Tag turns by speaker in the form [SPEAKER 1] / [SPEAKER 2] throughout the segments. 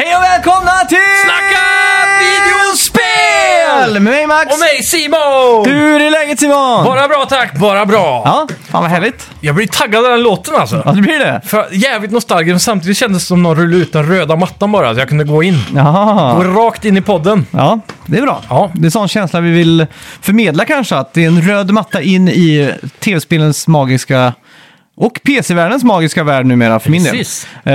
[SPEAKER 1] välkomna till...
[SPEAKER 2] Snacka videospel!
[SPEAKER 1] Med mig Max!
[SPEAKER 2] Och mig Simon!
[SPEAKER 1] Du, hur är läget Simon?
[SPEAKER 2] Bara bra tack, bara bra.
[SPEAKER 1] Ja, fan vad härligt.
[SPEAKER 2] Jag blir taggad av den låten alltså.
[SPEAKER 1] Ja, det blir det.
[SPEAKER 2] För jävligt nostalgisk, men samtidigt kändes det som någon rullade ut den röda mattan bara, så jag kunde gå in. Gå
[SPEAKER 1] Jaha.
[SPEAKER 2] rakt in i podden.
[SPEAKER 1] Ja, det är bra.
[SPEAKER 2] Ja.
[SPEAKER 1] Det är sån känsla vi vill förmedla kanske, att det är en röd matta in i tv-spelens magiska och PC-världens magiska värld numera för min del.
[SPEAKER 2] Precis.
[SPEAKER 1] Eh,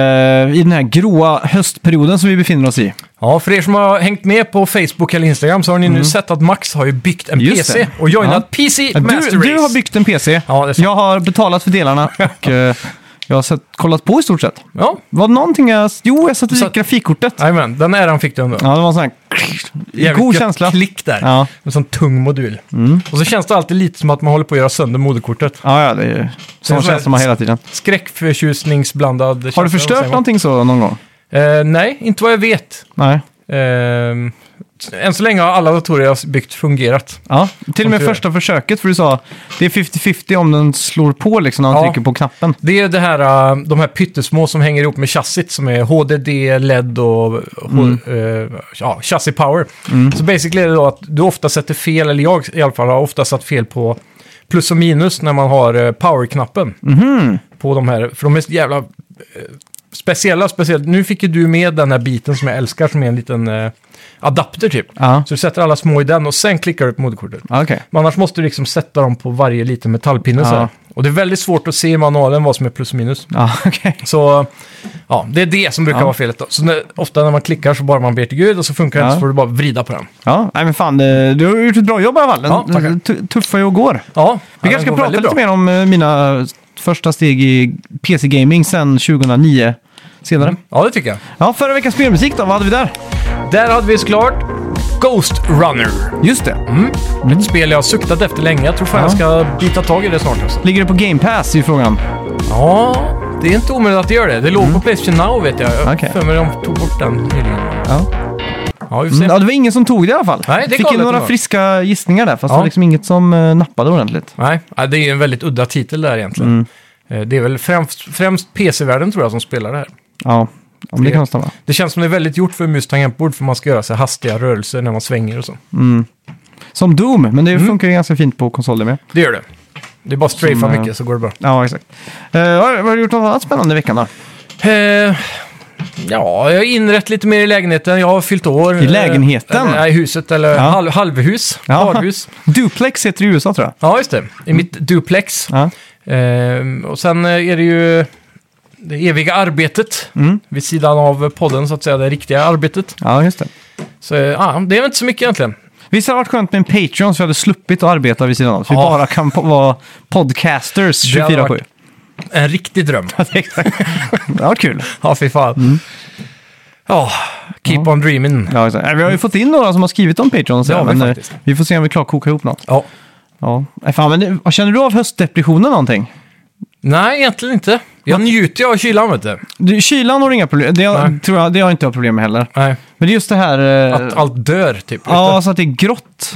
[SPEAKER 1] I den här gråa höstperioden som vi befinner oss i.
[SPEAKER 2] Ja, för er som har hängt med på Facebook eller Instagram så har ni nu sett att Max har ju byggt en
[SPEAKER 1] Mm. Just
[SPEAKER 2] PC
[SPEAKER 1] det.
[SPEAKER 2] och joinat
[SPEAKER 1] Ja.
[SPEAKER 2] PC
[SPEAKER 1] Ja,
[SPEAKER 2] Master
[SPEAKER 1] Du,
[SPEAKER 2] Race.
[SPEAKER 1] du har byggt en PC.
[SPEAKER 2] Ja, det är sant.
[SPEAKER 1] jag har betalat för delarna och eh, jag har sett, kollat på i stort sett.
[SPEAKER 2] Ja,
[SPEAKER 1] Var det någonting jag... Jo, jag satte
[SPEAKER 2] Så-
[SPEAKER 1] dit grafikkortet.
[SPEAKER 2] jajamän. Den äran fick du ändå.
[SPEAKER 1] Ja, det var en sån här...
[SPEAKER 2] Jävligt
[SPEAKER 1] God
[SPEAKER 2] gött
[SPEAKER 1] känsla.
[SPEAKER 2] klick där.
[SPEAKER 1] Ja. Mm.
[SPEAKER 2] En sån tung modul. Och så känns det alltid lite som att man håller på att göra sönder moderkortet.
[SPEAKER 1] Ja, ja, det är ju sån
[SPEAKER 2] så här-
[SPEAKER 1] känsla man har hela tiden.
[SPEAKER 2] Skräckförtjusningsblandad känsla.
[SPEAKER 1] Har du
[SPEAKER 2] vad säger
[SPEAKER 1] förstört
[SPEAKER 2] man?
[SPEAKER 1] någonting så någon gång?
[SPEAKER 2] Eh, nej, inte vad jag vet.
[SPEAKER 1] Nej.
[SPEAKER 2] Ehm, än så länge har alla datorer jag har byggt fungerat.
[SPEAKER 1] Ja, till och med
[SPEAKER 2] tur är.
[SPEAKER 1] första försöket, för du sa det är 50-50 om den slår på liksom när man
[SPEAKER 2] Ja.
[SPEAKER 1] trycker på knappen.
[SPEAKER 2] Det är det här, eh, de här pyttesmå som hänger ihop med chassit som är HDD, LED E och mm. ja, chassi power. Så basically är det då att du ofta sätter fel, eller jag i alla fall har ofta satt fel på plus och minus när man har eh, power-knappen. På de här, för de är så jävla eh, speciella, speciellt. Nu fick ju du med den här biten som jag älskar som är en liten eh, adapter typ.
[SPEAKER 1] Ja,
[SPEAKER 2] Så du sätter alla små i den och sen klickar du på moderkortet.
[SPEAKER 1] ja okej.
[SPEAKER 2] Men annars måste du liksom sätta dem på varje liten metallpinne
[SPEAKER 1] Ja.
[SPEAKER 2] så här. Och det är väldigt svårt att se i manualen vad som är plus och minus.
[SPEAKER 1] Ja, okej.
[SPEAKER 2] Så ja, det är det som brukar
[SPEAKER 1] Ja.
[SPEAKER 2] vara felet. Då. Så när, ofta när man klickar så bara man ber till Gud och så funkar det
[SPEAKER 1] Ja.
[SPEAKER 2] inte så får du bara vrida på den.
[SPEAKER 1] Ja, nej men fan, eh, du har gjort ett bra jobb i alla fall.
[SPEAKER 2] Ja, tackar.
[SPEAKER 1] Den tu- tuffar ju och går.
[SPEAKER 2] Ja,
[SPEAKER 1] Vi kanske
[SPEAKER 2] ja, den
[SPEAKER 1] ska
[SPEAKER 2] går
[SPEAKER 1] prata
[SPEAKER 2] väldigt
[SPEAKER 1] lite
[SPEAKER 2] bra.
[SPEAKER 1] mer om eh, mina första steg i PC-gaming sedan 2009 senare.
[SPEAKER 2] Ja, det tycker jag.
[SPEAKER 1] Ja, förra veckans spelmusik då, vad hade vi där?
[SPEAKER 2] Där hade vi såklart Ghost Runner.
[SPEAKER 1] Just det.
[SPEAKER 2] Mm. Ett spel jag har suktat efter länge. Jag tror fan jag ska bita tag i det snart. Alltså.
[SPEAKER 1] Ligger det på Game Pass i frågan?
[SPEAKER 2] Ja, det är inte omöjligt att det gör det. Det låg på Playstation Now vet jag. Jag
[SPEAKER 1] Mm. Okej.
[SPEAKER 2] för mig de tog bort den nyligen.
[SPEAKER 1] Ja.
[SPEAKER 2] Ja, vi får se.
[SPEAKER 1] Mm, ja, det var ingen som tog det i alla fall.
[SPEAKER 2] Nej, det är
[SPEAKER 1] Fick in
[SPEAKER 2] galet
[SPEAKER 1] några
[SPEAKER 2] ändå.
[SPEAKER 1] friska gissningar där, fast
[SPEAKER 2] Ja.
[SPEAKER 1] det var liksom inget som eh, nappade ordentligt.
[SPEAKER 2] Nej, ja, det är ju en väldigt udda titel där egentligen.
[SPEAKER 1] Mm.
[SPEAKER 2] Eh, Det är väl främst, främst PC-världen tror jag som spelar det här.
[SPEAKER 1] Ja, om det
[SPEAKER 2] Det-
[SPEAKER 1] kan stämma.
[SPEAKER 2] Det känns som det är väldigt gjort för mus tangentbord för man ska göra så här hastiga rörelser när man svänger och så.
[SPEAKER 1] Som Doom, men det
[SPEAKER 2] Mm.
[SPEAKER 1] funkar ju ganska fint på konsoler med.
[SPEAKER 2] Det gör det. Det är bara att strafa
[SPEAKER 1] Som, eh,
[SPEAKER 2] mycket så går det bra.
[SPEAKER 1] Ja, exakt. Eh, har, har du gjort något annat spännande i veckan då?
[SPEAKER 2] Eh, ja, jag har inrett lite mer i lägenheten. Jag har fyllt år.
[SPEAKER 1] I lägenheten?
[SPEAKER 2] Eh, Nej, i huset eller
[SPEAKER 1] Ja.
[SPEAKER 2] halv, halvhus.
[SPEAKER 1] Ja.
[SPEAKER 2] Parhus.
[SPEAKER 1] Duplex heter det i USA tror jag.
[SPEAKER 2] Ja, just det. I mitt duplex.
[SPEAKER 1] Ja.
[SPEAKER 2] Eh, och sen eh, är det ju det eviga arbetet
[SPEAKER 1] Mm.
[SPEAKER 2] vid sidan av podden så att säga. Det riktiga arbetet.
[SPEAKER 1] Ja, just det.
[SPEAKER 2] Så eh, ja, det är väl inte så mycket egentligen.
[SPEAKER 1] Visst hade det varit skönt med en Patreon så vi hade sluppit att arbeta vid sidan av. Så vi
[SPEAKER 2] Ja.
[SPEAKER 1] bara kan po- vara podcasters
[SPEAKER 2] Det hade
[SPEAKER 1] 24-7.
[SPEAKER 2] varit- En riktig dröm.
[SPEAKER 1] Exakt. det var kul.
[SPEAKER 2] Ja, fy fan. Ja, keep on dreaming.
[SPEAKER 1] Ja, exakt. Nej, Vi har ju fått in några som har skrivit om Patreon. Så
[SPEAKER 2] Det har vi
[SPEAKER 1] men, eh,
[SPEAKER 2] faktiskt.
[SPEAKER 1] vi får se om vi klarar att koka ihop något.
[SPEAKER 2] Ja.
[SPEAKER 1] Ja. Nej, Fan, men det, känner du av höstdepressionen någonting?
[SPEAKER 2] Nej, egentligen inte. Jag njuter ju av kylan, vet du.
[SPEAKER 1] Du, kylan har du inga problem det, har-
[SPEAKER 2] Nej.
[SPEAKER 1] tror jag, det har inte jag problem med heller.
[SPEAKER 2] Nej.
[SPEAKER 1] Men det är just det här... eh,
[SPEAKER 2] Att allt dör, typ.
[SPEAKER 1] ja, så att det är grått.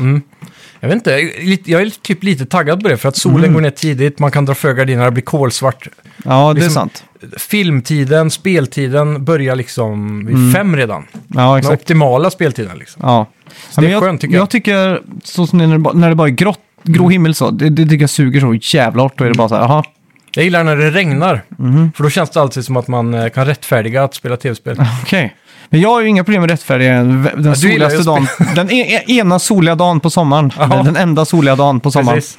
[SPEAKER 2] Jag vet inte, lite- jag är typ lite taggad på det, för att solen går ner tidigt, man kan dra för gardinerna, det blir kolsvart.
[SPEAKER 1] Ja, det är
[SPEAKER 2] Liksom-
[SPEAKER 1] sant.
[SPEAKER 2] Filmtiden, speltiden börjar liksom vid fem redan.
[SPEAKER 1] Ja,
[SPEAKER 2] Den
[SPEAKER 1] exakt.
[SPEAKER 2] optimala speltiden, liksom.
[SPEAKER 1] Ja.
[SPEAKER 2] det är
[SPEAKER 1] Men
[SPEAKER 2] skönt, tycker jag.
[SPEAKER 1] Jag tycker, så som när det, bara- när det bara är grått, grå himmel så, det, det tycker jag suger så jävla hårt. Då är det bara så här, jaha,
[SPEAKER 2] Jag gillar när det regnar, för då känns det alltid som att man eh, kan rättfärdiga att spela tv-spel.
[SPEAKER 1] okej. Men jag har ju inga problem med rättfärdiga den vä- den
[SPEAKER 2] ju
[SPEAKER 1] soligaste
[SPEAKER 2] att
[SPEAKER 1] dagen. Den e- e- ena soliga dagen på sommaren.
[SPEAKER 2] Ja.
[SPEAKER 1] Den- Den enda soliga dagen på sommaren.
[SPEAKER 2] Precis.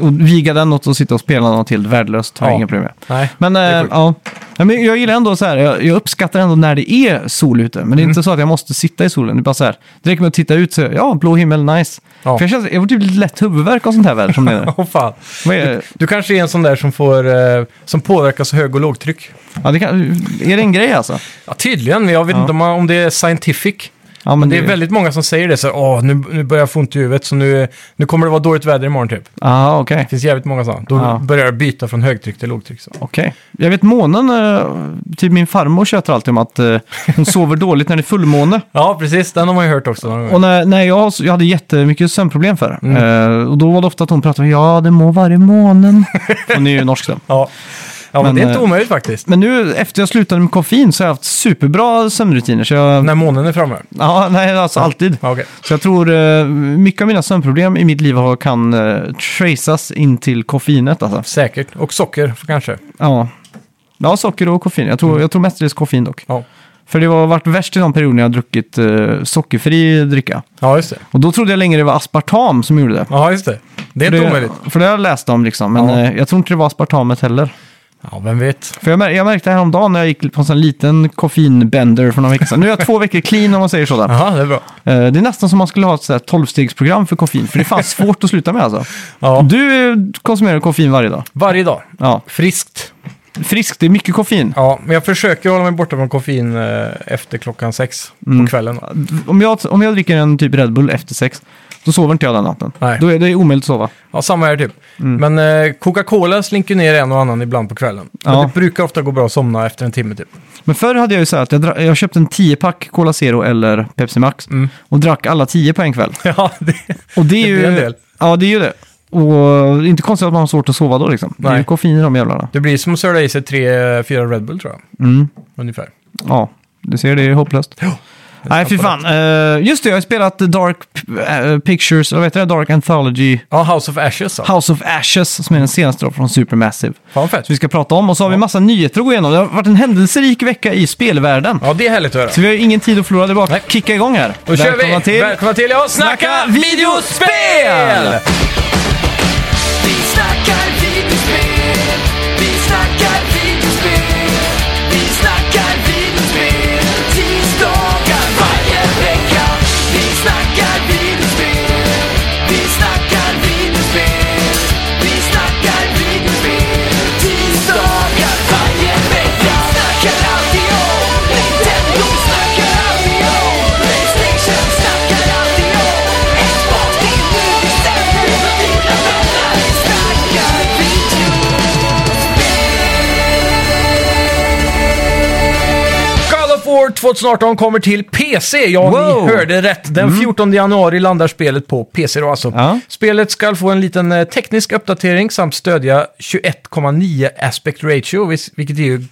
[SPEAKER 1] Och viga den åt och sitta och spela något till värdelöst. Har jag
[SPEAKER 2] Ja.
[SPEAKER 1] inga problem med.
[SPEAKER 2] Nej.
[SPEAKER 1] Men,
[SPEAKER 2] är
[SPEAKER 1] eh,
[SPEAKER 2] sjukt.
[SPEAKER 1] ja. Ja, men jag gillar ändå så här, jag, jag uppskattar ändå när det är sol ute. Men det är
[SPEAKER 2] Mm.
[SPEAKER 1] inte så att jag måste sitta i solen. Det är bara så här, det räcker med att titta ut så, ja, blå himmel, nice.
[SPEAKER 2] Ja.
[SPEAKER 1] För jag, känns, jag får typ lite lätt huvudvärk av sånt här väder som det är. eh,
[SPEAKER 2] Åh fan.
[SPEAKER 1] Vad är,
[SPEAKER 2] Du kanske är en sån där som, får, eh, som påverkas av hög och lågtryck.
[SPEAKER 1] ja, det kan, är det en grej alltså?
[SPEAKER 2] Ja, tydligen, jag vet
[SPEAKER 1] Ja.
[SPEAKER 2] inte om, man- om det är scientific.
[SPEAKER 1] Ja, men
[SPEAKER 2] Det är väldigt många som säger det, så här, Åh, nu, nu börjar jag få ont i huvudet, så nu, nu kommer det vara dåligt väder imorgon typ. Det
[SPEAKER 1] Ja, okej.
[SPEAKER 2] finns jävligt många sådana. Då
[SPEAKER 1] Ja.
[SPEAKER 2] börjar jag byta från högtryck till lågtryck. Så.
[SPEAKER 1] Okej. Jag vet månen, eh, typ min farmor tjötar alltid om att eh, hon sover dåligt när det är fullmåne.
[SPEAKER 2] Ja, precis. Den har man ju hört också. någon gång.
[SPEAKER 1] Och när, när jag, jag hade jättemycket sömnproblem för
[SPEAKER 2] Mm.
[SPEAKER 1] Eh, och då var det ofta att hon pratade om ja, det må vara i månen. Hon är ju norsk då.
[SPEAKER 2] Ja. Ja, men,
[SPEAKER 1] Men,
[SPEAKER 2] det är inte
[SPEAKER 1] eh,
[SPEAKER 2] omöjligt faktiskt.
[SPEAKER 1] Men nu efter jag slutade med koffein så har jag haft superbra sömnrutiner. Så jag,
[SPEAKER 2] När månen är framme.
[SPEAKER 1] Ja, nej, alltså alltid.
[SPEAKER 2] Ja, okej.
[SPEAKER 1] Så jag tror eh, mycket av mina sömnproblem i mitt liv har, kan eh, traceas in till koffeinet. Alltså.
[SPEAKER 2] Säkert. Och socker kanske.
[SPEAKER 1] Ja. ja, socker och koffein. Jag tror, jag tror mestadels koffein dock.
[SPEAKER 2] Mm. Ja.
[SPEAKER 1] För det har varit värst i de perioder när jag har druckit eh, sockerfri dricka.
[SPEAKER 2] ja, just det.
[SPEAKER 1] Och då trodde jag länge det var aspartam som gjorde det.
[SPEAKER 2] Ja, just det. Det är
[SPEAKER 1] för,
[SPEAKER 2] inte omöjligt.
[SPEAKER 1] det för det har jag läst om liksom, men
[SPEAKER 2] Ja.
[SPEAKER 1] eh, jag tror inte det var aspartamet heller.
[SPEAKER 2] Ja, vem vet.
[SPEAKER 1] För jag, mär jag märkte häromdagen när jag gick på en sån liten koffeinbender för några veckor sedan. Nu är jag två veckor clean om man säger sådär.
[SPEAKER 2] Jaha, det är bra.
[SPEAKER 1] Eh, Det är nästan som man skulle ha ett sådär 12-stegsprogram för koffein, för det är fan svårt att sluta med alltså.
[SPEAKER 2] Ja.
[SPEAKER 1] Du eh, konsumerar koffein varje dag.
[SPEAKER 2] Varje dag.
[SPEAKER 1] Ja.
[SPEAKER 2] Friskt.
[SPEAKER 1] Friskt, det är mycket koffein.
[SPEAKER 2] Ja, men jag försöker hålla mig borta från koffein eh, efter klockan sex
[SPEAKER 1] Mm.
[SPEAKER 2] på kvällen.
[SPEAKER 1] Om jag, om jag dricker en typ Red Bull efter sex, då sover inte jag den natten.
[SPEAKER 2] Nej.
[SPEAKER 1] Då är det omöjligt att sova.
[SPEAKER 2] Ja, samma här typ.
[SPEAKER 1] Mm.
[SPEAKER 2] Men eh, Coca-Cola slinker ner en och annan ibland på kvällen.
[SPEAKER 1] Ja.
[SPEAKER 2] Men det brukar ofta gå bra att somna efter en timme typ.
[SPEAKER 1] Men förr hade jag ju så här att jag, dra- jag köpte en 10-pack Cola Zero eller Pepsi Max och drack alla 10 på en kväll.
[SPEAKER 2] Ja, det...
[SPEAKER 1] Och det är
[SPEAKER 2] Mm. Det
[SPEAKER 1] ju...
[SPEAKER 2] blir en del.
[SPEAKER 1] Ja, det är ju det. Och det är inte konstigt att man har svårt att sova då liksom. Det är
[SPEAKER 2] Nej.
[SPEAKER 1] ju koffein i de jävlarna.
[SPEAKER 2] det blir som att söla i sig tre, fyra Red Bull tror jag.
[SPEAKER 1] Mm.
[SPEAKER 2] Ungefär.
[SPEAKER 1] Ja, du ser det är hopplöst. Nej, fy fan. Eh, just det, jag har ju spelat Dark P- eh, Pictures, eller vad heter det? Dark Anthology
[SPEAKER 2] Ja, House of Ashes. Ja.
[SPEAKER 1] House of Ashes, som är den senaste då från Supermassive.
[SPEAKER 2] Fan fett.
[SPEAKER 1] Som vi ska prata om. Och så har vi massa nyheter att gå igenom. Det har varit en händelserik vecka i spelvärlden.
[SPEAKER 2] Ja, det är härligt att höra.
[SPEAKER 1] Så vi har ju ingen tid att förlora. Det är bara att kicka igång här.
[SPEAKER 2] Då kör vi!
[SPEAKER 1] till
[SPEAKER 2] Välkomna till Jag
[SPEAKER 1] Snacka
[SPEAKER 2] snackar
[SPEAKER 1] videospel!
[SPEAKER 2] videospel!
[SPEAKER 3] Vi snackar videospel, vi snackar videospel, vi snackar videospel, tisdagar varje vecka. Vi snackar videospel, vi snackar videospel, vi snackar videospel, tisdagar varje vecka. Snackar alltid om Nintendo, snackar alltid om Playstation, snackar alltid om Xbox, det är nu vi sänder för dina vänner. Vi snackar videospel.
[SPEAKER 2] God of War 2018 kommer till PC. Ja,
[SPEAKER 1] Wow!
[SPEAKER 2] ni hörde rätt. Den 14 januari landar spelet på PC då alltså.
[SPEAKER 1] Mm. Ja.
[SPEAKER 2] Spelet ska få en liten eh, teknisk uppdatering samt stödja 21,9 aspect ratio, vis- vilket är ju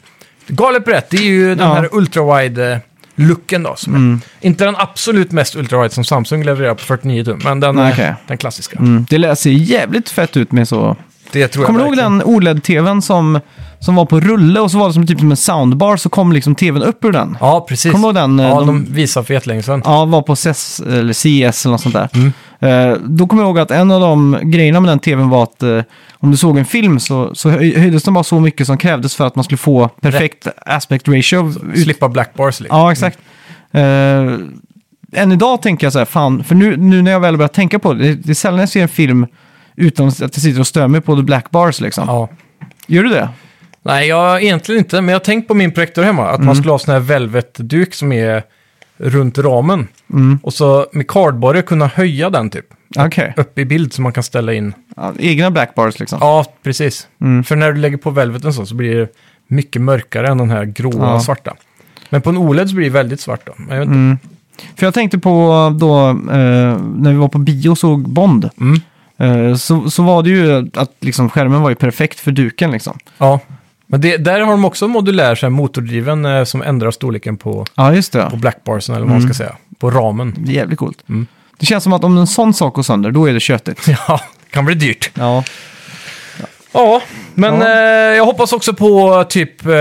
[SPEAKER 2] galet brett. Det är ju den
[SPEAKER 1] Ja. Mm.
[SPEAKER 2] här ultrawide eh, looken då. Som är, inte den absolut mest ultrawide som Samsung levererar på 49 tum, men den, eh,
[SPEAKER 1] Okej.
[SPEAKER 2] den klassiska.
[SPEAKER 1] Mm, det lär- ser jävligt fett ut med så...
[SPEAKER 2] Det tror jag
[SPEAKER 1] Kommer du ihåg
[SPEAKER 2] verkligen.
[SPEAKER 1] den E OLED-tvn som, som var på rulle och så var det som typ som en soundbar så kom liksom tvn upp ur den?
[SPEAKER 2] Ja, precis.
[SPEAKER 1] Kommer du ihåg den? eh,
[SPEAKER 2] ja, de,
[SPEAKER 1] de-
[SPEAKER 2] visade för jättelänge sedan.
[SPEAKER 1] Ja, var på CES eller CS eller något sånt där. Eh, då kommer jag ihåg att en av de grejerna med den tvn var att eh, om du såg en film så, så höj- höjdes den bara så mycket som krävdes för att man skulle få perfekt aspect ratio. Ut-
[SPEAKER 2] Slippa black bars liksom.
[SPEAKER 1] ja, exakt. Eh, än idag tänker jag så här, fan, för nu, nu när jag väl börjar tänka på det, det, det är sällan jag ser en film utan att jag sitter och stör mig på the black bars liksom.
[SPEAKER 2] Ja.
[SPEAKER 1] Gör du det?
[SPEAKER 2] Nej, jag, egentligen inte. Men jag har tänkt på min projektor hemma. Att man skulle ha sån här velvetduk som är runt ramen. Och så med cardboarder kunna höja den typ.
[SPEAKER 1] Okej.
[SPEAKER 2] Upp i bild så man kan ställa in.
[SPEAKER 1] Ja, egna black bars liksom.
[SPEAKER 2] Ja, precis. För när du lägger på velveten så, så blir det mycket mörkare än den här gråa
[SPEAKER 1] Ja.
[SPEAKER 2] svarta. Men på en OLED så blir det väldigt svart då. Men Jag vet inte.
[SPEAKER 1] För jag tänkte på då, eh, när vi var på bio och såg Bond.
[SPEAKER 2] Mm.
[SPEAKER 1] Eh, så, så var det ju att liksom, skärmen var ju perfekt för duken liksom.
[SPEAKER 2] Ja. Men det, där har de också en modulär så här, motordriven eh, som ändrar storleken på,
[SPEAKER 1] Ja, just det.
[SPEAKER 2] på blackbarsen eller vad man ska säga. På ramen.
[SPEAKER 1] Det är jävligt coolt.
[SPEAKER 2] Mm.
[SPEAKER 1] Det känns som att om en sån sak går sönder, då är det köttigt.
[SPEAKER 2] Ja, det kan bli dyrt.
[SPEAKER 1] Ja.
[SPEAKER 2] Ja, men
[SPEAKER 1] Ja.
[SPEAKER 2] Eh, jag hoppas också på typ, eh,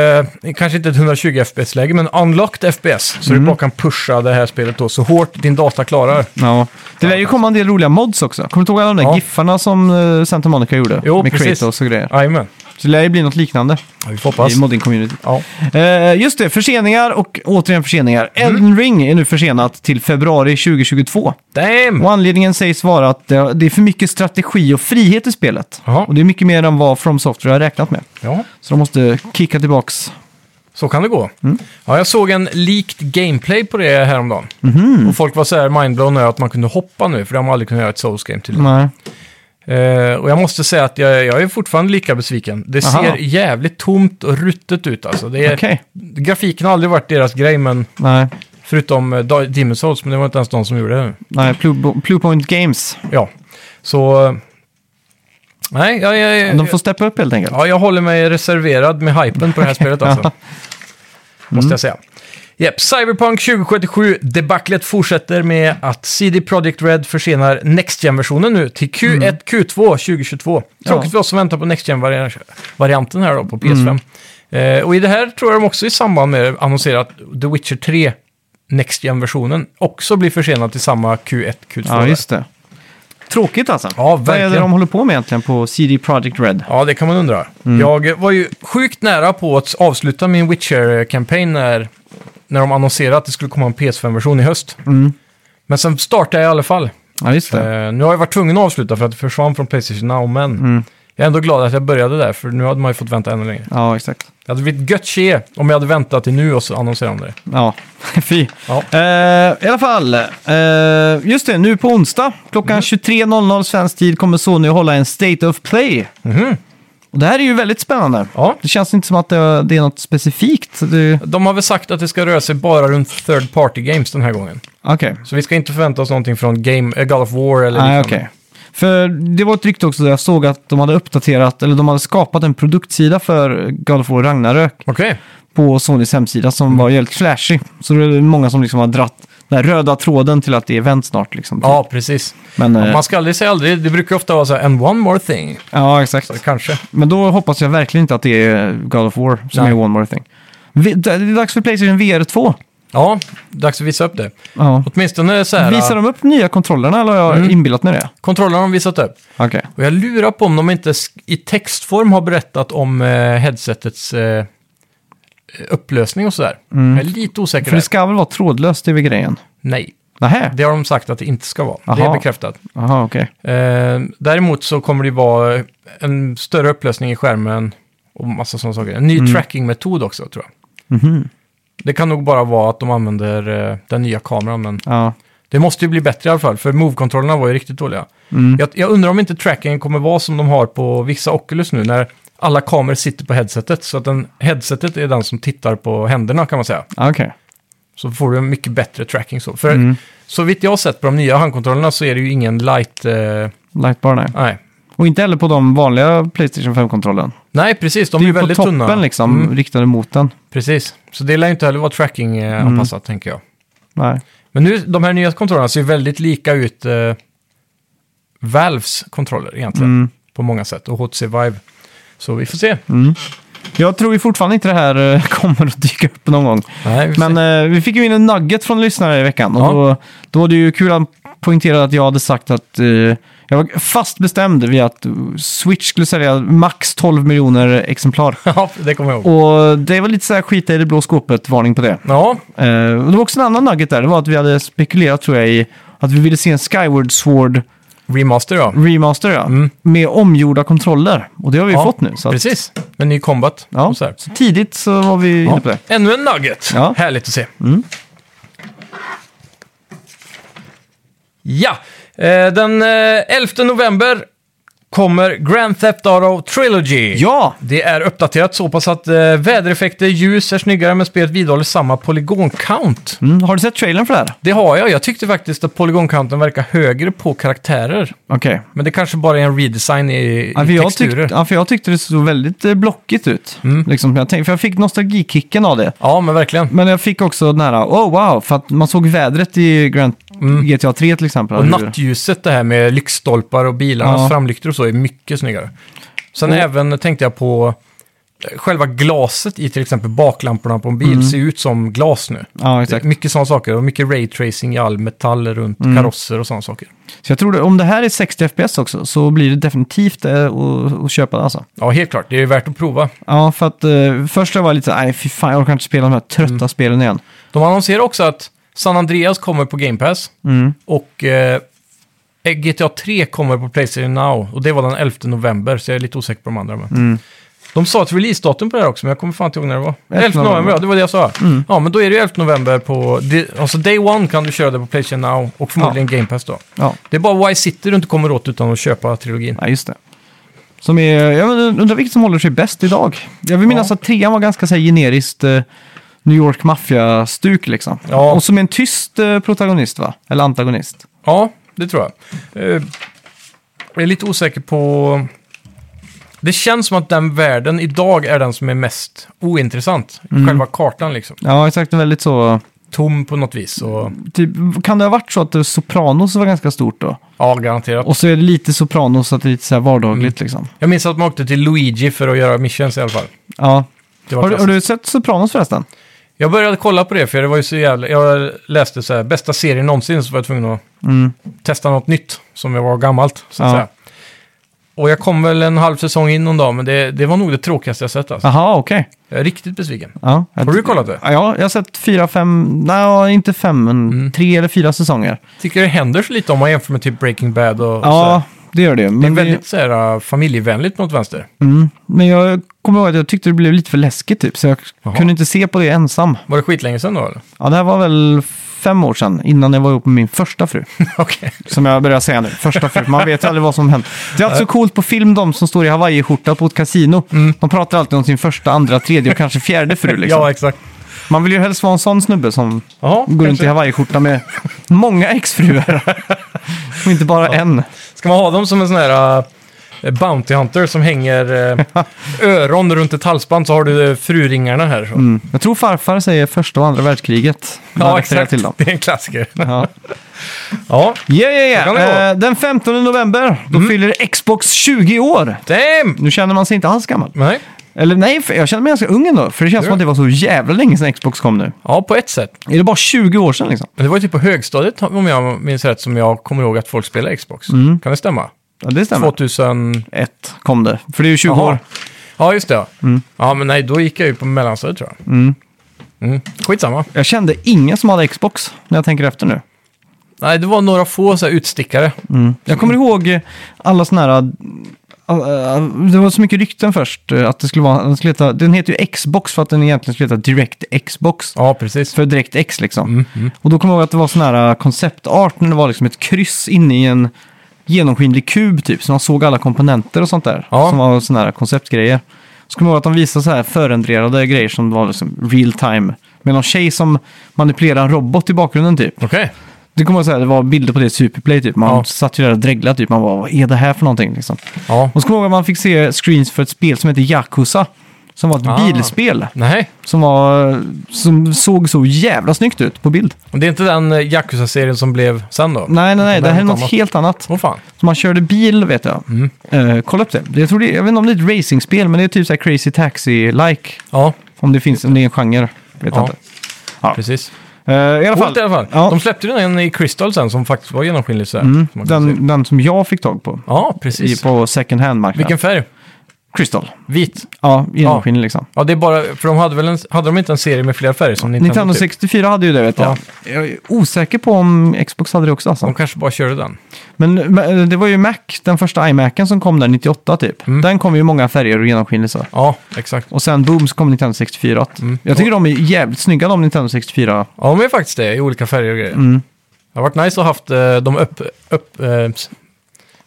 [SPEAKER 2] kanske inte ett 120 FPS-läge, men unlocked FPS. Så du bara kan pusha det här spelet då så hårt din data klarar.
[SPEAKER 1] ja. Det lär ju komma en del roliga mods också. Kommer du ihåg alla de där
[SPEAKER 2] Ja.
[SPEAKER 1] giffarna som eh, Santa Monica gjorde?
[SPEAKER 2] Jo,
[SPEAKER 1] med
[SPEAKER 2] precis.
[SPEAKER 1] Kratos och grejer.
[SPEAKER 2] Jajamän,
[SPEAKER 1] Så det lär ju bli något liknande
[SPEAKER 2] ja, vi får hoppas.
[SPEAKER 1] i modding-communityt.
[SPEAKER 2] Ja.
[SPEAKER 1] Eh, just det, förseningar och återigen förseningar.
[SPEAKER 2] Mm.
[SPEAKER 1] Elden Ring är nu försenat till februari 2022.
[SPEAKER 2] Damn!
[SPEAKER 1] Och anledningen sägs vara att det det är för mycket strategi och frihet i spelet.
[SPEAKER 2] Jaha.
[SPEAKER 1] Och det är mycket mer än vad From Software har räknat med.
[SPEAKER 2] Ja,
[SPEAKER 1] Så de måste kicka tillbaks.
[SPEAKER 2] så kan det gå. Ja, jag såg en leaked gameplay på det häromdagen. Och folk var så här mindblown över att man kunde hoppa nu, för de har aldrig kunnat göra ett Souls-game till.
[SPEAKER 1] Nej.
[SPEAKER 2] Eh, och jag måste säga att jag, jag är fortfarande lika besviken. Det
[SPEAKER 1] Aha.
[SPEAKER 2] ser jävligt tomt och ruttet ut alltså. Det är,
[SPEAKER 1] Okej.
[SPEAKER 2] Grafiken har aldrig varit deras grej, men
[SPEAKER 1] Nej.
[SPEAKER 2] Förutom eh, Da- Demon's Souls, men det var inte ens de som gjorde det.
[SPEAKER 1] Nej, Blue, Blue Point Games.
[SPEAKER 2] Ja, så eh, Nej, jag, jag, jag,
[SPEAKER 1] De får steppa upp helt enkelt.
[SPEAKER 2] ja, jag håller mig reserverad med hypen på det här spelet alltså. Måste jag säga. Yep, Cyberpunk 2077, debaclet fortsätter med att CD Projekt Red försenar Next Gen-versionen nu till Q1, Q2 2022. Tråkigt
[SPEAKER 1] Mm. Ja.
[SPEAKER 2] för oss som väntar på Next Gen-varianten här då på PS5.
[SPEAKER 1] Mm.
[SPEAKER 2] Eh, och i det här tror jag de också i samband med det annonserar att The Witcher 3 Next Gen-versionen också blir försenad till samma Q1, Q2.
[SPEAKER 1] Ja,
[SPEAKER 2] där.
[SPEAKER 1] just det. Tråkigt alltså.
[SPEAKER 2] Ja,
[SPEAKER 1] Vad är det
[SPEAKER 2] verkligen.
[SPEAKER 1] de håller på med egentligen på CD Projekt Red?
[SPEAKER 2] Ja, det kan man undra.
[SPEAKER 1] Mm.
[SPEAKER 2] Jag var ju sjukt nära på att avsluta min Witcher-kampanj när, när de annonserade att det skulle komma en PS5-version i höst. Men sen startade jag i alla fall.
[SPEAKER 1] Mm. Ja, just det.
[SPEAKER 2] Eh, nu har jag varit tvungen att avsluta för att det försvann från Playstation Now, men
[SPEAKER 1] Mm.
[SPEAKER 2] jag är ändå glad att jag började där, för nu hade man ju fått vänta ännu längre.
[SPEAKER 1] Ja, exakt.
[SPEAKER 2] Det hade blivit gött tje om jag hade väntat till nu och så annonserade de det.
[SPEAKER 1] Ja, fy.
[SPEAKER 2] Ja.
[SPEAKER 1] Eh, I alla fall, eh, just det, nu på onsdag klockan
[SPEAKER 2] Mm.
[SPEAKER 1] 23.00 svensk tid kommer Sony att hålla en State of Play. Och det här är ju väldigt spännande.
[SPEAKER 2] Mhm, Ja.
[SPEAKER 1] Det känns inte som att det, det är något specifikt. så det-
[SPEAKER 2] De har väl sagt att det ska röra sig bara runt third party games den här gången.
[SPEAKER 1] Okej.
[SPEAKER 2] Så vi ska inte förvänta oss någonting från game, eh, God of War eller
[SPEAKER 1] Nej, okej. För det var ett rykte också där jag såg att de hade uppdaterat, eller de hade skapat en produktsida för God of War Ragnarök.
[SPEAKER 2] Okej.
[SPEAKER 1] på Sonys hemsida som
[SPEAKER 2] Mm.
[SPEAKER 1] var jävligt flashig. Så det är många som liksom har dratt den här röda tråden till att det är event snart. Liksom.
[SPEAKER 2] Ja, precis.
[SPEAKER 1] Men, eh,
[SPEAKER 2] Man ska aldrig säga aldrig. Det brukar ofta vara så här, and one more thing.
[SPEAKER 1] ja, exakt.
[SPEAKER 2] Kanske.
[SPEAKER 1] Men då hoppas jag verkligen inte att det är God of War som
[SPEAKER 2] Nej.
[SPEAKER 1] är One More Thing. Vi- Det är dags för Playstation VR 2.
[SPEAKER 2] Ja, dags att visa upp det.
[SPEAKER 1] Ja.
[SPEAKER 2] Åtminstone så här.
[SPEAKER 1] Visar de upp nya kontrollerna eller har jag
[SPEAKER 2] Mm.
[SPEAKER 1] inbillat mig det?
[SPEAKER 2] Kontrollerna har de visat upp.
[SPEAKER 1] Okej.
[SPEAKER 2] Och jag lurar på om de inte sk- i textform har berättat om eh, headsetets eh, upplösning och sådär. Jag är lite osäker
[SPEAKER 1] Mm. För
[SPEAKER 2] där.
[SPEAKER 1] det ska väl vara trådlöst, det är väl grejen?
[SPEAKER 2] Nej,
[SPEAKER 1] Nähä?
[SPEAKER 2] det har de sagt att det inte ska vara. Det är
[SPEAKER 1] Aha.
[SPEAKER 2] bekräftat.
[SPEAKER 1] Jaha, okej.
[SPEAKER 2] Eh, däremot så kommer det vara en större upplösning i skärmen och massa sådana saker. En ny
[SPEAKER 1] Mm.
[SPEAKER 2] trackingmetod också tror jag.
[SPEAKER 1] Mhm.
[SPEAKER 2] Det kan nog bara vara att de använder eh, den nya kameran, men
[SPEAKER 1] Ja.
[SPEAKER 2] det måste ju bli bättre i alla fall, för move-kontrollerna var ju riktigt dåliga.
[SPEAKER 1] Mm.
[SPEAKER 2] Jag, jag undrar om inte trackingen kommer vara som de har på vissa Oculus nu, när alla kameror sitter på headsetet, så att den, headsetet är den som tittar på händerna kan man säga.
[SPEAKER 1] Okej.
[SPEAKER 2] Så får du en mycket bättre tracking så. För
[SPEAKER 1] Mm.
[SPEAKER 2] så vitt jag har sett på de nya handkontrollerna så är det ju ingen light... Eh,
[SPEAKER 1] Lightbar, nej.
[SPEAKER 2] nej.
[SPEAKER 1] Och inte heller på de vanliga Playstation 5-kontrollen.
[SPEAKER 2] Nej, precis. De
[SPEAKER 1] Det
[SPEAKER 2] är,
[SPEAKER 1] är ju på
[SPEAKER 2] väldigt
[SPEAKER 1] toppen
[SPEAKER 2] tunna.
[SPEAKER 1] liksom,
[SPEAKER 2] Mm,
[SPEAKER 1] riktade mot den.
[SPEAKER 2] precis. Så det lär ju inte heller vara
[SPEAKER 1] Mm.
[SPEAKER 2] tracking-anpassat, tänker jag.
[SPEAKER 1] Nej.
[SPEAKER 2] Men nu, de här nya kontrollerna ser ju väldigt lika ut eh, Valves kontroller egentligen.
[SPEAKER 1] Mm.
[SPEAKER 2] På många sätt. Och HTC Vive. Så vi får se.
[SPEAKER 1] Jag tror ju fortfarande inte det här eh, kommer att dyka upp någon gång.
[SPEAKER 2] Nej, vi får
[SPEAKER 1] Men
[SPEAKER 2] se.
[SPEAKER 1] eh, vi fick ju in en nugget från lyssnare i veckan. Och
[SPEAKER 2] Ja.
[SPEAKER 1] då, då var det ju kul att poängtera att jag hade sagt att eh, jag var fast bestämd vid att eh, Switch skulle sälja max 12 miljoner exemplar.
[SPEAKER 2] ja, det kommer jag ihåg.
[SPEAKER 1] Och det var lite så här skita i det blå skåpet, varning på det.
[SPEAKER 2] Ja,
[SPEAKER 1] Eh, och det var också en annan nugget där, det var att vi hade spekulerat tror jag i att vi ville se en Skyward Sword
[SPEAKER 2] remaster ja.
[SPEAKER 1] remaster ja,
[SPEAKER 2] Mm.
[SPEAKER 1] med omgjorda kontroller. Och det har vi ju
[SPEAKER 2] ja.
[SPEAKER 1] fått nu. Så att,
[SPEAKER 2] Precis. Med ny combat.
[SPEAKER 1] ja,
[SPEAKER 2] Och så
[SPEAKER 1] så
[SPEAKER 2] här.
[SPEAKER 1] tidigt så var vi inne på det.
[SPEAKER 2] Ännu en nugget.
[SPEAKER 1] Ja. Mm.
[SPEAKER 2] Härligt att se. Ja, eh, den eh, 11 november kommer Grand Theft Auto Trilogy.
[SPEAKER 1] Ja!
[SPEAKER 2] Det är uppdaterat så pass att eh, vädereffekter, ljus är snyggare men spelet vidhåller samma polygon-count.
[SPEAKER 1] Mm, har du sett trailern för det här?
[SPEAKER 2] Det har jag. Jag tyckte faktiskt att polygon-counten verkar högre på karaktärer.
[SPEAKER 1] Okej.
[SPEAKER 2] Men det kanske bara är en redesign i,
[SPEAKER 1] Ja, för,
[SPEAKER 2] i
[SPEAKER 1] jag
[SPEAKER 2] texturer. Mm.
[SPEAKER 1] tyckte- ja, för jag tyckte det såg väldigt eh, blockigt ut. Liksom, jag tänkte, för jag fick nostalgikicken av det.
[SPEAKER 2] Ja, men verkligen.
[SPEAKER 1] Men jag fick också den här, oh wow, för att man såg vädret i Grand GTA 3 till exempel.
[SPEAKER 2] Mm. Och
[SPEAKER 1] Hur-
[SPEAKER 2] nattljuset det här med lyktstolpar och bilarnas
[SPEAKER 1] Ja.
[SPEAKER 2] framlyktor och så är mycket snyggare. Sen
[SPEAKER 1] Och-
[SPEAKER 2] även tänkte jag på eh, själva glaset i till exempel baklamporna på en bil ser ut som glas nu.
[SPEAKER 1] Ja,
[SPEAKER 2] Det är
[SPEAKER 1] Mm. exakt. Mm.
[SPEAKER 2] mycket sådana saker och mycket raytracing i all metall runt karosser och sådana saker.
[SPEAKER 1] Så jag tror det, om det här är 60 FPS också så blir det definitivt eh, att att köpa det alltså.
[SPEAKER 2] Ja, helt klart. Det är värt att prova.
[SPEAKER 1] Ja, för att eh, först jag var lite så här, nej fy fan, jag orkar inte spela de här trötta spelen igen.
[SPEAKER 2] De annonserar också att San Andreas kommer på Game Pass
[SPEAKER 1] Mm.
[SPEAKER 2] och eh, GTA 3 kommer på Playstation Now och det var den 11 november så jag är lite osäker på de andra. Men.
[SPEAKER 1] Mm.
[SPEAKER 2] De sa ett releasedatum på det här också men jag kommer fan inte ihåg när det var. 11
[SPEAKER 1] 11
[SPEAKER 2] november,
[SPEAKER 1] november, Mm.
[SPEAKER 2] ja det var det jag sa. Ja men då är det ju 11 november på, det- alltså Day One kan du köra det på Playstation Now och förmodligen Game Pass då.
[SPEAKER 1] Ja,
[SPEAKER 2] Det är bara Why City du inte kommer åt utan att köpa trilogin.
[SPEAKER 1] ja, just det. Som är, jag undrar vilket som håller sig bäst idag. Jag vill minnas att trean var ganska så här, generiskt eh, New York Mafia-stuk liksom.
[SPEAKER 2] Ja.
[SPEAKER 1] Och som en tyst eh, protagonist va? Eller antagonist.
[SPEAKER 2] Ja, det tror jag. Eh, jag är lite osäker på Det känns som att den världen idag är den som är mest ointressant.
[SPEAKER 1] Mm.
[SPEAKER 2] Själva kartan liksom.
[SPEAKER 1] Ja, exakt. Väldigt så.
[SPEAKER 2] Tom på något vis. Och,
[SPEAKER 1] Typ, kan det ha varit så att det Sopranos var ganska stort då?
[SPEAKER 2] ja, garanterat.
[SPEAKER 1] Och så är det lite Sopranos, så att det är lite så här vardagligt liksom.
[SPEAKER 2] Jag minns att man åkte till Luigi för att göra missions i alla fall.
[SPEAKER 1] Ja.
[SPEAKER 2] Det var
[SPEAKER 1] Har, du- har
[SPEAKER 2] klassiskt.
[SPEAKER 1] du sett Sopranos förresten?
[SPEAKER 2] Jag började kolla på det för det var ju så jävla... Jag läste så här, bästa serien någonsin så var jag tvungen att
[SPEAKER 1] Mm.
[SPEAKER 2] testa något nytt som jag var gammalt. Så att
[SPEAKER 1] Ja.
[SPEAKER 2] säga. Och jag kom väl en halv säsong in någon dag, men det, det var nog det tråkigaste jag sett. Alltså.
[SPEAKER 1] Jaha, okej.
[SPEAKER 2] Jag är riktigt besviken.
[SPEAKER 1] Ja.
[SPEAKER 2] Har du kollat det?
[SPEAKER 1] Ja, jag har sett fyra, fem, nej, inte fem, men
[SPEAKER 2] Mm.
[SPEAKER 1] tre eller fyra säsonger.
[SPEAKER 2] Tycker det händer så lite om man jämför med typ Breaking Bad och, och
[SPEAKER 1] Ja, det gör det.
[SPEAKER 2] så här.
[SPEAKER 1] Men,
[SPEAKER 2] Det är väldigt så här, äh, familjevänligt mot vänster.
[SPEAKER 1] mm, men jag kommer ihåg att jag tyckte det blev lite för läskigt typ, så jag
[SPEAKER 2] Jaha.
[SPEAKER 1] kunde inte se på det ensam.
[SPEAKER 2] Var det skitlänge sedan då eller?
[SPEAKER 1] Ja, det här var väl fem år sedan, innan jag var ihop med min första fru.
[SPEAKER 2] Okej.
[SPEAKER 1] Som jag börjar säga nu, första fru. Man vet ju aldrig vad som händer. Det är alltid så coolt på film, de som står i Hawaii-skjorta på ett kasino. De pratar alltid om sin första, andra, tredje och kanske fjärde fru. Liksom.
[SPEAKER 2] Mm. Ja, exakt.
[SPEAKER 1] Man vill ju helst vara en sån snubbe som
[SPEAKER 2] Jaha,
[SPEAKER 1] går runt i
[SPEAKER 2] kanske.
[SPEAKER 1] Hawaii-skjorta med många exfruar. och inte bara en.
[SPEAKER 2] Ska man ha dem som en sån här äh, Bounty Hunter som hänger äh, öron runt ett halsband så har du äh, fruringarna här. Så.
[SPEAKER 1] Mm. Jag tror farfar säger första och andra världskriget. när han
[SPEAKER 2] Ja,
[SPEAKER 1] refererar
[SPEAKER 2] exakt.
[SPEAKER 1] Till dem.
[SPEAKER 2] Det är en klassiker.
[SPEAKER 1] Ja.
[SPEAKER 2] ja,
[SPEAKER 1] Yeah,
[SPEAKER 2] Så
[SPEAKER 1] yeah,
[SPEAKER 2] kan Mm. det
[SPEAKER 1] yeah. Eh, den 15 november, då fyller Xbox 20 år.
[SPEAKER 2] damn!
[SPEAKER 1] Nu känner man sig inte alls gammal.
[SPEAKER 2] Nej.
[SPEAKER 1] Eller nej, för jag känner mig ganska ung ändå. För det känns
[SPEAKER 2] Gör
[SPEAKER 1] som att det var så jävla länge sedan Xbox kom nu.
[SPEAKER 2] Ja, på ett sätt.
[SPEAKER 1] Är det bara 20 år sedan liksom?
[SPEAKER 2] Men det var ju typ på högstadiet, om jag minns rätt, som jag kommer ihåg att folk spelade Xbox. Kan det stämma?
[SPEAKER 1] Ja, det Mm. stämmer.
[SPEAKER 2] 2000...
[SPEAKER 1] 2001 kom det. För det är ju 20
[SPEAKER 2] Jaha.
[SPEAKER 1] år.
[SPEAKER 2] Ja, just det. Ja.
[SPEAKER 1] Mm.
[SPEAKER 2] ja, men nej, då gick jag ju på mellanstadiet tror jag. Mm. Skitsamma.
[SPEAKER 1] Jag kände ingen som hade Xbox när jag tänker efter nu.
[SPEAKER 2] Nej, det var några få så här utstickare.
[SPEAKER 1] Jag kommer ihåg eh, alla sådana här... eh, eh, Det var så mycket rykten först eh, att det skulle vara... Den, skulle heta, den heter ju Xbox för att den egentligen skulle heta Direct Xbox.
[SPEAKER 2] Ja, precis.
[SPEAKER 1] För Direct X liksom. Och då kommer jag ihåg att det var sån här eh, konceptart när det var liksom ett kryss inne i en genomskinlig kub typ. Så man såg alla komponenter och sånt där.
[SPEAKER 2] Ja.
[SPEAKER 1] Som var såna här konceptgrejer. Så kommer jag ihåg att de visade så här förändrade grejer som var liksom real time. Med någon tjej som manipulerar en robot i bakgrunden typ.
[SPEAKER 2] Okej.
[SPEAKER 1] Det kommer jag säga, det var bilder på det i Superplay typ. Man
[SPEAKER 2] Ja.
[SPEAKER 1] satt ju där och dreglade typ. Man bara, vad är det här för någonting liksom?
[SPEAKER 2] Ja.
[SPEAKER 1] Och så kommer jag ihåg att man fick se screens för ett spel som heter Yakuza. Som var ett
[SPEAKER 2] Ah.
[SPEAKER 1] bilspel.
[SPEAKER 2] Nej,
[SPEAKER 1] Som, var, som såg så jävla snyggt ut på bild.
[SPEAKER 2] och det är inte den eh, Yakuza-serien som blev sen då?
[SPEAKER 1] Nej, nej, nej. Det här är
[SPEAKER 2] något
[SPEAKER 1] något
[SPEAKER 2] annat. Mm.
[SPEAKER 1] helt annat.
[SPEAKER 2] Åh fan.
[SPEAKER 1] Så man körde bil, vet jag. Eh, kolla upp det. Jag, tror det. jag vet inte om det är ett racingspel, men det är typ så här Crazy Taxi-like.
[SPEAKER 2] Ja,
[SPEAKER 1] Om det finns, om det är en genre. Vet
[SPEAKER 2] Ja.
[SPEAKER 1] jag inte. Ja.
[SPEAKER 2] precis.
[SPEAKER 1] Eh, I alla fall.
[SPEAKER 2] Coolt i alla fall.
[SPEAKER 1] Ja. Mm.
[SPEAKER 2] De släppte ju den i Crystal sen som faktiskt var genomskinlig så här. som man kan se.
[SPEAKER 1] Den, den som jag fick tag på.
[SPEAKER 2] Ja,
[SPEAKER 1] I,
[SPEAKER 2] precis.
[SPEAKER 1] på second hand-marknaden.
[SPEAKER 2] Vilken färg?
[SPEAKER 1] Crystal.
[SPEAKER 2] Vit.
[SPEAKER 1] Ja, genomskinlig liksom.
[SPEAKER 2] Ja, det är bara, för de hade väl en, hade de inte en serie med flera färger som Nintendo?
[SPEAKER 1] Nintendo
[SPEAKER 2] typ?
[SPEAKER 1] 64 hade ju det vet jag. Jag är osäker på om Xbox hade det också alltså.
[SPEAKER 2] De kanske bara körde den.
[SPEAKER 1] Men men eh, det var ju Mac, den första iMacen som kom där 98 typ.
[SPEAKER 2] Mm.
[SPEAKER 1] Den kom ju i många färger och genomskinlig så.
[SPEAKER 2] Ja, exakt.
[SPEAKER 1] Och sen boom så kom Nintendo 64. Jag tycker de är jävligt snygga de Nintendo 64.
[SPEAKER 2] Mm. Ja, de är faktiskt det, i olika färger och grejer.
[SPEAKER 1] Mm.
[SPEAKER 2] Det har varit nice att ha haft eh, dem upp, upp, eh, s-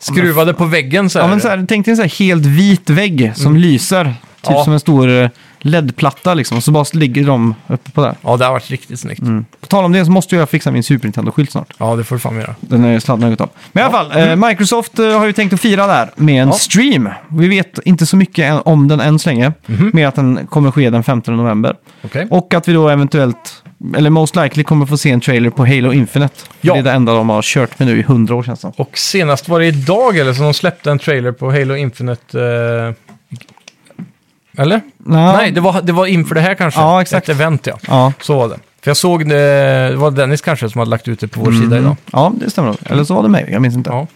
[SPEAKER 2] skruvade på väggen så här.
[SPEAKER 1] Ja, men så här, tänk dig en så här helt vit vägg som lyser. Typ
[SPEAKER 2] Mm. Ja.
[SPEAKER 1] som en stor eh, LED-platta liksom. Och så bara ligger de uppe på där.
[SPEAKER 2] Ja, det har varit riktigt snyggt.
[SPEAKER 1] På tal om det så måste jag fixa min Super Nintendo-skylt snart.
[SPEAKER 2] Ja, det får du fan göra.
[SPEAKER 1] Den är sladdad något av. Men i alla fall, eh, Microsoft eh, har ju tänkt att fira där med en
[SPEAKER 2] Mm. Ja.
[SPEAKER 1] stream. Vi vet inte så mycket än- om den än så länge,
[SPEAKER 2] Mhm.
[SPEAKER 1] med att den kommer ske den 15 november.
[SPEAKER 2] Okej.
[SPEAKER 1] Och att vi då eventuellt, eller most likely kommer få se en trailer på Halo Infinite.
[SPEAKER 2] Ja.
[SPEAKER 1] Det är det enda de har kört med nu i 100 år känns det som.
[SPEAKER 2] Och senast var det idag eller som de släppte en trailer på Halo Infinite. Eh... Eller?
[SPEAKER 1] Ja.
[SPEAKER 2] Nej, det var, det var inför det här kanske.
[SPEAKER 1] Ja, exakt.
[SPEAKER 2] Ett event ja.
[SPEAKER 1] Ja.
[SPEAKER 2] Så var det. För jag såg eh, det, det var Dennis kanske som hade lagt ut det på vår
[SPEAKER 1] Mm.
[SPEAKER 2] sida idag.
[SPEAKER 1] ja, det stämmer. nog. Eller så var det mig, jag minns inte.
[SPEAKER 2] Ja.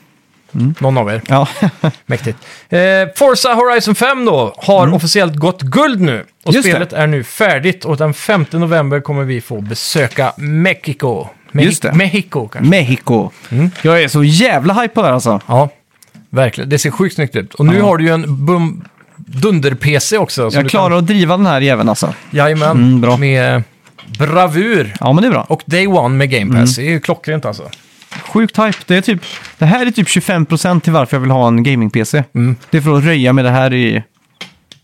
[SPEAKER 1] Mm.
[SPEAKER 2] Någon av er.
[SPEAKER 1] Ja.
[SPEAKER 2] Mäktigt. Eh, Forza Horizon 5 då har officiellt gått guld nu. Och
[SPEAKER 1] Mm. Just det.
[SPEAKER 2] spelet är nu färdigt och den 5 november kommer vi få besöka Mexico. Mex-
[SPEAKER 1] Just det. Mm.
[SPEAKER 2] Mexico kanske.
[SPEAKER 1] Mexico.
[SPEAKER 2] Mm.
[SPEAKER 1] Jag är så jävla hype på det här alltså.
[SPEAKER 2] Ja, verkligen. Det ser sjukt snyggt ut. Och nu har du ju en bum- dunder-PC också. som
[SPEAKER 1] Jag
[SPEAKER 2] du
[SPEAKER 1] klarar
[SPEAKER 2] kan...
[SPEAKER 1] att driva den här jäveln alltså.
[SPEAKER 2] Jajamän,
[SPEAKER 1] Mm, bra.
[SPEAKER 2] med eh, bravur.
[SPEAKER 1] Ja, men det är bra.
[SPEAKER 2] Och Day One med Game Pass.
[SPEAKER 1] Mm.
[SPEAKER 2] Det är ju klockrent alltså.
[SPEAKER 1] Sjukt hype. Det, är typ, det här är typ 25% till varför jag vill ha en gaming-PC.
[SPEAKER 2] Mm.
[SPEAKER 1] Det är för att röja med det här i...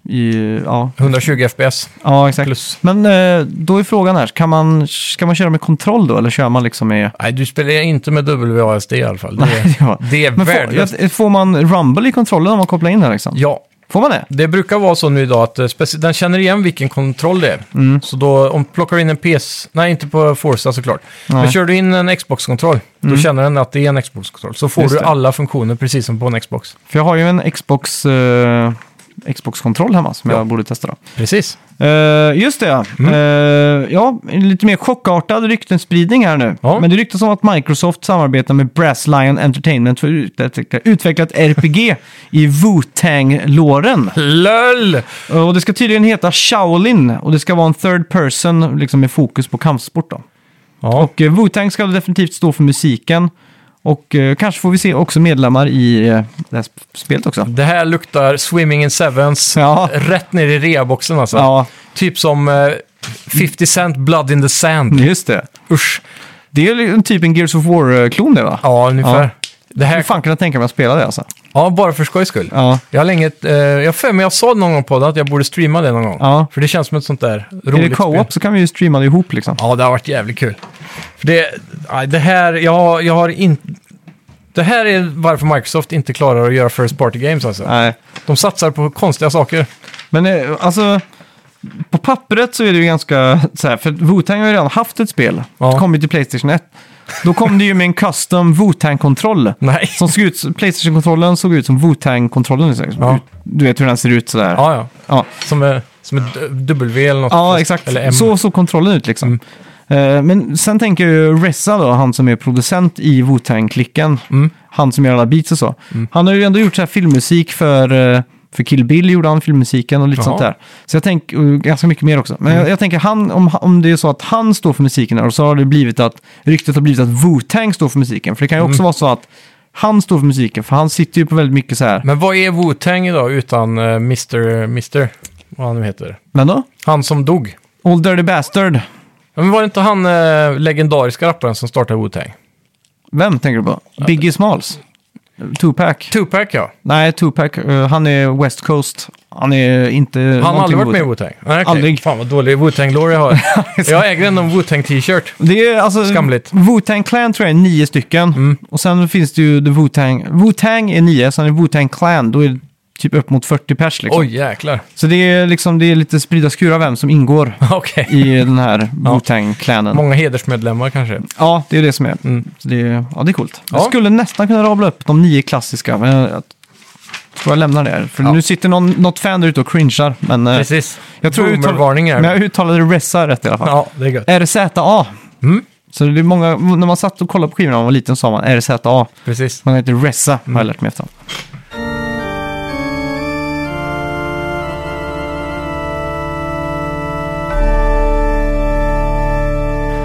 [SPEAKER 1] i ja,
[SPEAKER 2] 120 FPS.
[SPEAKER 1] ja, exakt.
[SPEAKER 2] Plus.
[SPEAKER 1] Men eh, då är frågan här, kan man, ska man köra med kontroll då eller kör man liksom med...
[SPEAKER 2] Nej, du spelar inte med WASD i alla fall. Det,
[SPEAKER 1] Nej, det var-
[SPEAKER 2] det är
[SPEAKER 1] Men eh,
[SPEAKER 2] värdelöst.
[SPEAKER 1] får, jag- får man rumble i kontrollen om man kopplar in den liksom?
[SPEAKER 2] Ja,
[SPEAKER 1] Får man det?
[SPEAKER 2] Det brukar vara så nu idag att eh, speci- den känner igen vilken kontroll det är.
[SPEAKER 1] Mm.
[SPEAKER 2] Så då, om du plockar in en PS... Nej, inte på Forza såklart. Men kör du in en Xbox-kontroll, då känner den att det är en Xbox-kontroll. Så får
[SPEAKER 1] Mm. Just
[SPEAKER 2] du
[SPEAKER 1] det.
[SPEAKER 2] alla funktioner precis som på en Xbox.
[SPEAKER 1] För jag har ju en Xbox... eh, Xbox-kontroll hemma som
[SPEAKER 2] Ja.
[SPEAKER 1] jag borde testa. Då.
[SPEAKER 2] Precis.
[SPEAKER 1] Eh, just det, ja.
[SPEAKER 2] Mm.
[SPEAKER 1] Eh, ja. en Lite mer chockartad ryktenspridning här nu.
[SPEAKER 2] Ja.
[SPEAKER 1] Men det ryktas om att Microsoft samarbetar med Brass Lion Entertainment för att utveckla, utveckla ett RPG i Wu-Tang-låren.
[SPEAKER 2] LÖL!
[SPEAKER 1] Eh, Och det ska tydligen heta Shaolin och det ska vara en third person liksom med fokus på kampsport. Då.
[SPEAKER 2] Ja,
[SPEAKER 1] Och eh, Wu-Tang ska definitivt stå för musiken. Och eh, kanske får vi se också medlemmar i eh, det här sp- spelet också.
[SPEAKER 2] det här luktar Swimming in Sevens.
[SPEAKER 1] Ja.
[SPEAKER 2] Rätt ner i reaboxen alltså.
[SPEAKER 1] Ja,
[SPEAKER 2] Typ som eh, 50 Cent Blood in the Sand.
[SPEAKER 1] just det.
[SPEAKER 2] Usch.
[SPEAKER 1] Det är ju en typ en Gears of War-klon det va?
[SPEAKER 2] Ja, ungefär.
[SPEAKER 1] Ja.
[SPEAKER 2] Det
[SPEAKER 1] Hur
[SPEAKER 2] här,
[SPEAKER 1] fan kan jag tänka mig att spela det alltså?
[SPEAKER 2] ja, bara för skojs skull.
[SPEAKER 1] Ja.
[SPEAKER 2] Jag har länge, eh, jag har för mig jag sa någon gång på det att jag borde streama det någon gång.
[SPEAKER 1] Ja.
[SPEAKER 2] För det känns som ett sånt där roligt
[SPEAKER 1] Är det co-op
[SPEAKER 2] spel.
[SPEAKER 1] så kan vi ju streama det ihop liksom.
[SPEAKER 2] Ja, det har varit jävligt kul. För det, aj, det här, jag, jag har inte... Det här är varför Microsoft inte klarar att göra First Party Games alltså.
[SPEAKER 1] Nej.
[SPEAKER 2] De satsar på konstiga saker.
[SPEAKER 1] Men eh, alltså, på pappret så är det ju ganska så här, för Wu-Tang har ju redan haft ett spel.
[SPEAKER 2] Ja.
[SPEAKER 1] Det kom ju till Playstation 1. Då kom det ju med en custom Wu-Tang-kontroll.
[SPEAKER 2] Nej.
[SPEAKER 1] Som såg ut, Playstation-kontrollen såg ut som Wu-Tang-kontrollen. liksom.
[SPEAKER 2] Ja.
[SPEAKER 1] Du vet hur den ser ut sådär.
[SPEAKER 2] Ja, ja.
[SPEAKER 1] ja.
[SPEAKER 2] Som, eh, som ett d- W eller något.
[SPEAKER 1] Ja, exakt.
[SPEAKER 2] Eller M.
[SPEAKER 1] Så såg kontrollen ut liksom. Eh, Men sen tänker ju Ressa då, han som är producent i Wu-Tang-klicken,
[SPEAKER 2] Mm.
[SPEAKER 1] han som gör alla beats och så. Han har ju ändå gjort så här filmmusik för, eh, för Kill Bill, gjorde han filmmusiken och lite
[SPEAKER 2] Jaha. Mm.
[SPEAKER 1] sånt där. Så jag tänker, och ganska mycket mer också. Men jag, jag tänker han, om, om det är så att han står för musiken där, och så har det blivit att ryktet har blivit att Wu-Tang står för musiken. För det
[SPEAKER 2] Mm.
[SPEAKER 1] kan ju också vara så att han står för musiken, för han sitter ju på väldigt mycket så här.
[SPEAKER 2] Men vad är Wu-Tang idag utan eh, Mr. Mr. Vad han nu heter.
[SPEAKER 1] Men då?
[SPEAKER 2] Han som dog.
[SPEAKER 1] Old Dirty Bastard.
[SPEAKER 2] Ja, Men var det inte han eh, legendariska rapparen som startade Wu-Tang?
[SPEAKER 1] Vem tänker du på? Biggie Smalls? Tupac?
[SPEAKER 2] Tupac ja.
[SPEAKER 1] Nej, Tupac, eh, han är West Coast. Han är inte...
[SPEAKER 2] Han har
[SPEAKER 1] någonting
[SPEAKER 2] aldrig varit med i
[SPEAKER 1] Wu-Tang.
[SPEAKER 2] Wu-Tang? Nej, okej.
[SPEAKER 1] Aldrig.
[SPEAKER 2] Fan vad dålig Wu-Tang lore jag har. jag äger ändå en Wu-Tang t-shirt.
[SPEAKER 1] Det är alltså...
[SPEAKER 2] Skamligt. Mm.
[SPEAKER 1] Wu-Tang Clan tror jag är nio stycken. Och sen finns det ju The Wu-Tang. Wu-Tang är nio, sen är Wu-Tang Clan. Då är det typ upp mot 40 pers liksom.
[SPEAKER 2] Oj jäklar.
[SPEAKER 1] Så det är liksom, det är lite sprida skurar vem som ingår
[SPEAKER 2] Okej.
[SPEAKER 1] i den här Wu-Tang Clanen.
[SPEAKER 2] Många hedersmedlemmar kanske.
[SPEAKER 1] Ja, det är det som är. Så det är ja, det är coolt. Jag
[SPEAKER 2] Ja.
[SPEAKER 1] skulle nästan kunna rabbla upp de nio klassiska, men jag jag tror jag lämnar det här. För
[SPEAKER 2] Ja.
[SPEAKER 1] nu sitter någon, något fan där ute och cringear. Men, eh,
[SPEAKER 2] Precis.
[SPEAKER 1] Jag tror jag uttal-
[SPEAKER 2] Boomervarningar.
[SPEAKER 1] Men jag uttalade Ressa rätt i alla fall.
[SPEAKER 2] Ja, det är gött.
[SPEAKER 1] RZA.
[SPEAKER 2] Mm.
[SPEAKER 1] Så det är många, när man satt och kollade på skivorna när man var liten sa man RZA.
[SPEAKER 2] Precis.
[SPEAKER 1] Man heter Ressa, har jag
[SPEAKER 2] Mm.
[SPEAKER 1] lärt mig efterhand.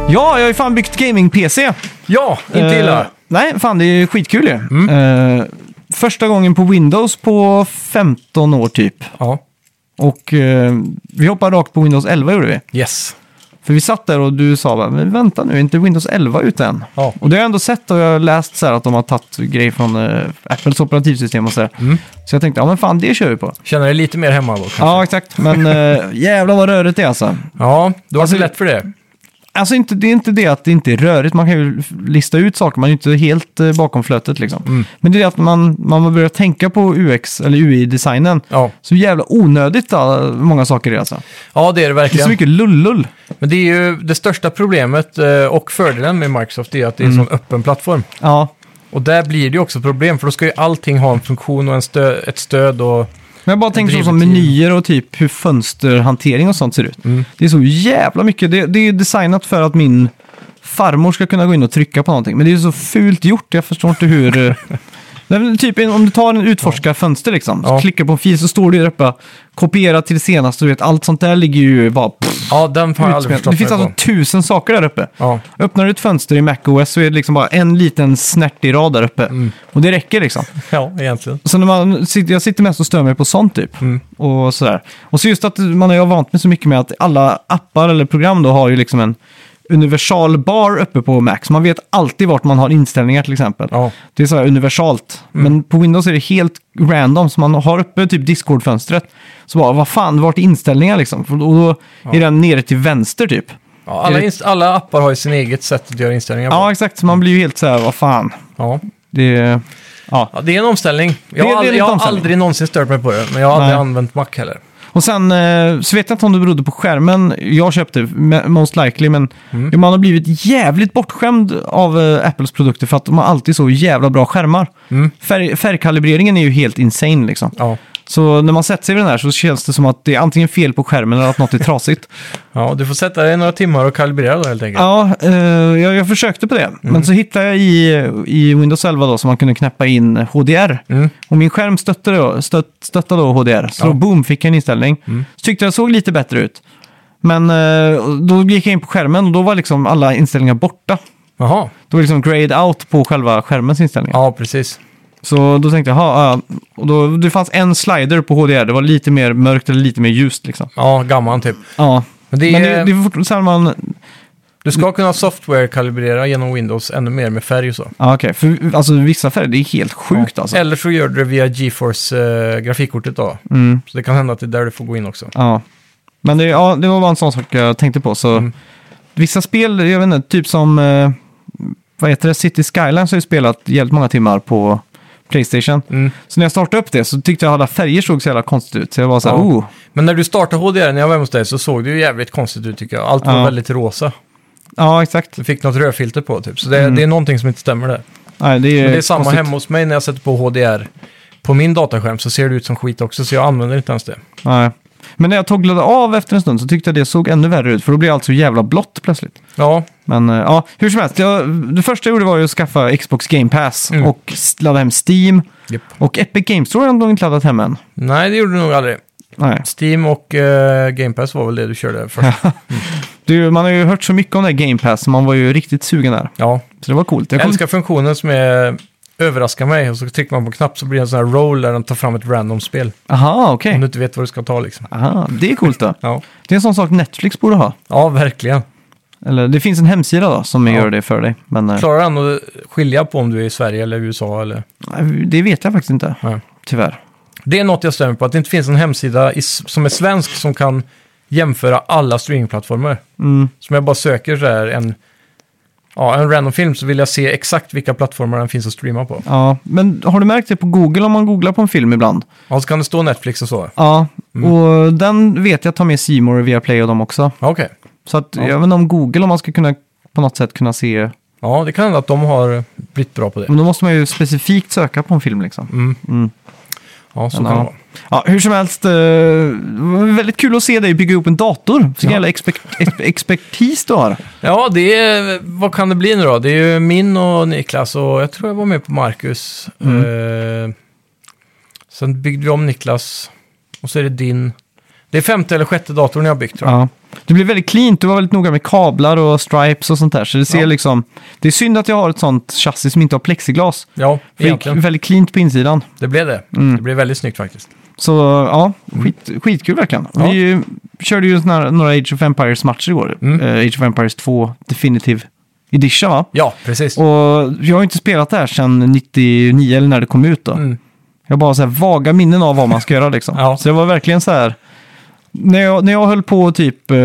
[SPEAKER 1] Ja, jag har ju fan byggt gaming-PC.
[SPEAKER 2] Ja, inte illa. Mm.
[SPEAKER 1] Eh, nej, fan det är skitkul ju. Eh, första gången på Windows på 15 år typ.
[SPEAKER 2] Ja.
[SPEAKER 1] Och eh, vi hoppade rakt på Windows 11 gjorde vi.
[SPEAKER 2] Yes.
[SPEAKER 1] För vi satt där och du sa bara, men vänta nu, är inte Windows 11 ute än?
[SPEAKER 2] Ja.
[SPEAKER 1] Och det har jag ändå sett och jag har läst så här att de har tagit grejer från eh, Apples operativsystem och så där. Så jag tänkte, Mm. ja men fan det kör vi på.
[SPEAKER 2] Känner dig lite mer hemma då kanske?
[SPEAKER 1] Ja, exakt. Men eh, jävlar vad rörigt det är alltså.
[SPEAKER 2] Ja, du har
[SPEAKER 1] Alltså,
[SPEAKER 2] så lätt för det.
[SPEAKER 1] Alltså inte, det är inte det att det inte är rörigt, man kan ju lista ut saker, man är ju inte helt eh, bakom flötet liksom. Men det är att man, man börjar tänka på UX eller UI-designen.
[SPEAKER 2] Ja.
[SPEAKER 1] Så jävla onödigt eh, många saker är det alltså.
[SPEAKER 2] ja, det är det
[SPEAKER 1] Det är
[SPEAKER 2] verkligen.
[SPEAKER 1] så mycket lullull.
[SPEAKER 2] Men det är ju det största problemet eh, och fördelen med Microsoft är att det är en
[SPEAKER 1] Mm.
[SPEAKER 2] sån öppen plattform.
[SPEAKER 1] Ja,
[SPEAKER 2] Och där blir det ju också problem, för då ska ju allting ha en funktion och en stö- ett stöd och...
[SPEAKER 1] Men jag bara tänker så som
[SPEAKER 2] Drivet Mm. in.
[SPEAKER 1] menyer och typ hur fönsterhantering och sånt ser ut. Det är så jävla mycket. Det, det är designat för att min farmor ska kunna gå in och trycka på någonting. Men det är ju så fult gjort. Jag förstår inte hur... eh, Nej, men typ en- om du tar en utforska fönster liksom, så
[SPEAKER 2] Ja.
[SPEAKER 1] klickar på en fil så står det ju där uppe, kopiera till det senaste, du vet, allt sånt där ligger ju bara... Pff,
[SPEAKER 2] Ja, den har jag
[SPEAKER 1] utspelat.
[SPEAKER 2] aldrig förstått
[SPEAKER 1] det finns
[SPEAKER 2] mig på.
[SPEAKER 1] alltså tusen saker där uppe.
[SPEAKER 2] Ja.
[SPEAKER 1] Öppnar du ett fönster i MacOS så är det liksom bara en liten snärtig rad där uppe.
[SPEAKER 2] Mm.
[SPEAKER 1] Och det räcker liksom.
[SPEAKER 2] ja, egentligen.
[SPEAKER 1] Så när man, sitter- jag sitter mest och stör mig på sånt typ. Och sådär. Och så just att man har ju vant mig så mycket med att alla appar eller program då har ju liksom en universal bar uppe på Mac. Så man vet alltid vart man har inställningar till exempel.
[SPEAKER 2] Ja.
[SPEAKER 1] Det är så här universalt. Men på Windows är det helt random. Så man har uppe typ Discord-fönstret. Så bara, vad fan, vart är inställningar liksom? För- Och då är den nere till vänster typ.
[SPEAKER 2] Ja, alla, inst- alla appar har ju sin eget sätt att göra inställningar på.
[SPEAKER 1] Ja, exakt. Så man blir ju helt så här, vad fan.
[SPEAKER 2] Ja.
[SPEAKER 1] Det är... Ja.
[SPEAKER 2] Ja, det är en omställning.
[SPEAKER 1] Det-
[SPEAKER 2] Jag
[SPEAKER 1] det
[SPEAKER 2] har,
[SPEAKER 1] är
[SPEAKER 2] aldrig,
[SPEAKER 1] lite
[SPEAKER 2] jag har
[SPEAKER 1] omställning.
[SPEAKER 2] aldrig någonsin stört mig på det, men jag har
[SPEAKER 1] Nej.
[SPEAKER 2] aldrig använt Mac heller.
[SPEAKER 1] Och sen eh, så vet jag inte om det berodde på skärmen jag köpte, me- most likely, men ja, man har blivit jävligt bortskämd av eh, Apples produkter för att de har alltid så jävla bra skärmar. Färg, färgkalibreringen är ju helt insane liksom.
[SPEAKER 2] Ja,
[SPEAKER 1] Så när man sätter sig vid den här så känns det som att det är antingen fel på skärmen eller att något är trasigt.
[SPEAKER 2] ja du får sätta dig några timmar och kalibrera då helt enkelt.
[SPEAKER 1] ja, eh, jag, jag försökte på det, men så hittade jag i, i Windows 11 då som man kunde knäppa in HDR.
[SPEAKER 2] Mm.
[SPEAKER 1] Och min skärm stöttade, då- stött, stöttade då HDR, så
[SPEAKER 2] Ja. Mm.
[SPEAKER 1] då boom fick jag en inställning. Så tyckte jag såg lite bättre ut. Men eh, då gick jag in på skärmen och då var liksom alla inställningar borta.
[SPEAKER 2] Jaha,
[SPEAKER 1] Då var liksom grade out på själva skärmens inställningar.
[SPEAKER 2] ja precis.
[SPEAKER 1] Så då tänkte jag, ha, ja. och då, det fanns en slider på HDR, det var lite mer mörkt eller lite mer ljust liksom.
[SPEAKER 2] Ja, gammal typ.
[SPEAKER 1] Ja,
[SPEAKER 2] Men det är,
[SPEAKER 1] men det, det är fortfarande så här man...
[SPEAKER 2] du ska kunna software-kalibrera genom Windows ännu mer med färg och så.
[SPEAKER 1] Ja, okej. För alltså, vissa färger, det är helt sjukt alltså.
[SPEAKER 2] Eller så gör du det via GeForce-grafikkortet då.
[SPEAKER 1] Mm.
[SPEAKER 2] Så det kan hända att det är där du får gå in också.
[SPEAKER 1] Ja. Men det, ja, det var bara en sån sak jag tänkte på. Så
[SPEAKER 2] Mm.
[SPEAKER 1] Vissa spel, jag vet inte, typ som eh, vad heter det? City Skylines har ju spelat jävligt många timmar på Playstation.
[SPEAKER 2] Mm.
[SPEAKER 1] Så när jag startade upp det så tyckte jag alla färger såg så jävla konstigt ut. Så jag var så här,
[SPEAKER 2] Ja.
[SPEAKER 1] oh,
[SPEAKER 2] Men när du startade HDR när jag var hemma hos dig så såg det ju jävligt konstigt ut tycker jag. Allt var
[SPEAKER 1] Ja.
[SPEAKER 2] väldigt rosa.
[SPEAKER 1] ja exakt.
[SPEAKER 2] Du fick något rödfilter på typ. Så det, det är någonting som inte stämmer där.
[SPEAKER 1] Nej, det, är
[SPEAKER 2] Men det är samma
[SPEAKER 1] konstigt.
[SPEAKER 2] hemma hos mig när jag sätter på HDR. På min dataskärm så ser det ut som skit också så jag använder inte ens det.
[SPEAKER 1] Nej. Men när jag togglade av efter en stund så tyckte jag det såg ännu värre ut. För då blev allt så jävla blått plötsligt.
[SPEAKER 2] Ja,
[SPEAKER 1] Men eh, ja, hur som helst. Jag, det första jag gjorde var ju att skaffa Xbox Game Pass
[SPEAKER 2] Mm.
[SPEAKER 1] och s- ladda hem Steam.
[SPEAKER 2] Japp.
[SPEAKER 1] Och Epic Games Store har jag inte laddat hem än.
[SPEAKER 2] nej det gjorde du nog aldrig.
[SPEAKER 1] Nej.
[SPEAKER 2] Steam och eh, Game Pass var väl det du körde först.
[SPEAKER 1] Du, man har ju hört så mycket om det här Game Pass, så man var ju riktigt sugen där.
[SPEAKER 2] ja.
[SPEAKER 1] Så det var coolt. Jag
[SPEAKER 2] Jag
[SPEAKER 1] kom...
[SPEAKER 2] älskar funktionen som är överraska mig och så trycker man på en knapp så blir det en sån här roll där den tar fram ett random spel.
[SPEAKER 1] Aha, okej.
[SPEAKER 2] Om du inte vet vad du ska ta liksom.
[SPEAKER 1] Aha, det är coolt då.
[SPEAKER 2] Eh. Ja,
[SPEAKER 1] Det är en sån sak Netflix borde ha.
[SPEAKER 2] ja verkligen.
[SPEAKER 1] Eller det finns en hemsida då som
[SPEAKER 2] Ja.
[SPEAKER 1] gör det för dig. Men eh,
[SPEAKER 2] Klarar han att skilja på om du är i Sverige eller USA eller?
[SPEAKER 1] det vet jag faktiskt inte.
[SPEAKER 2] Nej.
[SPEAKER 1] Tyvärr.
[SPEAKER 2] Det är något jag stämmer på, att det inte finns en hemsida i, som är svensk som kan jämföra alla streamingplattformar.
[SPEAKER 1] Mm.
[SPEAKER 2] Som jag bara söker så här en, ja, en random film så vill jag se exakt vilka plattformar den finns att streama på.
[SPEAKER 1] Ja, men har du märkt det på Google om man googlar på en film ibland?
[SPEAKER 2] Ja, så kan det stå Netflix och så.
[SPEAKER 1] Ja, och den vet jag tar med C More och Viaplay och dem också.
[SPEAKER 2] Ja, Okej.
[SPEAKER 1] Så att jag vet inte om Google, om man ska kunna på något sätt kunna se.
[SPEAKER 2] Ja, det kan hända att de har blivit bra på det.
[SPEAKER 1] Men då måste man ju specifikt söka på en film liksom.
[SPEAKER 2] Mm.
[SPEAKER 1] Mm.
[SPEAKER 2] Ja, så
[SPEAKER 1] Men
[SPEAKER 2] kan
[SPEAKER 1] ja.
[SPEAKER 2] det vara.
[SPEAKER 1] Ja, hur som helst, eh, det var väldigt kul att se dig bygga upp en dator. Vilken
[SPEAKER 2] Ja.
[SPEAKER 1] jävla expek ex- expertis du har.
[SPEAKER 2] Ja, det är, vad kan det bli nu då? Det är ju min och Niklas och jag tror jag var med på Marcus. Eh, sen byggde vi om Niklas och så är det din. Det är femte eller sjätte datorn jag har byggt tror jag.
[SPEAKER 1] Ja. Det blev väldigt cleant, du var väldigt noga med kablar och stripes och sånt där. Så det ser
[SPEAKER 2] Ja.
[SPEAKER 1] liksom... Det är synd att jag har ett sånt chassi som inte har plexiglas.
[SPEAKER 2] Ja,
[SPEAKER 1] För Det är
[SPEAKER 2] egentligen.
[SPEAKER 1] väldigt cleant på insidan.
[SPEAKER 2] Det blev det.
[SPEAKER 1] Mm.
[SPEAKER 2] Det blev väldigt snyggt faktiskt.
[SPEAKER 1] Så ja, skit, skitkul verkligen.
[SPEAKER 2] Mm. Ja.
[SPEAKER 1] Vi körde ju såna här, några Age of Empires-matcher igår.
[SPEAKER 2] Mm.
[SPEAKER 1] Eh, Age of Empires 2 Definitive Edition va?
[SPEAKER 2] Ja, precis.
[SPEAKER 1] Och jag har ju inte spelat det här sedan 99 eller när det kom ut då.
[SPEAKER 2] Mm.
[SPEAKER 1] Jag har bara så här vaga minnen av vad man ska göra liksom.
[SPEAKER 2] Ja.
[SPEAKER 1] Så det var verkligen så här. När jag, när jag höll på att typ eh,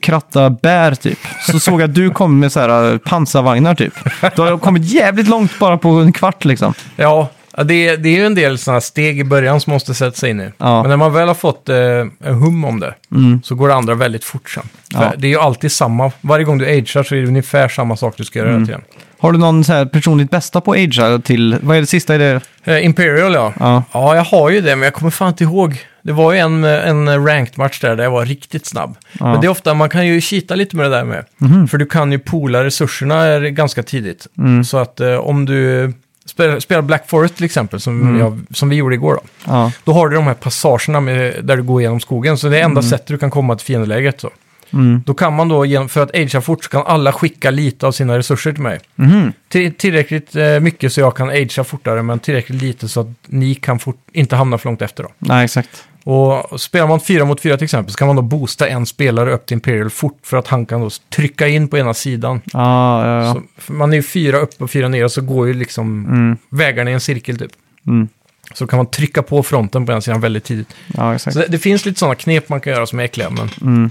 [SPEAKER 1] kratta bär typ, så såg jag att du kom med så här eh, pansarvagnar typ. Då har jag kommit jävligt långt bara på en kvart liksom.
[SPEAKER 2] Ja, det, det är ju en del sådana steg i början som måste sätta sig in i.
[SPEAKER 1] Ja. Mm.
[SPEAKER 2] Men när man väl har fått eh, en hum om det så går det andra väldigt fort sen. För
[SPEAKER 1] Ja.
[SPEAKER 2] Det är ju alltid samma. Varje gång du agear så är det ungefär samma sak du ska göra
[SPEAKER 1] Mm.
[SPEAKER 2] hela tiden.
[SPEAKER 1] Har du någon så här personligt bästa på Age till, vad är det sista i det?
[SPEAKER 2] Eh, Imperial ja.
[SPEAKER 1] Ja.
[SPEAKER 2] Ja, jag har ju det, men jag kommer fan inte ihåg. Det var ju en, en ranked match där, där jag var riktigt snabb.
[SPEAKER 1] Ja. Mhm.
[SPEAKER 2] Men det är ofta, man kan ju kita lite med det där med. För du kan ju poola resurserna eh, ganska tidigt.
[SPEAKER 1] Mm.
[SPEAKER 2] Så att eh, om du spelar, spelar Black Forest till exempel, som,
[SPEAKER 1] Mm.
[SPEAKER 2] jag, som vi gjorde igår då.
[SPEAKER 1] Ja.
[SPEAKER 2] Då har du de här passagerna med, där du går genom skogen, så det är enda sättet du kan komma till fiendeläget. Så.
[SPEAKER 1] Mm.
[SPEAKER 2] Då kan man då, genom, för att agea fort, så kan alla skicka lite av sina resurser till mig.
[SPEAKER 1] Mhm.
[SPEAKER 2] Till- Tillräckligt eh, mycket så jag kan agea fortare, men tillräckligt lite så att ni kan fort, inte hamna för långt efter. Då.
[SPEAKER 1] Nej, exakt.
[SPEAKER 2] Och spelar man fyra mot fyra till exempel så kan man då boosta en spelare upp till Imperial fort för att han kan då trycka in på ena sidan.
[SPEAKER 1] Ja, ja, ja.
[SPEAKER 2] Så, för man är ju fyra upp och fyra ner och så går ju liksom
[SPEAKER 1] Mm.
[SPEAKER 2] vägarna i en cirkel typ.
[SPEAKER 1] Mm.
[SPEAKER 2] Så kan man trycka på fronten på ena sidan väldigt tidigt.
[SPEAKER 1] ja, exakt.
[SPEAKER 2] Så det, det finns lite sådana knep man kan göra som är äckliga, men
[SPEAKER 1] Mm.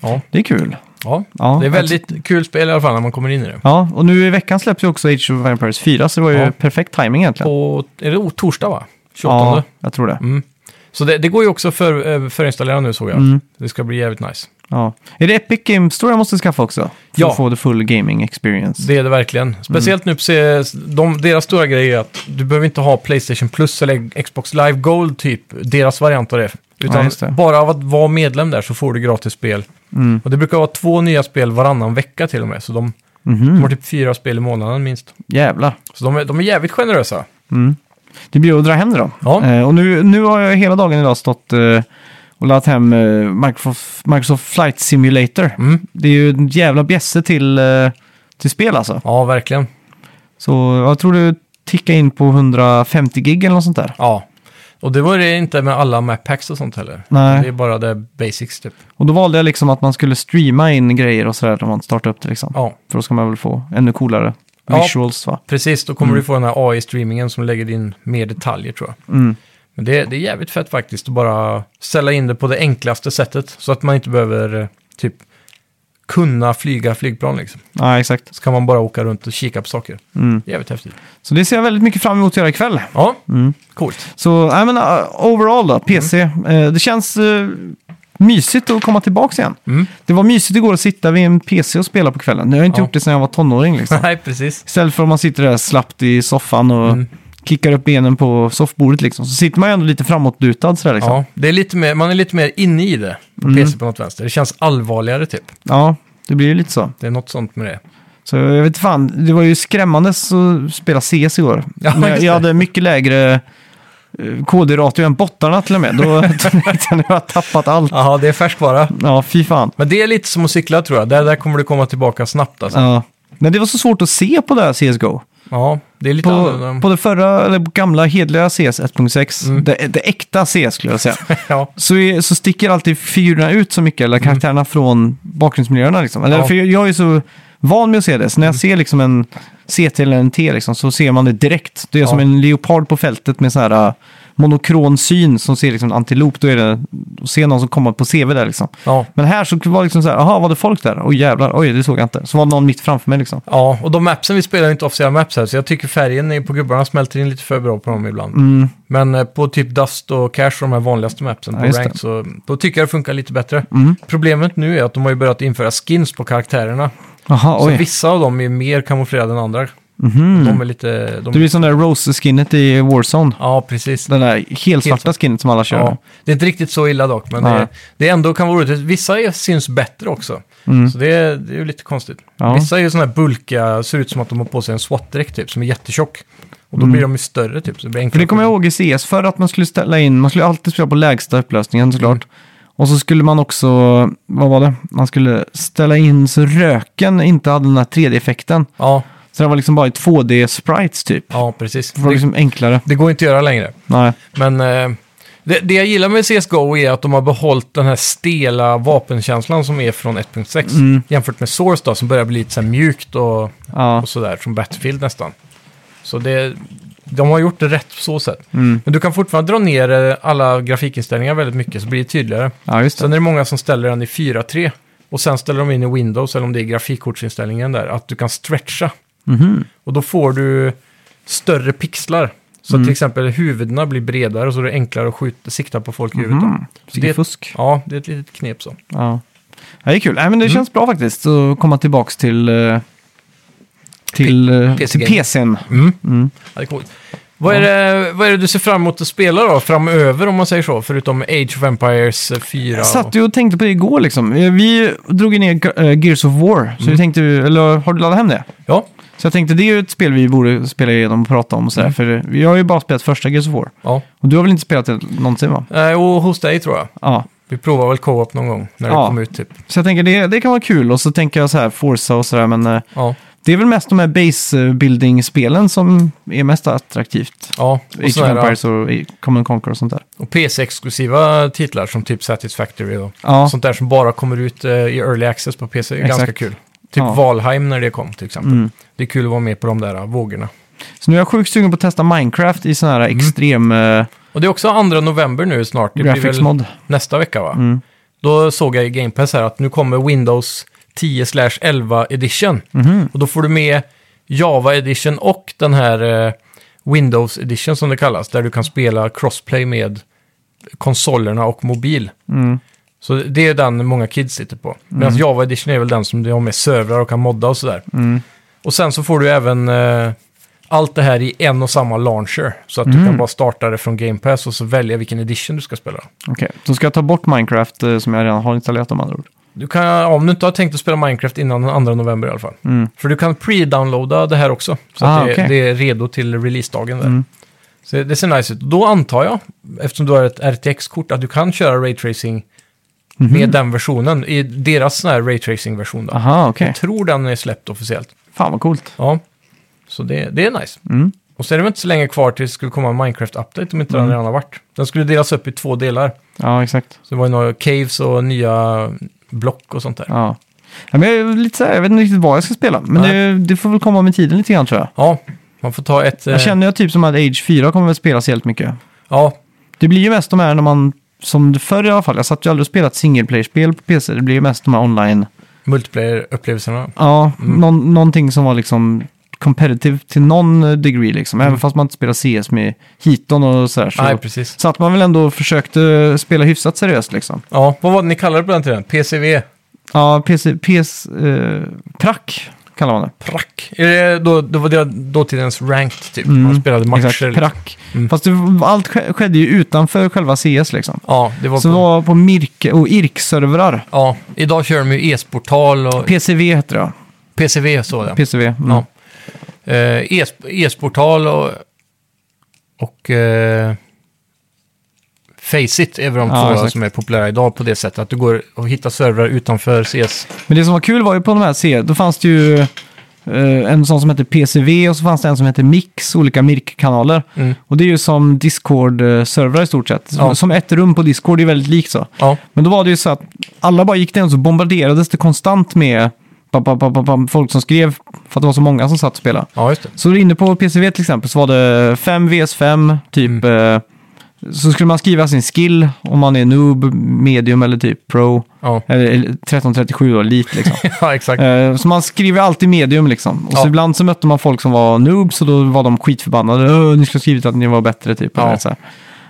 [SPEAKER 2] Ja.
[SPEAKER 1] Det är kul.
[SPEAKER 2] Ja.
[SPEAKER 1] Ja,
[SPEAKER 2] det är väldigt kul spel i alla fall när man kommer in i det.
[SPEAKER 1] Ja, och nu i veckan släpps ju också Age of Empires 4, så det var ju
[SPEAKER 2] Ja.
[SPEAKER 1] perfekt timing egentligen.
[SPEAKER 2] På, är det o- torsdag va? 28.
[SPEAKER 1] ja, jag tror det.
[SPEAKER 2] Mm. Så det, det går ju också för, eh, förinstallera nu såg jag.
[SPEAKER 1] Mm.
[SPEAKER 2] Det ska bli jävligt nice.
[SPEAKER 1] Ja. Är det Epic Games Store jag måste skaffa också? För
[SPEAKER 2] Ja.
[SPEAKER 1] att få the full gaming experience.
[SPEAKER 2] Det är det verkligen.
[SPEAKER 1] Mm.
[SPEAKER 2] Speciellt nu på CS, de, deras stora grej är att du behöver inte ha Playstation Plus eller Xbox Live Gold typ, deras variant av det. Utan
[SPEAKER 1] just det.
[SPEAKER 2] bara av att vara medlem där så får du gratis spel.
[SPEAKER 1] Mm.
[SPEAKER 2] Och det brukar vara två nya spel varannan vecka till och med. Så de, de
[SPEAKER 1] Mhm.
[SPEAKER 2] har typ fyra spel i månaden minst.
[SPEAKER 1] Jävlar.
[SPEAKER 2] Så de, är- de är jävligt generösa.
[SPEAKER 1] Mm. Det blir att dra hem det då.
[SPEAKER 2] Ja.
[SPEAKER 1] Eh, och nu, nu har jag hela dagen idag stått eh, och laddat hem eh, Microsoft, Microsoft Flight Simulator.
[SPEAKER 2] Mm.
[SPEAKER 1] Det är ju en jävla bjässe till, eh, till spel alltså.
[SPEAKER 2] Ja, verkligen.
[SPEAKER 1] Så jag tror du tickade in på 150 gig eller något sånt där.
[SPEAKER 2] Ja. Och det var det inte med alla map packs och sånt heller.
[SPEAKER 1] Nej.
[SPEAKER 2] Det är bara det basics typ.
[SPEAKER 1] Och då valde jag liksom att man skulle streama in grejer och sådär när man startar upp det liksom.
[SPEAKER 2] Ja,
[SPEAKER 1] För då ska man väl få ännu coolare
[SPEAKER 2] Ja.
[SPEAKER 1] visuals va?
[SPEAKER 2] precis. Då kommer du få den här AI-streamingen som lägger in mer detaljer tror jag.
[SPEAKER 1] Mm.
[SPEAKER 2] Men det, det är jävligt fett faktiskt att bara ställa in det på det enklaste sättet. Så att man inte behöver eh, typ kunna flyga flygplan liksom.
[SPEAKER 1] Ja, exakt.
[SPEAKER 2] Så kan man bara åka runt och kika på saker.
[SPEAKER 1] Mm.
[SPEAKER 2] Jävligt häftigt.
[SPEAKER 1] Så det ser jag väldigt mycket fram emot att göra ikväll.
[SPEAKER 2] Ja,
[SPEAKER 1] Mm.
[SPEAKER 2] coolt.
[SPEAKER 1] Så, nej men uh, overall då, PC.
[SPEAKER 2] Mm.
[SPEAKER 1] Eh, det känns eh, mysigt att komma tillbaka igen.
[SPEAKER 2] Mm.
[SPEAKER 1] Det var mysigt igår att sitta vid en PC och spela på kvällen. Jag har inte
[SPEAKER 2] Ja.
[SPEAKER 1] gjort det sedan jag var tonåring liksom.
[SPEAKER 2] Nej, precis.
[SPEAKER 1] Istället för att man sitter där slappt i soffan och
[SPEAKER 2] Mm.
[SPEAKER 1] klickar upp benen på soffbordet liksom. Så sitter man ju ändå lite framåtlutad sådär liksom. Ja,
[SPEAKER 2] Ja, det är lite mer, man är lite mer inne i det på
[SPEAKER 1] Mm.
[SPEAKER 2] PC på något vänster. Det känns allvarligare typ.
[SPEAKER 1] det blir ju lite så.
[SPEAKER 2] Det är något sånt med det.
[SPEAKER 1] Så jag vet fan, det var ju skrämmande att spela CS igår.
[SPEAKER 2] Ja,
[SPEAKER 1] Men jag,
[SPEAKER 2] just det.
[SPEAKER 1] jag hade mycket lägre eh, KD-ratio än bottarna till och med. Då tänkte jag nu har jag tappat allt.
[SPEAKER 2] Jaha, det är färskvara.
[SPEAKER 1] Ja, fy fan.
[SPEAKER 2] Men det är lite som att cykla tror jag. Där, där kommer du komma tillbaka snabbt alltså.
[SPEAKER 1] Ja. Men det var så svårt att se på det här CSGO.
[SPEAKER 2] Ja, det är lite
[SPEAKER 1] På,
[SPEAKER 2] annorlunda.
[SPEAKER 1] på det förra, eller gamla hedliga CS 1.6,
[SPEAKER 2] Mm.
[SPEAKER 1] det, det äkta CS skulle jag säga,
[SPEAKER 2] ja.
[SPEAKER 1] så, är, så sticker alltid figurerna ut så mycket, eller karaktärerna från bakgrundsmiljöerna. Liksom. Eller,
[SPEAKER 2] Mm. Ja. Mm.
[SPEAKER 1] för jag, jag är så van med att se det, så när jag ser liksom en CT eller en T liksom, så ser man det direkt. Det är
[SPEAKER 2] Ja.
[SPEAKER 1] som en leopard på fältet med sån här äh, monokron syn som ser liksom en antilop. Då är det att se någon som kommer på CV där liksom.
[SPEAKER 2] ja.
[SPEAKER 1] Men här så var det liksom så här, jaha, var det folk där? Oj jävlar, oj det såg jag inte. Så var det någon mitt framför mig liksom.
[SPEAKER 2] Ja, och de mapsen vi spelar är inte officiella maps här, så jag tycker färgen är på gubbarna smälter in lite för bra på dem ibland.
[SPEAKER 1] Mm.
[SPEAKER 2] Men eh, på typ Dust och Cash, de här vanligaste mapsen
[SPEAKER 1] Ja,
[SPEAKER 2] på
[SPEAKER 1] just
[SPEAKER 2] Ranked,
[SPEAKER 1] det.
[SPEAKER 2] så då tycker jag det funkar lite bättre.
[SPEAKER 1] Mm.
[SPEAKER 2] Problemet nu är att de har ju börjat införa skins på karaktärerna.
[SPEAKER 1] Jaha,
[SPEAKER 2] Så
[SPEAKER 1] oj.
[SPEAKER 2] vissa av dem är mer kamuflerade än andra.
[SPEAKER 1] Mhm.
[SPEAKER 2] De är lite...
[SPEAKER 1] Det
[SPEAKER 2] De,
[SPEAKER 1] blir som det där Rose-skinnet i Warzone.
[SPEAKER 2] ja, precis.
[SPEAKER 1] Den där helsvarta skinnet som alla kör.
[SPEAKER 2] Ja, det är inte riktigt så illa dock, men
[SPEAKER 1] Nej.
[SPEAKER 2] det, det är ändå kan vara roligt. Vissa är, syns bättre också,
[SPEAKER 1] Mm.
[SPEAKER 2] så det är, det är ju lite konstigt.
[SPEAKER 1] Ja.
[SPEAKER 2] Vissa är ju sådana här bulka, ser ut som att de har på sig en SWAT-dräkt typ, som är jättetjock. Och då blir de ju större typ, så det blir
[SPEAKER 1] För
[SPEAKER 2] enklare.
[SPEAKER 1] det Mm. kommer jag ihåg i CS, för att man skulle ställa in, man skulle alltid spela på lägsta upplösningen såklart. Och så skulle man också, vad var det, man skulle ställa in så röken inte hade den här 3D-effekten.
[SPEAKER 2] Ja,
[SPEAKER 1] Så det var liksom bara i 2D-sprites typ.
[SPEAKER 2] ja precis.
[SPEAKER 1] Det var
[SPEAKER 2] Det,
[SPEAKER 1] liksom enklare.
[SPEAKER 2] det går inte att göra längre.
[SPEAKER 1] Nej.
[SPEAKER 2] Men eh, det, det jag gillar med CSGO är att de har behållit den här stela vapenkänslan som är från 1.6.
[SPEAKER 1] Mm.
[SPEAKER 2] Jämfört med Source då, som börjar bli lite så här mjukt och,
[SPEAKER 1] Ja.
[SPEAKER 2] och sådär, som Battlefield nästan. Så det, de har gjort det rätt på så sätt.
[SPEAKER 1] Mm.
[SPEAKER 2] Men du kan fortfarande dra ner eh, alla grafikinställningar väldigt mycket så blir det tydligare.
[SPEAKER 1] ja, just det.
[SPEAKER 2] Sen är det många som ställer den i 4.3 och sen ställer de in i Windows eller om det är grafikkortsinställningen där att du kan stretcha.
[SPEAKER 1] Mhm.
[SPEAKER 2] Och då får du större pixlar. Så
[SPEAKER 1] Mm.
[SPEAKER 2] till exempel huvudena blir bredare och så är det enklare att skjuta, sikta på folk i huvudet. då.
[SPEAKER 1] Mm.
[SPEAKER 2] Så
[SPEAKER 1] Vilket
[SPEAKER 2] det,
[SPEAKER 1] fusk.
[SPEAKER 2] ja, det är ett litet knep så.
[SPEAKER 1] Ja. ja, det är kul. Nej, men det känns bra faktiskt att komma tillbaka till, eh, till, eh,
[SPEAKER 2] PC
[SPEAKER 1] till
[SPEAKER 2] gaming.
[SPEAKER 1] PCn.
[SPEAKER 2] Mm. Ja, det är coolt. Vad är, det, vad är det du ser fram emot att spela då, framöver om man säger så? Förutom Age of Empires 4?
[SPEAKER 1] Jag
[SPEAKER 2] och-
[SPEAKER 1] satt ju och tänkte på det igår liksom. Eh, Vi drog ju ner eh, Gears of War, så
[SPEAKER 2] Mm.
[SPEAKER 1] vi tänkte, eller har du laddat hem det?
[SPEAKER 2] Ja,
[SPEAKER 1] Så jag tänkte det är ju ett spel vi borde spela igenom och prata om och
[SPEAKER 2] Mm.
[SPEAKER 1] sådär, för eh, jag har ju bara spelat första Gears of War.
[SPEAKER 2] ja.
[SPEAKER 1] Och du har väl inte spelat det någonsin va?
[SPEAKER 2] Eh, och hos dig tror jag.
[SPEAKER 1] Ja.
[SPEAKER 2] Vi provar väl co-op någon gång när det
[SPEAKER 1] Ja.
[SPEAKER 2] kom ut typ.
[SPEAKER 1] Så jag tänker det, det kan vara kul och så tänker jag så här Forza och sådär, men eh,
[SPEAKER 2] Ja,
[SPEAKER 1] det är väl mest de här base building spelen som är mest attraktivt.
[SPEAKER 2] ja.
[SPEAKER 1] Age of
[SPEAKER 2] sådär, ja.
[SPEAKER 1] Empires och i- Common Conquer och sånt där.
[SPEAKER 2] Och PC-exklusiva titlar som typ Satisfactory och
[SPEAKER 1] Ja,
[SPEAKER 2] sånt där som bara kommer ut eh, i Early Access på PC. är Ganska
[SPEAKER 1] Exakt.
[SPEAKER 2] kul. Typ
[SPEAKER 1] Ja.
[SPEAKER 2] Valheim när det kom till exempel.
[SPEAKER 1] Mm.
[SPEAKER 2] Det är kul att vara med på de där eh, vågorna.
[SPEAKER 1] så nu är jag sjukt sugen på att testa Minecraft i sån här extrem eh,
[SPEAKER 2] Och det är också 2 november nu snart. Det Mm. blir
[SPEAKER 1] graphics
[SPEAKER 2] väl
[SPEAKER 1] mod.
[SPEAKER 2] nästa vecka va?
[SPEAKER 1] Mm.
[SPEAKER 2] Då såg jag i Game Pass här att nu kommer Windows 10-11 edition.
[SPEAKER 1] Mhm.
[SPEAKER 2] Och då får du med Java edition och den här eh, Windows edition som det kallas. Där du kan spela crossplay med konsolerna och mobil.
[SPEAKER 1] Mm.
[SPEAKER 2] Så det är den många kids sitter på. Medan Java edition är väl den som du har med servrar och kan modda och sådär.
[SPEAKER 1] Mm.
[SPEAKER 2] Och sen så får du även eh, allt det här i en och samma launcher. Så att
[SPEAKER 1] Mm.
[SPEAKER 2] du kan bara starta det från Game Pass och så välja vilken edition du ska spela.
[SPEAKER 1] Okej, då ska jag ta bort Minecraft eh, som jag redan har installerat om andra ord.
[SPEAKER 2] Du kan, ja, om du inte har tänkt att spela Minecraft innan den 2 november i alla fall.
[SPEAKER 1] Mm.
[SPEAKER 2] För du kan pre-downloada det här också. Så
[SPEAKER 1] Ah,
[SPEAKER 2] att det,
[SPEAKER 1] okej.
[SPEAKER 2] det är redo till releasedagen där.
[SPEAKER 1] Mm.
[SPEAKER 2] Så det ser nice ut. Då antar jag, eftersom du har ett RTX-kort, att du kan köra raytracing
[SPEAKER 1] Mhm.
[SPEAKER 2] med den versionen. I deras sån här raytracing-version då.
[SPEAKER 1] Aha, okej.
[SPEAKER 2] Jag tror den är släppt officiellt.
[SPEAKER 1] Fan vad coolt.
[SPEAKER 2] Ja, så det, det är nice.
[SPEAKER 1] Mm.
[SPEAKER 2] Och så är det väl inte så länge kvar tills det skulle komma en Minecraft-update om inte den redan har varit. Den skulle delas upp i två delar.
[SPEAKER 1] Ja, exakt.
[SPEAKER 2] Så det var ju några caves och nya block och sånt där.
[SPEAKER 1] Ja. Ja, men jag, är lite så här, jag vet inte riktigt vad jag ska spela, men
[SPEAKER 2] Nej.
[SPEAKER 1] det, det får väl komma med tiden lite grann tror jag.
[SPEAKER 2] Ja, man får ta ett... eh,
[SPEAKER 1] Jag känner ju typ som att Age 4 kommer väl spelas helt mycket.
[SPEAKER 2] Ja,
[SPEAKER 1] Det blir ju mest de här när man, som det förr i alla fall, jag satt ju aldrig och spelat single player-spel på PC, det blir ju mest de här online,
[SPEAKER 2] multiplayer-upplevelserna.
[SPEAKER 1] ja,
[SPEAKER 2] Mm.
[SPEAKER 1] någon, någonting som var liksom competitive till någon eh, degree liksom, även fast man inte spelar CS med hiton och sådär. Så,
[SPEAKER 2] Mm. Nej, precis.
[SPEAKER 1] så att man väl ändå försökte spela hyfsat seriöst liksom.
[SPEAKER 2] Ja, vad var det ni kallade det på den tiden? PCV?
[SPEAKER 1] Ja, PC, PS, eh, prack kallar man det.
[SPEAKER 2] Prack? Är det då, då var det dåtidens ranked typ? Man spelade matcher.
[SPEAKER 1] Mm, Exakt, prack.
[SPEAKER 2] Mm.
[SPEAKER 1] Fast det, allt ske- skedde ju utanför själva CS liksom.
[SPEAKER 2] Ja, det var...
[SPEAKER 1] Så det
[SPEAKER 2] på,
[SPEAKER 1] var på Mirke och IRK-servrar.
[SPEAKER 2] ja, idag kör de ju e-sporttal och
[SPEAKER 1] PCV heter det,
[SPEAKER 2] PCV så. Ja.
[SPEAKER 1] PCV. Mm.
[SPEAKER 2] Ja. Eh, e- E-sportal och, och eh, Faceit är väl de
[SPEAKER 1] Ja,
[SPEAKER 2] två
[SPEAKER 1] exakt.
[SPEAKER 2] som är populära idag på det sättet. Att du går och hittar servrar utanför CS.
[SPEAKER 1] Men det som var kul var ju på de här C, då fanns det ju eh, en sån som hette PCV och så fanns det en som hette Mix, olika Mirk-kanaler.
[SPEAKER 2] Mm.
[SPEAKER 1] Och det är ju som Discord-servrar i stort sett. Som,
[SPEAKER 2] Ja.
[SPEAKER 1] som ett rum på Discord, det är väldigt likt så.
[SPEAKER 2] Ja,
[SPEAKER 1] Men då var det ju så att alla bara gick den och så bombarderades det konstant med bam, bam, bam, bam, bam, folk som skrev för att det var så många som satt och spelade.
[SPEAKER 2] ja just det.
[SPEAKER 1] Så inne på PCV till exempel så var det 5 vs 5, typ. Eh, så skulle man skriva sin skill om man är noob, medium eller typ pro.
[SPEAKER 2] Ja,
[SPEAKER 1] Eller eller 1337 då, elite liksom.
[SPEAKER 2] ja exakt.
[SPEAKER 1] Eh, så man skriver alltid medium liksom. Och så
[SPEAKER 2] Ja.
[SPEAKER 1] ibland så mötte man folk som var noobs och då var de skitförbannade. "Öh, Ni skulle ha skrivit att ni var bättre typ.
[SPEAKER 2] Ja.
[SPEAKER 1] Eller så här.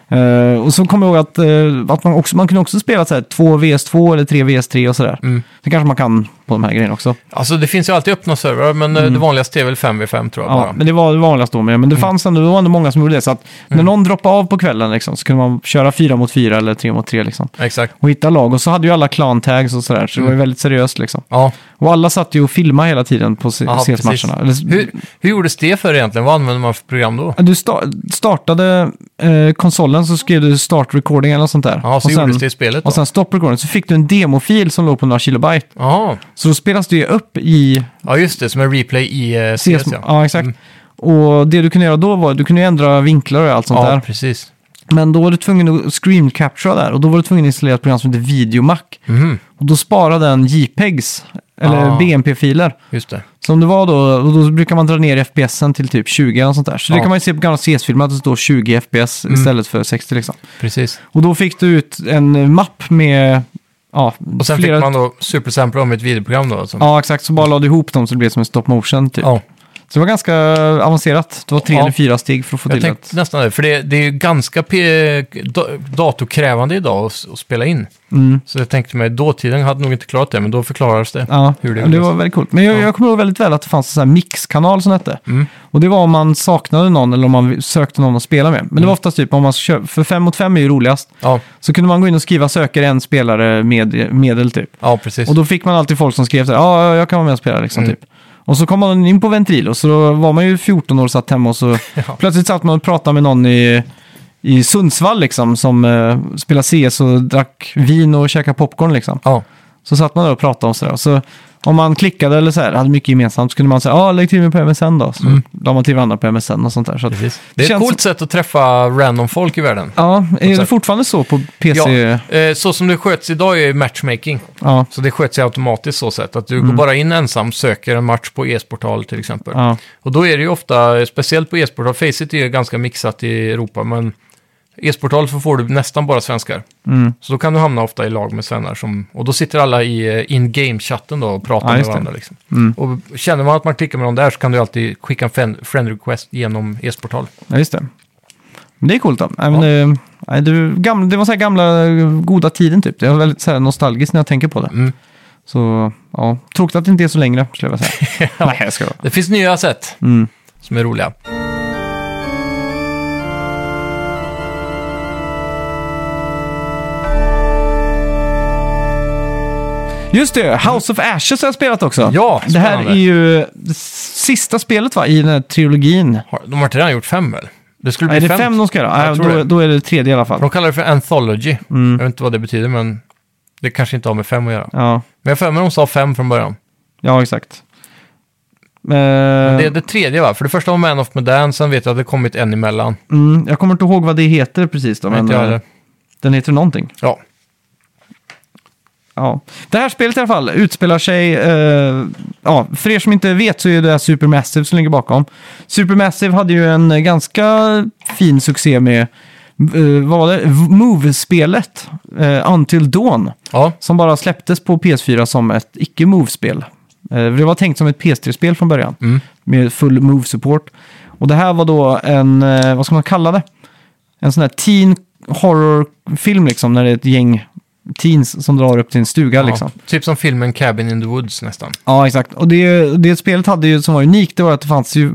[SPEAKER 1] Eh, och så kommer jag ihåg att, eh, att man, också, man kunde också spela så här 2 vs 2 eller 3 vs 3 och sådär.
[SPEAKER 2] Mm.
[SPEAKER 1] Det kanske man kan på de här grejerna också.
[SPEAKER 2] Alltså det finns ju alltid öppna servrar, men eh, det vanligaste är väl 5v5 tror
[SPEAKER 1] Mm.
[SPEAKER 2] jag
[SPEAKER 1] Ja,
[SPEAKER 2] bara. Mm.
[SPEAKER 1] men det var det vanligaste då med. Men det fanns ändå, det var ändå många som gjorde det. Så att när någon droppade av på kvällen liksom, så kunde man köra fyra mot fyra eller tre mot tre liksom.
[SPEAKER 2] Exakt.
[SPEAKER 1] Och hitta lag. Och så hade ju alla clan-tags och sådär. Så det
[SPEAKER 2] Mm.
[SPEAKER 1] var ju väldigt seriöst liksom.
[SPEAKER 2] Ja,
[SPEAKER 1] Och alla satt ju och filmade hela tiden på
[SPEAKER 2] ja precis.
[SPEAKER 1] CS-matcherna. Eller-
[SPEAKER 2] Hur, hur gjordes det för egentligen? Vad använde man för program då?
[SPEAKER 1] Du sta startade eh, konsolen så skrev du start recording eller något sånt där.
[SPEAKER 2] Ja, så gjordes det i spelet då?
[SPEAKER 1] och sen stopp recording. Så fick du en demofil som låg på några kilobyte.
[SPEAKER 2] Ja,
[SPEAKER 1] Så då spelas det ju upp i
[SPEAKER 2] ja just det. Som en replay i eh, CS.
[SPEAKER 1] CS.
[SPEAKER 2] ja.
[SPEAKER 1] Ja, exakt. Och det du kunde göra då var att du kunde ju ändra vinklar och allt sånt
[SPEAKER 2] ja
[SPEAKER 1] där.
[SPEAKER 2] precis.
[SPEAKER 1] Men då var du tvungen att screen captura där och då var du tvungen att installera ett program som hette Videomac.
[SPEAKER 2] Mhm,
[SPEAKER 1] Och då sparade den JPEGs, eller
[SPEAKER 2] Ah.
[SPEAKER 1] BMP-filer.
[SPEAKER 2] just det.
[SPEAKER 1] Som det var då, och då brukar man dra ner FPSen till typ 20 eller något sånt där. Så det
[SPEAKER 2] Ja. Mm.
[SPEAKER 1] kan man ju se på gamla CS-filmer att det står 20 FPS istället för 60 liksom.
[SPEAKER 2] Precis.
[SPEAKER 1] Och då fick du ut en eh, mapp med, ja,
[SPEAKER 2] Och sen
[SPEAKER 1] flera...
[SPEAKER 2] fick man då supersampla om ett videoprogram då. Alltså.
[SPEAKER 1] Ja, exakt. Så bara lade du ihop dem så det blev som en stop motion typ.
[SPEAKER 2] Ja,
[SPEAKER 1] Så det var ganska avancerat. Det var tre
[SPEAKER 2] Ja.
[SPEAKER 1] eller fyra steg för att få
[SPEAKER 2] jag
[SPEAKER 1] till
[SPEAKER 2] tänkte nästan det. För det, det är ju ganska p- da- datorkrävande idag att, s- att spela in.
[SPEAKER 1] det. Mm.
[SPEAKER 2] Så jag tänkte mig, dåtiden hade nog inte klarat det, men då förklarades det.
[SPEAKER 1] Ja,
[SPEAKER 2] hur det
[SPEAKER 1] det, det
[SPEAKER 2] gjordes.
[SPEAKER 1] var väldigt coolt. Men jag,
[SPEAKER 2] Ja.
[SPEAKER 1] jag kommer ihåg väldigt väl att det fanns en sån här mixkanal som hette.
[SPEAKER 2] Mm.
[SPEAKER 1] Och det var om man saknade någon eller om man sökte någon att spela med. Men
[SPEAKER 2] Mm.
[SPEAKER 1] det var oftast typ om man kör, för fem mot fem är ju roligast.
[SPEAKER 2] Ja,
[SPEAKER 1] Så kunde man gå in och skriva söker en spelare med medel typ.
[SPEAKER 2] ja precis.
[SPEAKER 1] Och då fick man alltid folk som skrev så här, ja, jag kan vara med och spela liksom
[SPEAKER 2] Mm.
[SPEAKER 1] typ. Och så kom man in på Ventrilo, så då var man ju 14 år och satt hemma och så plötsligt satt man och pratade med någon i, i Sundsvall liksom som eh, spelade CS och drack vin och käkade popcorn liksom.
[SPEAKER 2] Ja,
[SPEAKER 1] Så satt man där och pratade om sådär. Och så om man klickade eller så här, hade mycket gemensamt, så kunde man säga ja, lägg till mig på MSN då. Så la man till varandra på MSN och sånt där. Så att,
[SPEAKER 2] Mm. precis. Det är ett
[SPEAKER 1] känns-
[SPEAKER 2] coolt sätt att träffa random folk i världen.
[SPEAKER 1] ja, är det
[SPEAKER 2] sätt.
[SPEAKER 1] fortfarande så på PC? Ja.
[SPEAKER 2] eh, så som det sköts idag är ju matchmaking.
[SPEAKER 1] Ja,
[SPEAKER 2] Så det sköts ju automatiskt så sätt. Att du
[SPEAKER 1] Mm.
[SPEAKER 2] går bara in ensam, söker en match på e-sportal till exempel.
[SPEAKER 1] ja.
[SPEAKER 2] Och då är det ju ofta, speciellt på e-sport, och Faceit är ju ganska mixat i Europa, men E-sporthåll så får du nästan bara svenskar.
[SPEAKER 1] Mm.
[SPEAKER 2] Så då kan du hamna ofta i lag med svennar. Som, och då sitter alla i eh, in-game-chatten då och pratar
[SPEAKER 1] Ja,
[SPEAKER 2] med
[SPEAKER 1] just det. Mm.
[SPEAKER 2] varandra. Liksom. Och känner man att man klickar med dem där så kan du alltid skicka en friend- friend request genom e-sporthåll.
[SPEAKER 1] Ja, just det. Men det är coolt då. Nej, men, eh, nej, du, gamla, det var så här gamla eh, goda tiden typ. Jag är väldigt så här nostalgisk när jag tänker på det.
[SPEAKER 2] Mm.
[SPEAKER 1] Så ja, tråkigt att det inte är så längre skulle jag vilja säga. nej, jag ska
[SPEAKER 2] Det finns nya sätt
[SPEAKER 1] Mm.
[SPEAKER 2] som är roliga.
[SPEAKER 1] Just det, House of Ashes har jag spelat också.
[SPEAKER 2] Ja,
[SPEAKER 1] det här
[SPEAKER 2] spännande.
[SPEAKER 1] är ju eh, det sista spelet va, i den här trilogin.
[SPEAKER 2] Har- De har inte redan gjort fem väl? Det skulle bli
[SPEAKER 1] Är det
[SPEAKER 2] fem.
[SPEAKER 1] fem de ska göra?
[SPEAKER 2] Jag
[SPEAKER 1] Ja,
[SPEAKER 2] tror
[SPEAKER 1] då,
[SPEAKER 2] det.
[SPEAKER 1] då är det tredje i alla fall.
[SPEAKER 2] De kallar det för Anthology.
[SPEAKER 1] Mm.
[SPEAKER 2] Jag vet inte vad det betyder, men det kanske inte har med fem att göra.
[SPEAKER 1] Ja,
[SPEAKER 2] Men jag har för mig de sa fem från början.
[SPEAKER 1] ja exakt. Eh,
[SPEAKER 2] Det är det tredje va? För det första var Man of Medan, sen vet jag att det kommit en emellan.
[SPEAKER 1] mm, jag kommer inte ihåg vad det heter precis då,
[SPEAKER 2] Men,
[SPEAKER 1] men
[SPEAKER 2] inte jag
[SPEAKER 1] eh,
[SPEAKER 2] heller.
[SPEAKER 1] den heter någonting.
[SPEAKER 2] ja.
[SPEAKER 1] Ja. Det här spelet i alla fall utspelar sig... Eh, ja, för er som inte vet så är det Supermassive som ligger bakom. Supermassive hade ju en eh, ganska fin succé med... Eh, vad var det? V- Move-spelet. Eh, Until Dawn.
[SPEAKER 2] ja,
[SPEAKER 1] Som bara släpptes på PS4 som ett icke-Move-spel. Eh, det var tänkt som ett PS3-spel från början.
[SPEAKER 2] Mm.
[SPEAKER 1] Med full Move-support. Och det här var då en... Eh, vad ska man kalla det? En sån här teen horror-film liksom. När det är ett gäng teens som drar upp till en stuga
[SPEAKER 2] ja.
[SPEAKER 1] liksom.
[SPEAKER 2] Typ som filmen Cabin in the Woods nästan.
[SPEAKER 1] Ja, exakt. Och det, det spelet hade ju, som var unikt, det var att det fanns ju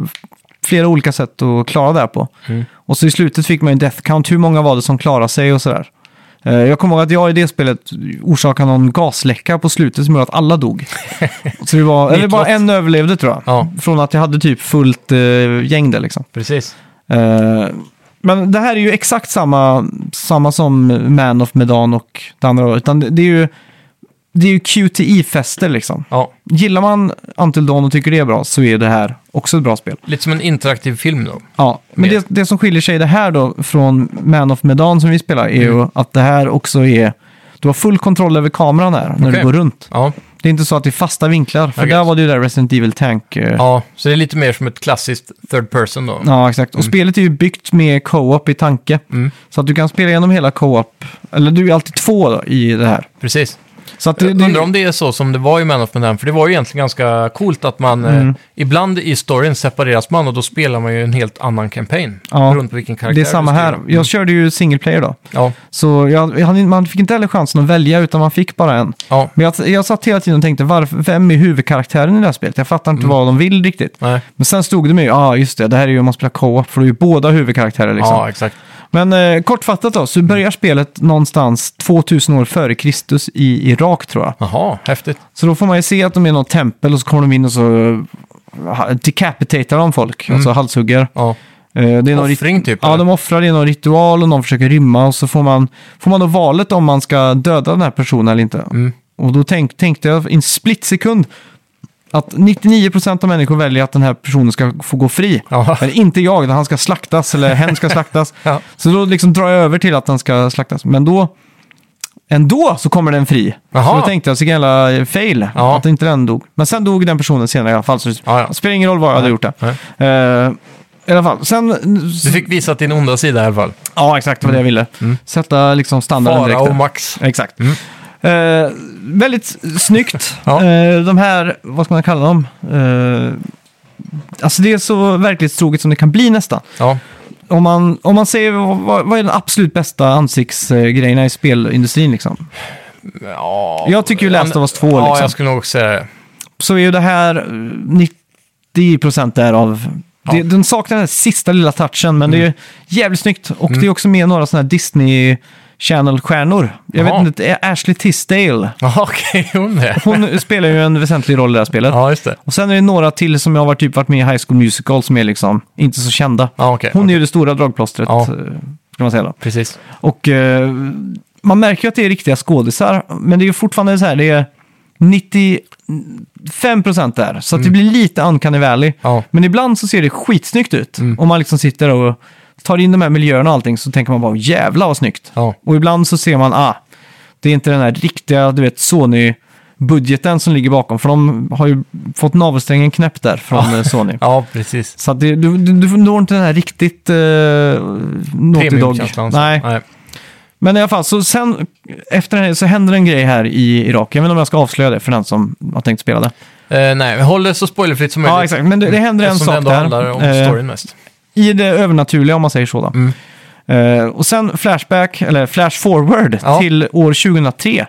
[SPEAKER 1] flera olika sätt att klara det här på.
[SPEAKER 2] Mm.
[SPEAKER 1] Och så i slutet fick man ju death count, hur många var det som klarade sig och sådär. Eh, Jag kommer ihåg att jag i det spelet orsakade någon gasläcka på slutet som gjorde att alla dog. Så det var, eller bara
[SPEAKER 2] Nitlott.
[SPEAKER 1] en överlevde tror jag.
[SPEAKER 2] Ja.
[SPEAKER 1] Från att jag hade typ fullt eh, gäng där liksom.
[SPEAKER 2] Precis.
[SPEAKER 1] Eh, men det här är ju exakt samma, samma som Man of Medan och det andra. Utan det, det är ju, det är ju QTI-fester liksom.
[SPEAKER 2] Ja,
[SPEAKER 1] Gillar man Until Dawn och tycker det är bra så är det här också ett bra spel.
[SPEAKER 2] lite som en interaktiv film då.
[SPEAKER 1] Ja, men
[SPEAKER 2] Med-
[SPEAKER 1] det, det som skiljer sig det här då från Man of Medan som vi spelar är ju
[SPEAKER 2] Mm.
[SPEAKER 1] att det här också är... Du har full kontroll över kameran här när
[SPEAKER 2] Okej.
[SPEAKER 1] du går runt.
[SPEAKER 2] Ja,
[SPEAKER 1] Det är inte så att det är fasta vinklar, för
[SPEAKER 2] Okej.
[SPEAKER 1] där var det ju där Resident Evil Tank... eh,
[SPEAKER 2] ja, så det är lite mer som ett klassiskt third person då.
[SPEAKER 1] Ja, exakt. Och spelet är ju byggt med co-op i tanke.
[SPEAKER 2] Mm.
[SPEAKER 1] Så att du kan spela igenom hela co-op. Eller du är alltid två då, i det här.
[SPEAKER 2] Precis.
[SPEAKER 1] Så att det,
[SPEAKER 2] Jag
[SPEAKER 1] det,
[SPEAKER 2] undrar om det är så som det var i Man of Medan, för det var ju egentligen ganska coolt att man
[SPEAKER 1] Mm.
[SPEAKER 2] eh, ibland i storyn separeras man och då spelar man ju en helt annan campaign.
[SPEAKER 1] Ja,
[SPEAKER 2] beroende på vilken karaktär
[SPEAKER 1] det är
[SPEAKER 2] du
[SPEAKER 1] samma
[SPEAKER 2] spelar.
[SPEAKER 1] här. Jag körde ju single player då.
[SPEAKER 2] Ja,
[SPEAKER 1] Så jag, jag, hann in- man fick inte heller chansen att välja, utan man fick bara en.
[SPEAKER 2] ja,
[SPEAKER 1] Men jag, jag satt hela tiden och tänkte, varför, vem är huvudkaraktären i det här spelet? Jag fattar inte vad de vill riktigt.
[SPEAKER 2] nej.
[SPEAKER 1] Men sen stod det mig, ja ah, just det, det här är ju om man spelar co-op, för då är ju båda huvudkaraktärer liksom.
[SPEAKER 2] ja, exakt.
[SPEAKER 1] Men eh, kortfattat då, så börjar spelet någonstans 2000 år före Kristus i Irak tror jag.
[SPEAKER 2] Jaha, häftigt.
[SPEAKER 1] Så då får man ju se att de är i något tempel och så kommer de in och så eh, decapitatar de folk, alltså halshugger.
[SPEAKER 2] Ja.
[SPEAKER 1] Eh, Det är någon rit-
[SPEAKER 2] Offring typ?
[SPEAKER 1] Ja,
[SPEAKER 2] eller?
[SPEAKER 1] de offrar i någon ritual och någon försöker rymma och så får man, får man då valet om man ska döda den här personen eller inte.
[SPEAKER 2] Mm.
[SPEAKER 1] Och då tänk, tänkte jag i en split sekund att 99% av människor väljer att den här personen ska få gå fri.
[SPEAKER 2] Ja.
[SPEAKER 1] Men inte jag, där han ska slaktas eller hen ska slaktas.
[SPEAKER 2] Ja.
[SPEAKER 1] Så då liksom drar jag över till att han ska slaktas. Men då, ändå så kommer den fri.
[SPEAKER 2] Jaha.
[SPEAKER 1] Så då tänkte jag, så jävla eh, fail,
[SPEAKER 2] Ja.
[SPEAKER 1] att inte den dog. Men sen dog den personen senare i alla fall. Så det
[SPEAKER 2] Ja, ja.
[SPEAKER 1] spelar ingen roll vad jag hade gjort där. Eh, I alla fall, sen...
[SPEAKER 2] Du fick visa din onda sida i alla fall.
[SPEAKER 1] Ja, exakt. Det var det jag ville. Sätta liksom standarden
[SPEAKER 2] Mm. Fara
[SPEAKER 1] direkt. där.
[SPEAKER 2] och Max.
[SPEAKER 1] Exakt. Eh, väldigt s- snyggt.
[SPEAKER 2] Ja.
[SPEAKER 1] Eh, de här, vad ska man kalla dem? Eh, alltså det är så verklighetstroget som det kan bli nästan.
[SPEAKER 2] Ja,
[SPEAKER 1] Om man, om man säger vad- vad, vad är den absolut bästa ansiktsgrejerna i spelindustrin liksom.
[SPEAKER 2] ja.
[SPEAKER 1] Jag tycker ju Last of Us 2
[SPEAKER 2] Ja,
[SPEAKER 1] liksom.
[SPEAKER 2] jag skulle nog säga det.
[SPEAKER 1] Så är ju det här eh, 90% därav.
[SPEAKER 2] Ja.
[SPEAKER 1] Det,
[SPEAKER 2] Mm.
[SPEAKER 1] den saknar den här sista lilla touchen, men det är jävligt snyggt. Och det är också med några sådana här Disney Channel-stjärnor. Jag
[SPEAKER 2] Jaha.
[SPEAKER 1] vet inte, det är Ashley Tisdale.
[SPEAKER 2] Jaha, okej, hon det.
[SPEAKER 1] Hon spelar ju en väsentlig roll i det här spelet.
[SPEAKER 2] Ja, just det.
[SPEAKER 1] Och sen är det några till som jag har typ varit med i High School Musical som är liksom inte så kända.
[SPEAKER 2] Ja, okej.
[SPEAKER 1] Hon är ju det stora dragplåstret,
[SPEAKER 2] Ja.
[SPEAKER 1] eh, ska man säga då.
[SPEAKER 2] Precis.
[SPEAKER 1] Och eh, man märker ju att det är riktiga skådisar, men det är ju fortfarande så här, det är 95% där, så att det blir lite uncanny valley.
[SPEAKER 2] Mm. Ja. Mm.
[SPEAKER 1] Men ibland så ser det skitsnyggt ut. Om man liksom sitter och tar in de här miljöerna och allting så tänker man bara jävla vad snyggt.
[SPEAKER 2] Ja.
[SPEAKER 1] Och ibland så ser man, ah, det är inte den här riktiga, du vet, Sony budgeten som ligger bakom. För de har ju fått navelsträngen knäppt där från eh, Sony.
[SPEAKER 2] Ja, precis.
[SPEAKER 1] Så att det, du, du, du når inte den här riktigt eh, Naughty Dog.
[SPEAKER 2] Premiumkänslan, så.
[SPEAKER 1] Nej.
[SPEAKER 2] Nej.
[SPEAKER 1] Men i alla fall, så sen efter det här så händer en grej här i Irak. Jag vet inte om jag ska avslöja det för den som har tänkt spela det.
[SPEAKER 2] Eh, nej, håll det så spoilerfritt som möjligt.
[SPEAKER 1] Ja, exakt. Men det, det händer en
[SPEAKER 2] Eftersom
[SPEAKER 1] sak
[SPEAKER 2] ändå handlar om
[SPEAKER 1] där. Eh,
[SPEAKER 2] storyn mest.
[SPEAKER 1] I det övernaturliga om man säger så då. Eh, och sen flashback, eller flash forward
[SPEAKER 2] Ja.
[SPEAKER 1] till år 2003.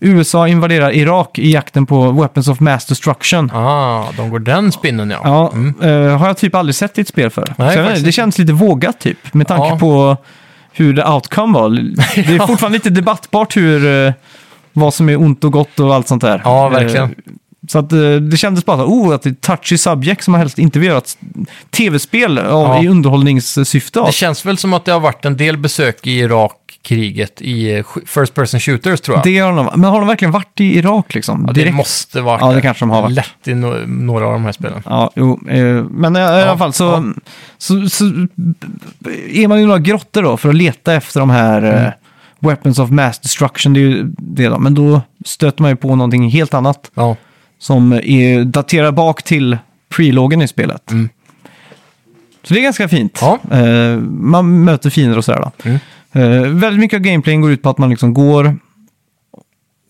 [SPEAKER 1] USA invaderar Irak i jakten på Weapons of Mass Destruction.
[SPEAKER 2] Ah, de går den spinnen ja.
[SPEAKER 1] Ja, eh, har jag typ aldrig sett i ett spel förr.
[SPEAKER 2] Mm. Nej,
[SPEAKER 1] så jag vet,
[SPEAKER 2] faktiskt
[SPEAKER 1] inte, det känns lite vågat typ, med tanke
[SPEAKER 2] Ja.
[SPEAKER 1] på hur the outcome var. Det är fortfarande lite debattbart hur, eh, vad som är ont och gott och allt sånt där.
[SPEAKER 2] Ja, verkligen.
[SPEAKER 1] Eh, Så att, eh, det kändes bara så, oh, att det är touchy subject som man helst inte vill göra ett tv-spel av,
[SPEAKER 2] Ja.
[SPEAKER 1] i underhållningssyfte av.
[SPEAKER 2] Det känns väl som att det har varit en del besök i Irak-kriget i eh, sk- First Person Shooters tror jag.
[SPEAKER 1] Det har de, men har de verkligen varit i Irak liksom?
[SPEAKER 2] Ja, det
[SPEAKER 1] Direkt?
[SPEAKER 2] måste vara
[SPEAKER 1] Ja, det kanske de har varit.
[SPEAKER 2] lätt i no- några av de här spelen.
[SPEAKER 1] Ja, jo, eh, men i alla fall så, så, så är man i några grottor då för att leta efter de här eh, Weapons of Mass Destruction, det är ju det då. Men då stöter man ju på någonting helt annat
[SPEAKER 2] Ja,
[SPEAKER 1] som är, daterar bak till prelogen i spelet.
[SPEAKER 2] Mm.
[SPEAKER 1] Så det är ganska fint.
[SPEAKER 2] Ja.
[SPEAKER 1] Eh, man möter fiender och sådär då.
[SPEAKER 2] Mm.
[SPEAKER 1] Eh, väldigt mycket av gameplayen går ut på att man liksom går,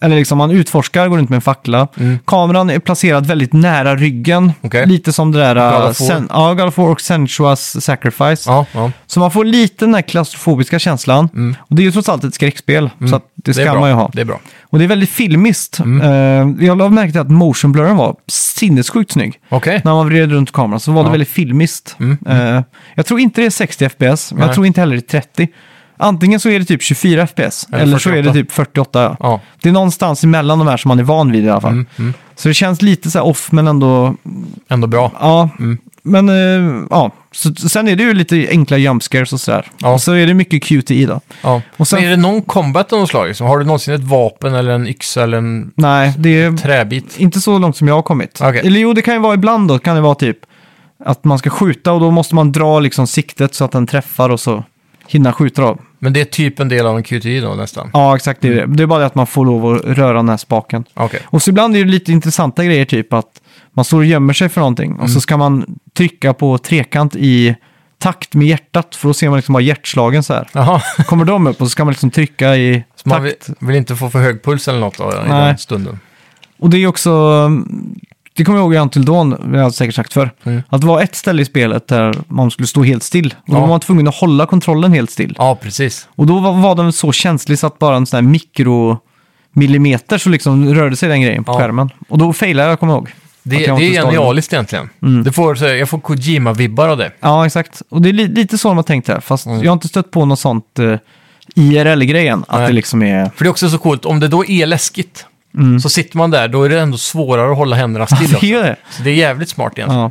[SPEAKER 1] eller liksom man utforskar, går runt med en fackla.
[SPEAKER 2] Mm.
[SPEAKER 1] Kameran är placerad väldigt nära ryggen.
[SPEAKER 2] Okej.
[SPEAKER 1] Lite som det där...
[SPEAKER 2] God
[SPEAKER 1] eh,
[SPEAKER 2] of War.
[SPEAKER 1] sen, ja, God of War och Sensuas Sacrifice.
[SPEAKER 2] ja, ja.
[SPEAKER 1] Så man får lite den här klaustrofobiska känslan. Och det är ju trots allt ett skräckspel, så att det
[SPEAKER 2] är
[SPEAKER 1] ska
[SPEAKER 2] bra.
[SPEAKER 1] man ju ha.
[SPEAKER 2] Mm. Det är bra.
[SPEAKER 1] Och det är väldigt filmiskt.
[SPEAKER 2] Mm.
[SPEAKER 1] Eh, jag har märkt att motion blurren var sinnessjukt snygg.
[SPEAKER 2] Okej.
[SPEAKER 1] När man vred runt kameran så var det
[SPEAKER 2] Ja. Mm.
[SPEAKER 1] väldigt filmiskt. Eh, jag tror inte det är 60 FPS, men jag
[SPEAKER 2] Nej.
[SPEAKER 1] tror inte heller det är 30. Antingen så är det typ 24 FPS, eller,
[SPEAKER 2] Eller
[SPEAKER 1] så är det
[SPEAKER 2] 48.
[SPEAKER 1] typ 48. Ja.
[SPEAKER 2] Ja. Mm,
[SPEAKER 1] Det är någonstans emellan de här som man är van vid i alla fall. Så det känns lite så här off, men ändå...
[SPEAKER 2] Ändå bra.
[SPEAKER 1] Ja,
[SPEAKER 2] Mm.
[SPEAKER 1] men eh, ja. Så, sen är det ju lite enkla jump scares och sådär.
[SPEAKER 2] Ja.
[SPEAKER 1] Och så är det mycket QTE då.
[SPEAKER 2] Ja.
[SPEAKER 1] Och sen-
[SPEAKER 2] Men är det någon combat av något slag? Liksom? Har du någonsin ett vapen eller en yxa eller en
[SPEAKER 1] Nej, det är
[SPEAKER 2] träbit?
[SPEAKER 1] inte så långt som jag har kommit.
[SPEAKER 2] Okej.
[SPEAKER 1] Eller jo, det kan ju vara ibland då, kan det vara typ att man ska skjuta och då måste man dra liksom siktet så att den träffar och så hinna skjuta då.
[SPEAKER 2] Men det är typ en del av en QTI då nästan?
[SPEAKER 1] Ja, exakt. Det är, det. det är bara det att man får lov att röra den här spaken.
[SPEAKER 2] Okej.
[SPEAKER 1] Och så ibland är det lite intressanta grejer, typ att man står och gömmer sig för någonting och
[SPEAKER 2] Mm.
[SPEAKER 1] så ska man trycka på trekant i takt med hjärtat för då ser man liksom bara hjärtslagen så här.
[SPEAKER 2] Jaha,
[SPEAKER 1] Kommer de upp och så ska man liksom trycka i
[SPEAKER 2] så man vill,
[SPEAKER 1] takt.
[SPEAKER 2] vill inte få för hög puls eller något då, i
[SPEAKER 1] Nej.
[SPEAKER 2] den stunden?
[SPEAKER 1] Och det är också, um, det kommer jag ihåg i Until Dawn, det har jag säkert sagt för.
[SPEAKER 2] Mm.
[SPEAKER 1] Att det var ett ställe i spelet där man skulle stå helt still. Och då
[SPEAKER 2] Ja.
[SPEAKER 1] var man tvungen att hålla kontrollen helt still.
[SPEAKER 2] Ja, precis.
[SPEAKER 1] Och då var, var den så känslig så att bara en sån här mikromillimeter så liksom rörde sig den grejen på
[SPEAKER 2] Ja.
[SPEAKER 1] skärmen. Och då failade jag, kommer jag ihåg.
[SPEAKER 2] Det,
[SPEAKER 1] Att
[SPEAKER 2] det
[SPEAKER 1] jag
[SPEAKER 2] är
[SPEAKER 1] måste stå- Mm.
[SPEAKER 2] genialiskt egentligen. Det får, så här- jag får Kojima-vibbar av det.
[SPEAKER 1] Ja, exakt. Och det är li- lite så de har tänkt här, fast
[SPEAKER 2] Mm.
[SPEAKER 1] jag har inte stött på något sånt eh, IRL-grejen. Att
[SPEAKER 2] Nej.
[SPEAKER 1] det liksom är...
[SPEAKER 2] För det är också så coolt, om det då är läskigt,
[SPEAKER 1] Mm.
[SPEAKER 2] så sitter man där, då är det ändå svårare att hålla händerna
[SPEAKER 1] Det
[SPEAKER 2] stilla.
[SPEAKER 1] är ju det.
[SPEAKER 2] Så det är jävligt smart egentligen.
[SPEAKER 1] Ja.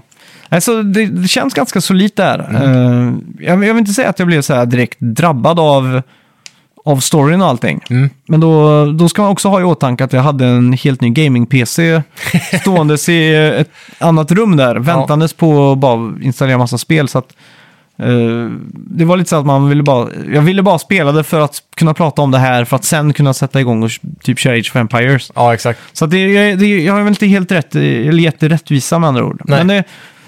[SPEAKER 1] Alltså, det, det känns ganska solitt där. Eh, jag, jag vill inte säga att jag blev så här direkt drabbad av, av storyn och allting.
[SPEAKER 2] Mm.
[SPEAKER 1] Men då, då ska man också ha i åtanke att jag hade en helt ny gaming-PC ståendes i ett annat rum där, väntandes på att bara installera massa spel. Så att, eh, det var lite så att man ville bara, jag ville bara spela det för att kunna prata om det här, för att sen kunna sätta igång och typ köra Age of Empires.
[SPEAKER 2] Ja, exakt.
[SPEAKER 1] Så att det, jag- det, jag har väl inte helt rätt, eh, eller gett det rättvisa med andra ord.
[SPEAKER 2] Nej.
[SPEAKER 1] Men det,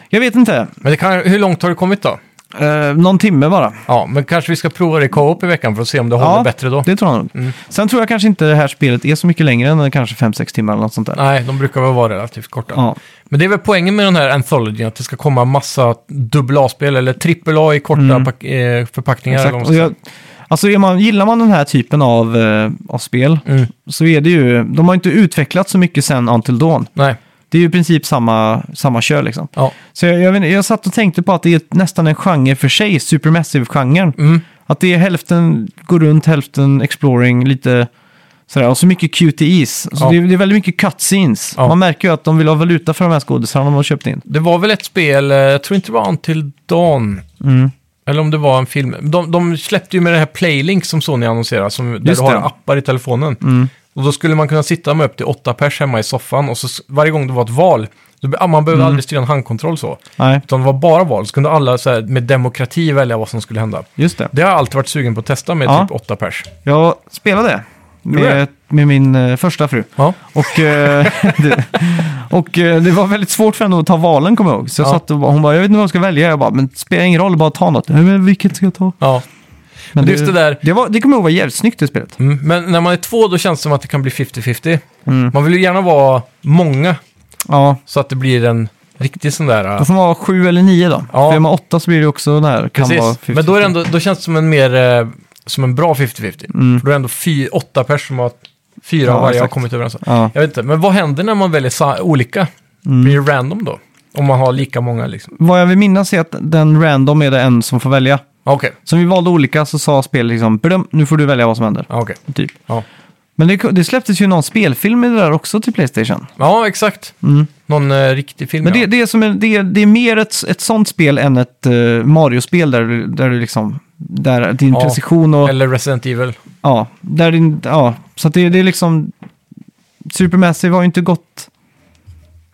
[SPEAKER 1] jag vet inte,
[SPEAKER 2] Men det kan, hur långt har du kommit då?
[SPEAKER 1] Eh, någon timme bara.
[SPEAKER 2] Ja, men kanske vi ska prova det i co-op i veckan för att se om det håller bättre då. Mm.
[SPEAKER 1] det tror jag nog. Sen tror jag kanske inte det här spelet är så mycket längre än kanske 5-6 timmar eller något sånt där.
[SPEAKER 2] Nej, de brukar väl vara relativt korta.
[SPEAKER 1] Ja.
[SPEAKER 2] Men det är väl poängen med den här anthologyn, att det ska komma massa AA-spel eller AAA i korta pack- eh, förpackningar. eller vad man
[SPEAKER 1] Mm. Exakt.
[SPEAKER 2] ska
[SPEAKER 1] Och jag,
[SPEAKER 2] säga.
[SPEAKER 1] alltså är man, gillar man den här typen av, eh, av spel
[SPEAKER 2] Mm.
[SPEAKER 1] så är det ju, de har inte utvecklat så mycket sen Until Dawn.
[SPEAKER 2] Nej,
[SPEAKER 1] Det är ju i princip samma, samma kör liksom.
[SPEAKER 2] ja.
[SPEAKER 1] Så jag, jag, vet inte, jag satt och tänkte på att det är ett- nästan en genre för sig, supermassive-genren.
[SPEAKER 2] Mm.
[SPEAKER 1] Att det är hälften går runt, hälften exploring, lite sådär. Och så mycket QTEs. Så
[SPEAKER 2] Ja.
[SPEAKER 1] det, är, det är väldigt mycket cutscenes.
[SPEAKER 2] Ja.
[SPEAKER 1] Man märker ju att de vill ha valuta för de här skådisarna de har köpt in.
[SPEAKER 2] Det var väl ett spel, eh, jag tror inte det var Until Dawn.
[SPEAKER 1] Mm.
[SPEAKER 2] Eller om det var en film. De, de släppte ju med det här Playlink som Sony annonserar, som, där
[SPEAKER 1] Just
[SPEAKER 2] du har
[SPEAKER 1] det. Mm.
[SPEAKER 2] appar i telefonen. Och då skulle man kunna sitta med upp till åtta pers hemma i soffan och så s- varje gång det var ett val, då, be- ah, man
[SPEAKER 1] Mm.
[SPEAKER 2] behövde aldrig styra en handkontroll så.
[SPEAKER 1] Nej,
[SPEAKER 2] Utan det var bara val, så kunde alla så här, med demokrati välja vad som skulle hända.
[SPEAKER 1] just det.
[SPEAKER 2] Det har jag alltid varit sugen på att testa med
[SPEAKER 1] Ja.
[SPEAKER 2] typ åtta pers.
[SPEAKER 1] Jag spelade.
[SPEAKER 2] Gjorde
[SPEAKER 1] med, med min eh, första fru.
[SPEAKER 2] Ja.
[SPEAKER 1] Och, eh, det, och eh, det var väldigt svårt för henne att ta valen kommer jag ihåg. Så jag
[SPEAKER 2] Ja.
[SPEAKER 1] satt och bara, hon bara, jag vet inte vad jag ska välja. Jag bara, men det spelar ingen roll, bara ta något. Nej, men vilket ska jag ta?
[SPEAKER 2] ja.
[SPEAKER 1] Men
[SPEAKER 2] Just det där-
[SPEAKER 1] Det, var, det kommer jag ihåg var jävligt snyggt i spelet.
[SPEAKER 2] Mm. Men när man är två då känns det som att det kan bli 50-50.
[SPEAKER 1] Mm.
[SPEAKER 2] Man vill ju gärna vara många
[SPEAKER 1] Ja,
[SPEAKER 2] så att det blir en riktig sån där...
[SPEAKER 1] då
[SPEAKER 2] eh,
[SPEAKER 1] får man vara sju eller nio då.
[SPEAKER 2] Ja.
[SPEAKER 1] För är man åtta så blir det också när kan vara
[SPEAKER 2] Precis.
[SPEAKER 1] 50.
[SPEAKER 2] Men då, är det ändå, då känns det som en mer... eh, Som en bra 50-50. För då är det ändå fy, åtta personer som har fyra
[SPEAKER 1] Mm. Ja,
[SPEAKER 2] av varje har
[SPEAKER 1] exakt.
[SPEAKER 2] kommit överens om.
[SPEAKER 1] Ja.
[SPEAKER 2] Jag vet inte, men vad händer när man väljer sa- olika?
[SPEAKER 1] Mm.
[SPEAKER 2] Blir det random då? Om man har lika många liksom.
[SPEAKER 1] Vad jag vill minnas är att den random är det en som får välja.
[SPEAKER 2] Okej,
[SPEAKER 1] Så vi valde olika så sa spelet liksom, "Brum, nu får du välja vad som händer.
[SPEAKER 2] ja, okej.
[SPEAKER 1] Typ.
[SPEAKER 2] Ja.
[SPEAKER 1] Men det, det släpptes ju någon spelfilm i det där också till Playstation. Mm.
[SPEAKER 2] ja, exakt. Någon eh, riktig film,
[SPEAKER 1] Men
[SPEAKER 2] ja.
[SPEAKER 1] det, det, är som en, det, är, det är mer ett, ett sånt spel än ett eh, Mario-spel där, du- där du liksom... Där din
[SPEAKER 2] Ja,
[SPEAKER 1] precision och...
[SPEAKER 2] Eller Resident Evil.
[SPEAKER 1] Ja, där din, ja, så att det, det är liksom... Supermassive har ju inte gått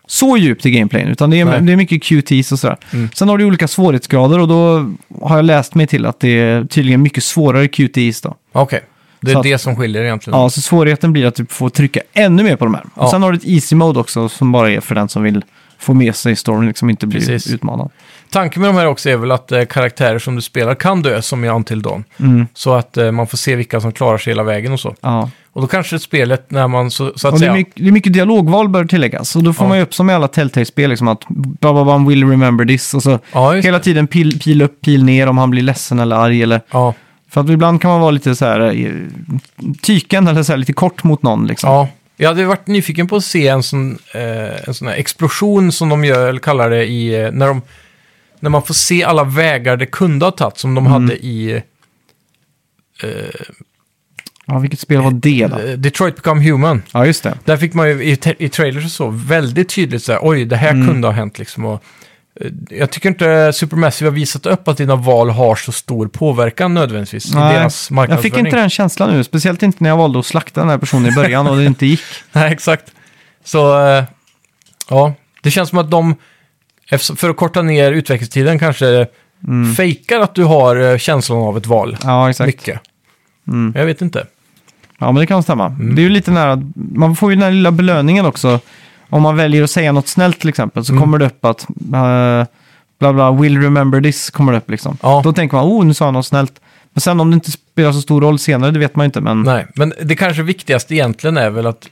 [SPEAKER 1] så djupt i gameplayen, utan det är,
[SPEAKER 2] Nej.
[SPEAKER 1] det är mycket QTs och sådär.
[SPEAKER 2] Mm.
[SPEAKER 1] Sen har du olika svårighetsgrader och då har jag läst mig till att det är tydligen mycket svårare QTs då.
[SPEAKER 2] Okej, det är
[SPEAKER 1] Så att-
[SPEAKER 2] det som skiljer egentligen.
[SPEAKER 1] Ja, så svårigheten blir att du får trycka ännu mer på de här.
[SPEAKER 2] Ja.
[SPEAKER 1] Och sen har du ett easy mode också som bara är för den som vill få med sig storyn, liksom inte bli
[SPEAKER 2] Precis.
[SPEAKER 1] utmanad.
[SPEAKER 2] Tanken med de här också är väl att eh, karaktärer som du spelar kan dö, som i Until Dawn.
[SPEAKER 1] Mm.
[SPEAKER 2] Så att eh, man får se vilka som klarar sig hela vägen och så.
[SPEAKER 1] Ja.
[SPEAKER 2] Och då kanske spelet, när man så, så att
[SPEAKER 1] Och det,
[SPEAKER 2] säga...
[SPEAKER 1] är mycket, det är mycket dialogval bör tilläggas. Och då får
[SPEAKER 2] Ja.
[SPEAKER 1] man ju upp som i alla Telltale-spel, liksom att Bababam will remember this. Och så
[SPEAKER 2] Ja, just
[SPEAKER 1] hela tiden pil, pil upp, pil ner om han blir ledsen eller arg. Eller,
[SPEAKER 2] Ja,
[SPEAKER 1] för att ibland kan man vara lite så här eh, tyken eller så här, lite kort mot någon. Liksom.
[SPEAKER 2] ja. Jag hade varit nyfiken på att se en sån, eh, en sån här explosion som de gör, eller kallar det, i, eh, när, de, när man får se alla vägar det kunde ha tagit, som
[SPEAKER 1] Mm.
[SPEAKER 2] de hade i eh,
[SPEAKER 1] Ja, vilket spel var det då?
[SPEAKER 2] eh, Detroit Become Human.
[SPEAKER 1] Ja, just det.
[SPEAKER 2] Där fick man ju i, te- i trailers och så väldigt tydligt så här, oj, det här
[SPEAKER 1] Mm.
[SPEAKER 2] kunde ha hänt liksom. Och, eh, jag tycker inte Supermassive har visat upp att dina val har så stor påverkan nödvändigtvis i deras
[SPEAKER 1] jag
[SPEAKER 2] marknadsföring.
[SPEAKER 1] fick inte den känslan nu, speciellt inte när jag valde att slakta den här personen i början och det inte gick.
[SPEAKER 2] Nej, exakt. Så, eh, ja, det känns som att de, eftersom- för att korta ner utvecklingstiden kanske, fejkar att du har eh, känslan av ett val.
[SPEAKER 1] Ja, Mm. exakt.
[SPEAKER 2] Mycket.
[SPEAKER 1] Mm.
[SPEAKER 2] Jag vet inte.
[SPEAKER 1] Ja, men det kan stämma.
[SPEAKER 2] Mm.
[SPEAKER 1] Det är ju lite nära, man får ju den här lilla belöningen också. Om man väljer att säga något snällt till exempel
[SPEAKER 2] Mm.
[SPEAKER 1] så kommer det upp att eh, bla bla, will remember this kommer det upp liksom.
[SPEAKER 2] Ja.
[SPEAKER 1] Då tänker man, oh, nu sa han något snällt. Men sen om det inte spelar så stor roll senare, det vet man ju inte. Men
[SPEAKER 2] Nej, men det kanske viktigaste egentligen är väl att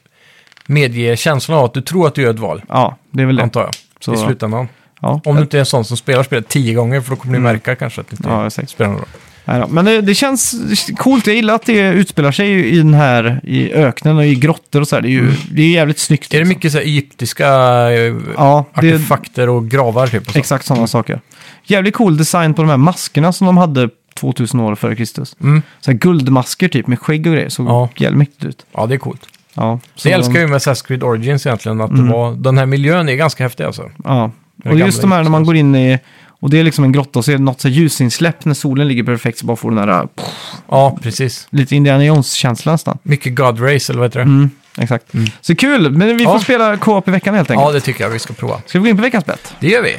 [SPEAKER 2] medge känslan av att du tror att du gör ett val,
[SPEAKER 1] ja, det är väl det.
[SPEAKER 2] antar jag,
[SPEAKER 1] Så-
[SPEAKER 2] i slutändan.
[SPEAKER 1] Ja.
[SPEAKER 2] Om du inte är en sån som spelar spelet tio gånger, för då kommer du märka kanske att det inte
[SPEAKER 1] Mm. Ja, exakt.
[SPEAKER 2] spelar någon roll.
[SPEAKER 1] Nej då. Men det, det känns coolt. Jag gillar att det utspelar sig i den här i öknen och i grottor och så här. Det är ju det är jävligt snyggt.
[SPEAKER 2] Mm. Är det
[SPEAKER 1] liksom.
[SPEAKER 2] mycket så här egyptiska eh,
[SPEAKER 1] Ja, det,
[SPEAKER 2] artefakter och gravar typ? Och så?
[SPEAKER 1] Exakt sådana saker. Jävligt cool design på de här maskerna som de hade 2000 år före Kristus.
[SPEAKER 2] Mm.
[SPEAKER 1] Så här guldmasker typ med skägg och grejer. Såg
[SPEAKER 2] Ja.
[SPEAKER 1] jävligt mäktigt ut.
[SPEAKER 2] Ja, det är coolt.
[SPEAKER 1] Ja,
[SPEAKER 2] Det
[SPEAKER 1] så
[SPEAKER 2] jag älskar
[SPEAKER 1] de, Mm.
[SPEAKER 2] jag ju med Assassin's Creed Origins egentligen, att det var, den här miljön är ganska häftig alltså.
[SPEAKER 1] Ja.
[SPEAKER 2] Den
[SPEAKER 1] Och
[SPEAKER 2] gamla
[SPEAKER 1] just de här när man går in i... Och det är liksom en grotta och så är det något så här ljusinsläpp när solen ligger perfekt så bara får den här pff,
[SPEAKER 2] Ja, precis.
[SPEAKER 1] lite Indiana Jones-känsla nästan.
[SPEAKER 2] Mycket God Race, eller vad heter det?
[SPEAKER 1] Mm, exakt. Så kul! Men vi får
[SPEAKER 2] Ja.
[SPEAKER 1] spela co-op i veckan helt enkelt.
[SPEAKER 2] Ja, det tycker jag vi ska prova.
[SPEAKER 1] Ska vi gå in på veckans bett?
[SPEAKER 2] Det gör vi.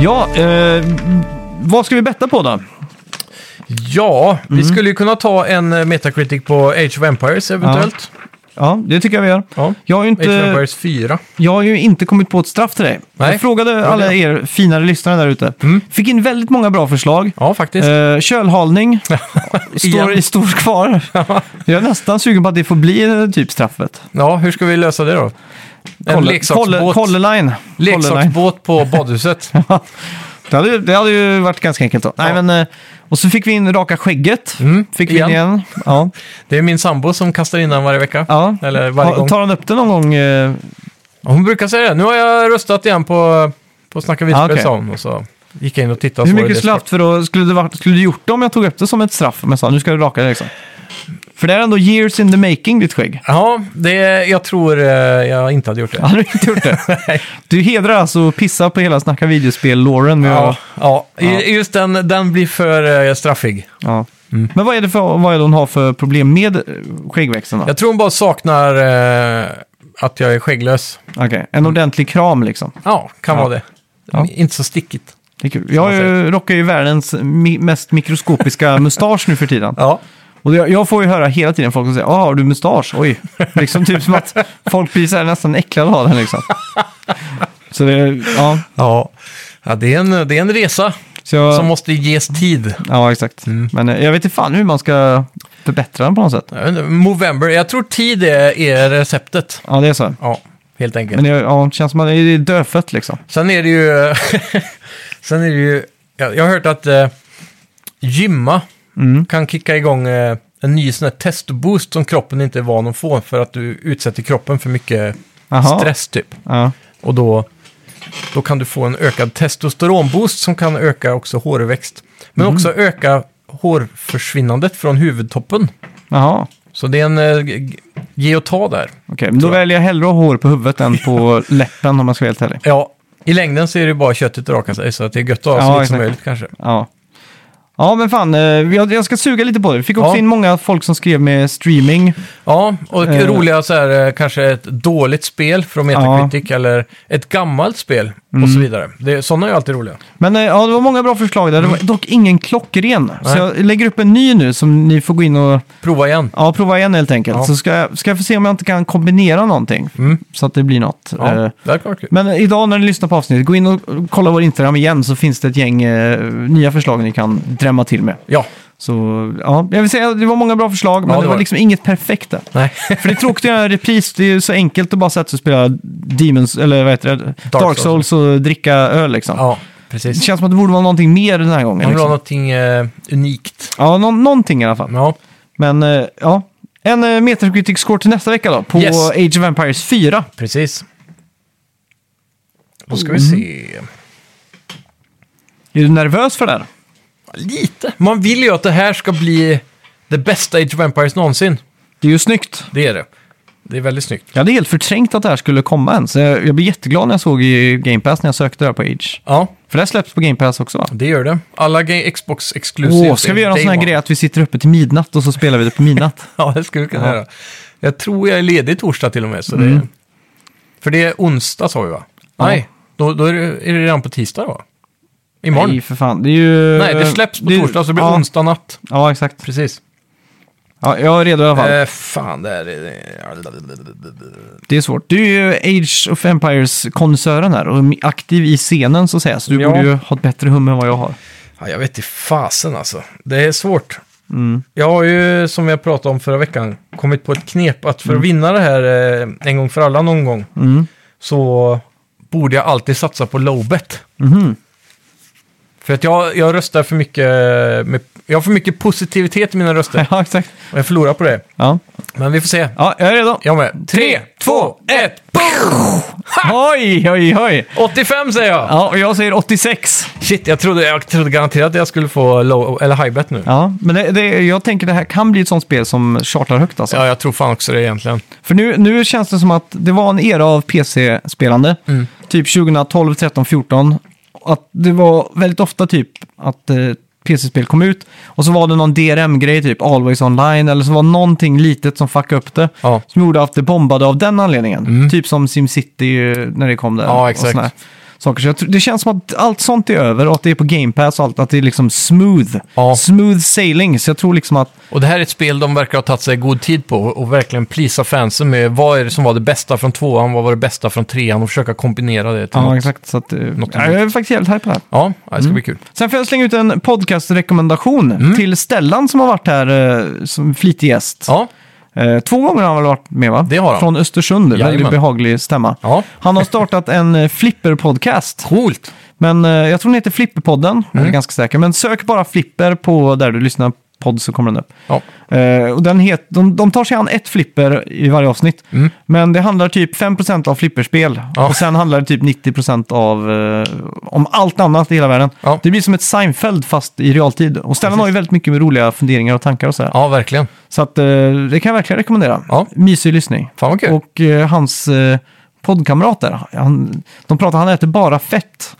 [SPEAKER 1] Ja, eh, vad ska vi betta på då?
[SPEAKER 2] Ja,
[SPEAKER 1] Mm.
[SPEAKER 2] vi skulle ju kunna ta en eh, Metacritic på Age of Empires eventuellt.
[SPEAKER 1] Ja, det tycker jag vi gör.
[SPEAKER 2] Ja.
[SPEAKER 1] Jag har ju
[SPEAKER 2] Age of
[SPEAKER 1] inte...
[SPEAKER 2] Empires 4.
[SPEAKER 1] Jag har ju inte kommit på ett straff till dig.
[SPEAKER 2] Nej.
[SPEAKER 1] Jag frågade
[SPEAKER 2] det. Mm.
[SPEAKER 1] alla er finare lyssnare där ute. Fick in väldigt många bra förslag.
[SPEAKER 2] Ja, faktiskt.
[SPEAKER 1] Eh, kölhalning står,
[SPEAKER 2] Igen.
[SPEAKER 1] står kvar. Jag är nästan sugen på att det får bli eh, typ straffet.
[SPEAKER 2] Ja, hur ska vi lösa det då?
[SPEAKER 1] Kolle-
[SPEAKER 2] En
[SPEAKER 1] kolle-
[SPEAKER 2] leksaksbåt,
[SPEAKER 1] Kolleline. Kolleline.
[SPEAKER 2] leksaksbåt på badhuset.
[SPEAKER 1] Det hade, ju- det hade ju varit ganska enkelt då. Nej,
[SPEAKER 2] Ja.
[SPEAKER 1] men, eh, och så fick vi in raka skägget.
[SPEAKER 2] Mm,
[SPEAKER 1] Fick vi in
[SPEAKER 2] igen.
[SPEAKER 1] igen. Ja.
[SPEAKER 2] Det är min sambo som kastar in den varje vecka.
[SPEAKER 1] Ja.
[SPEAKER 2] Eller varje
[SPEAKER 1] Ha-
[SPEAKER 2] gång.
[SPEAKER 1] Tar han upp det någon gång? eh,
[SPEAKER 2] Hon brukar säga det. Nu har jag röstat igen på, på Snacka
[SPEAKER 1] Ah,
[SPEAKER 2] Visby,
[SPEAKER 1] okej.
[SPEAKER 2] sa hon. Och så gick jag in och tittade.
[SPEAKER 1] Hur
[SPEAKER 2] så var
[SPEAKER 1] mycket
[SPEAKER 2] det
[SPEAKER 1] skulle du haft för att, skulle du, varit- skulle du gjort det om jag tog upp det som ett straff? Om jag sa nu ska du raka dig liksom. För det är ändå years in the making ditt skägg.
[SPEAKER 2] Ja, det, jag tror eh, jag inte hade gjort det.
[SPEAKER 1] Hade du inte gjort det? Du hedrar alltså och pissar på hela Snacka videospel-låren med
[SPEAKER 2] Ja,
[SPEAKER 1] att-
[SPEAKER 2] ja. I- just den, den blir för eh, straffig.
[SPEAKER 1] ja.
[SPEAKER 2] Mm.
[SPEAKER 1] Men vad är det för, vad är det hon har för problem med eh, skäggväxten då?
[SPEAKER 2] Jag tror hon bara saknar eh, att jag är skägglös.
[SPEAKER 1] Okej, En ordentlig kram liksom.
[SPEAKER 2] Ja, kan vara det.
[SPEAKER 1] Ja.
[SPEAKER 2] Inte så stickigt.
[SPEAKER 1] Det är kul. Jag eh, rockar ju världens mi- mest mikroskopiska mustasch nu för tiden.
[SPEAKER 2] Ja.
[SPEAKER 1] Och jag, jag får ju höra hela tiden folk som säger ”Ah, har du mustasch? Oj!” Liksom typ som att folk blir så här nästan äcklade av den liksom. Så det, ja.
[SPEAKER 2] Ja. ja det, är en, det är en resa
[SPEAKER 1] Så jag,
[SPEAKER 2] som Mm. måste ges tid.
[SPEAKER 1] ja, exakt. Men eh, jag vet inte fan hur man ska förbättra den på något sätt.
[SPEAKER 2] Jag vet inte, Movember, jag tror tid är, är receptet.
[SPEAKER 1] Ja, det är så.
[SPEAKER 2] Ja, helt enkelt.
[SPEAKER 1] Men det, ja, det känns som att det är dödfött liksom.
[SPEAKER 2] Sen är det ju... sen är det ju jag, jag har hört att eh, gymma
[SPEAKER 1] Mm.
[SPEAKER 2] kan kicka igång eh, en ny sån här testboost som kroppen inte är van att få för att du utsätter kroppen för mycket
[SPEAKER 1] Aha.
[SPEAKER 2] stress typ.
[SPEAKER 1] Ja.
[SPEAKER 2] Och då, då kan du få en ökad testosteronboost som kan öka också hårväxt. Men
[SPEAKER 1] Mm.
[SPEAKER 2] också öka hårförsvinnandet från huvudtoppen.
[SPEAKER 1] Jaha.
[SPEAKER 2] Så det är en eh, g- g- ge och ta där.
[SPEAKER 1] Okej, men då
[SPEAKER 2] Tror jag.
[SPEAKER 1] väljer jag hellre att ha hår på huvudet än på läppen om man ska vara helt ärlig.
[SPEAKER 2] Ja, i längden så är det bara köttet att raka sig så att det är gött att ha så
[SPEAKER 1] Ja,
[SPEAKER 2] lite som
[SPEAKER 1] exakt.
[SPEAKER 2] möjligt kanske.
[SPEAKER 1] Ja. Ja, men fan, eh, jag, jag ska suga lite på det. Vi fick också
[SPEAKER 2] Ja.
[SPEAKER 1] in många folk som skrev med streaming.
[SPEAKER 2] Ja, och
[SPEAKER 1] Eh.
[SPEAKER 2] roliga så här, eh, kanske ett dåligt spel från Metacritic eller ett gammalt spel och
[SPEAKER 1] Mm.
[SPEAKER 2] så vidare. Det, sådana är ju alltid roliga.
[SPEAKER 1] Men eh, ja, det var många bra förslag där. Det var dock ingen klockren. Så
[SPEAKER 2] Mm. Nej.
[SPEAKER 1] jag lägger upp en ny nu som ni får gå in och
[SPEAKER 2] Prova igen.
[SPEAKER 1] ja, prova igen helt enkelt.
[SPEAKER 2] Ja. Mm.
[SPEAKER 1] Så ska jag, ska jag få se om jag inte kan kombinera någonting. Så att det blir något.
[SPEAKER 2] Ja,
[SPEAKER 1] Eh,
[SPEAKER 2] det här kan vara kul.
[SPEAKER 1] Men idag när ni lyssnar på avsnittet, gå in och kolla vår Instagram igen så finns det ett gäng eh, nya förslag ni kan drämma till med.
[SPEAKER 2] Ja,
[SPEAKER 1] Så ja, jag vill säga att det var många bra förslag, men
[SPEAKER 2] det
[SPEAKER 1] det
[SPEAKER 2] var
[SPEAKER 1] var
[SPEAKER 2] det.
[SPEAKER 1] liksom inget perfekt där.
[SPEAKER 2] nej.
[SPEAKER 1] För det är tråkigt att göra en repris, det är ju så enkelt att bara sätta sig och spela Demons, eller vad heter det? Dark,
[SPEAKER 2] Souls.
[SPEAKER 1] Souls. och dricka öl liksom.
[SPEAKER 2] ja,
[SPEAKER 1] Det
[SPEAKER 2] precis.
[SPEAKER 1] känns som att det borde vara någonting mer den här gången.
[SPEAKER 2] Man vill ha
[SPEAKER 1] Liksom.
[SPEAKER 2] någonting eh, unikt.
[SPEAKER 1] Ja, nå- någonting i alla fall.
[SPEAKER 2] Ja,
[SPEAKER 1] Men eh, ja, en eh, Metacritic score till nästa vecka då, på
[SPEAKER 2] Yes.
[SPEAKER 1] Age of Empires 4.
[SPEAKER 2] precis. Då
[SPEAKER 1] Mm.
[SPEAKER 2] ska vi se.
[SPEAKER 1] Är du nervös för det här?
[SPEAKER 2] Lite. Man vill ju att det här ska bli det bästa Age of Empires någonsin.
[SPEAKER 1] Det är ju snyggt.
[SPEAKER 2] Det är det. Det är väldigt snyggt.
[SPEAKER 1] Jag hade helt förträngt att det här skulle komma ens. Jag, jag blev jätteglad när jag såg i Game Pass när jag sökte där på Age.
[SPEAKER 2] Ja,
[SPEAKER 1] För det här släpps på Game Pass också va?
[SPEAKER 2] det gör det. Alla ga- Xbox Exclusive.
[SPEAKER 1] Åh, ska vi göra en
[SPEAKER 2] Day
[SPEAKER 1] sån här
[SPEAKER 2] One.
[SPEAKER 1] grej att vi sitter uppe till midnatt och så spelar vi det på midnatt?
[SPEAKER 2] Ja, det skulle vi kunna
[SPEAKER 1] Ja. Mm.
[SPEAKER 2] göra. Jag tror jag är ledig torsdag till och med. Så det, för det är onsdag sa vi va?
[SPEAKER 1] Ja.
[SPEAKER 2] Nej, då, då är, det, är det redan på tisdag då? Imorgon?
[SPEAKER 1] Nej,
[SPEAKER 2] Nej,
[SPEAKER 1] för fan. Det är ju...
[SPEAKER 2] det släpps på
[SPEAKER 1] är-
[SPEAKER 2] torsdag så det blir
[SPEAKER 1] ja,
[SPEAKER 2] onsdag natt.
[SPEAKER 1] Ja, exakt.
[SPEAKER 2] Precis.
[SPEAKER 1] Ja, jag är redo i alla fall.
[SPEAKER 2] Eh, fan, det här är...
[SPEAKER 1] Det är svårt. Du är ju Age of Empires-konsören här och aktiv i scenen så att säga. Så du
[SPEAKER 2] Ja.
[SPEAKER 1] borde ju ha ett bättre hum än vad jag har.
[SPEAKER 2] Ja, jag vet inte fasen alltså. Det är svårt. Jag har ju, som jag pratade om förra veckan, kommit på ett knep att för att vinna det här eh, en gång för alla någon gång
[SPEAKER 1] Mm.
[SPEAKER 2] så borde jag alltid satsa på lowbet.
[SPEAKER 1] Mhm.
[SPEAKER 2] För att jag, jag röstar för mycket, eh, med, jag har för mycket positivitet i mina röster
[SPEAKER 1] Ja, exakt.
[SPEAKER 2] och jag förlorar på det.
[SPEAKER 1] Ja.
[SPEAKER 2] Men vi får se.
[SPEAKER 1] ja, jag är redo.
[SPEAKER 2] Jag med. Tre, två, ett,
[SPEAKER 1] Oj, oj, oj!
[SPEAKER 2] 85 säger jag!
[SPEAKER 1] Ja, och jag säger 86.
[SPEAKER 2] Shit, jag trodde, jag trodde garanterat att jag skulle få low, eller high bet nu. Ja.
[SPEAKER 1] Ja, men det, det, jag tänker det här kan bli ett sånt spel som chartar högt alltså.
[SPEAKER 2] jag tror fan också det egentligen.
[SPEAKER 1] För nu, nu känns det som att det var en era av PC-spelande.
[SPEAKER 2] Mm.
[SPEAKER 1] Typ 2012, 13, 14. Att det var väldigt ofta typ att eh, PC-spel kom ut och så var det någon DRM-grej, typ Always Online, eller så var någonting litet som fuckade upp det.
[SPEAKER 2] Ja. Mm.
[SPEAKER 1] Som gjorde att det bombade av den anledningen. Typ som SimCity eh, när det kom där.
[SPEAKER 2] Ja,
[SPEAKER 1] och
[SPEAKER 2] exakt.
[SPEAKER 1] såna här Saker. Så jag tror, det känns som att allt sånt är över och att det är på Game Pass och allt, att det är liksom smooth.
[SPEAKER 2] Ja.
[SPEAKER 1] Smooth sailing. Så jag tror liksom att
[SPEAKER 2] Och det här är ett spel de verkar ha tagit sig god tid på och verkligen plisa fansen med vad är det som var det bästa från tvåan, vad var det bästa från trean och försöka kombinera det till
[SPEAKER 1] Ja,
[SPEAKER 2] något.
[SPEAKER 1] exakt. Mm. Så att, eh,
[SPEAKER 2] något
[SPEAKER 1] ja, jag är faktiskt jävligt hype på det här.
[SPEAKER 2] Ja, ja, det ska bli kul.
[SPEAKER 1] Sen får jag slänga ut en podcastrekommendation
[SPEAKER 2] Mm.
[SPEAKER 1] till Stellan som har varit här eh, som flitig gäst.
[SPEAKER 2] Ja,
[SPEAKER 1] Eh, två gånger har han väl varit med va?
[SPEAKER 2] Det har han.
[SPEAKER 1] Från Östersund,
[SPEAKER 2] Jajamän.
[SPEAKER 1] väldigt behaglig stämma.
[SPEAKER 2] Ja.
[SPEAKER 1] Han har startat en eh, flipper-podcast.
[SPEAKER 2] coolt.
[SPEAKER 1] Men eh, jag tror den heter Flipperpodden, jag är
[SPEAKER 2] Mm.
[SPEAKER 1] ganska säker. Men sök bara flipper på där du lyssnar på podd så kommer den upp.
[SPEAKER 2] Ja.
[SPEAKER 1] Eh, och den het, de, de tar sig an ett flipper i varje avsnitt. Men det handlar typ 5% av flipperspel.
[SPEAKER 2] Mm. Ja.
[SPEAKER 1] Och sen handlar det typ 90% av, eh, om allt annat i hela världen.
[SPEAKER 2] Ja.
[SPEAKER 1] Det blir som ett Seinfeld fast i realtid. Och Stellan har ju väldigt mycket med roliga funderingar och tankar och sådär.
[SPEAKER 2] Ja, verkligen.
[SPEAKER 1] Så att, eh, det kan jag verkligen rekommendera.
[SPEAKER 2] Ja.
[SPEAKER 1] Mysig lyssning.
[SPEAKER 2] Fan vad kul.
[SPEAKER 1] Och eh, hans eh, poddkamrat där, han, de pratar, han äter bara fett.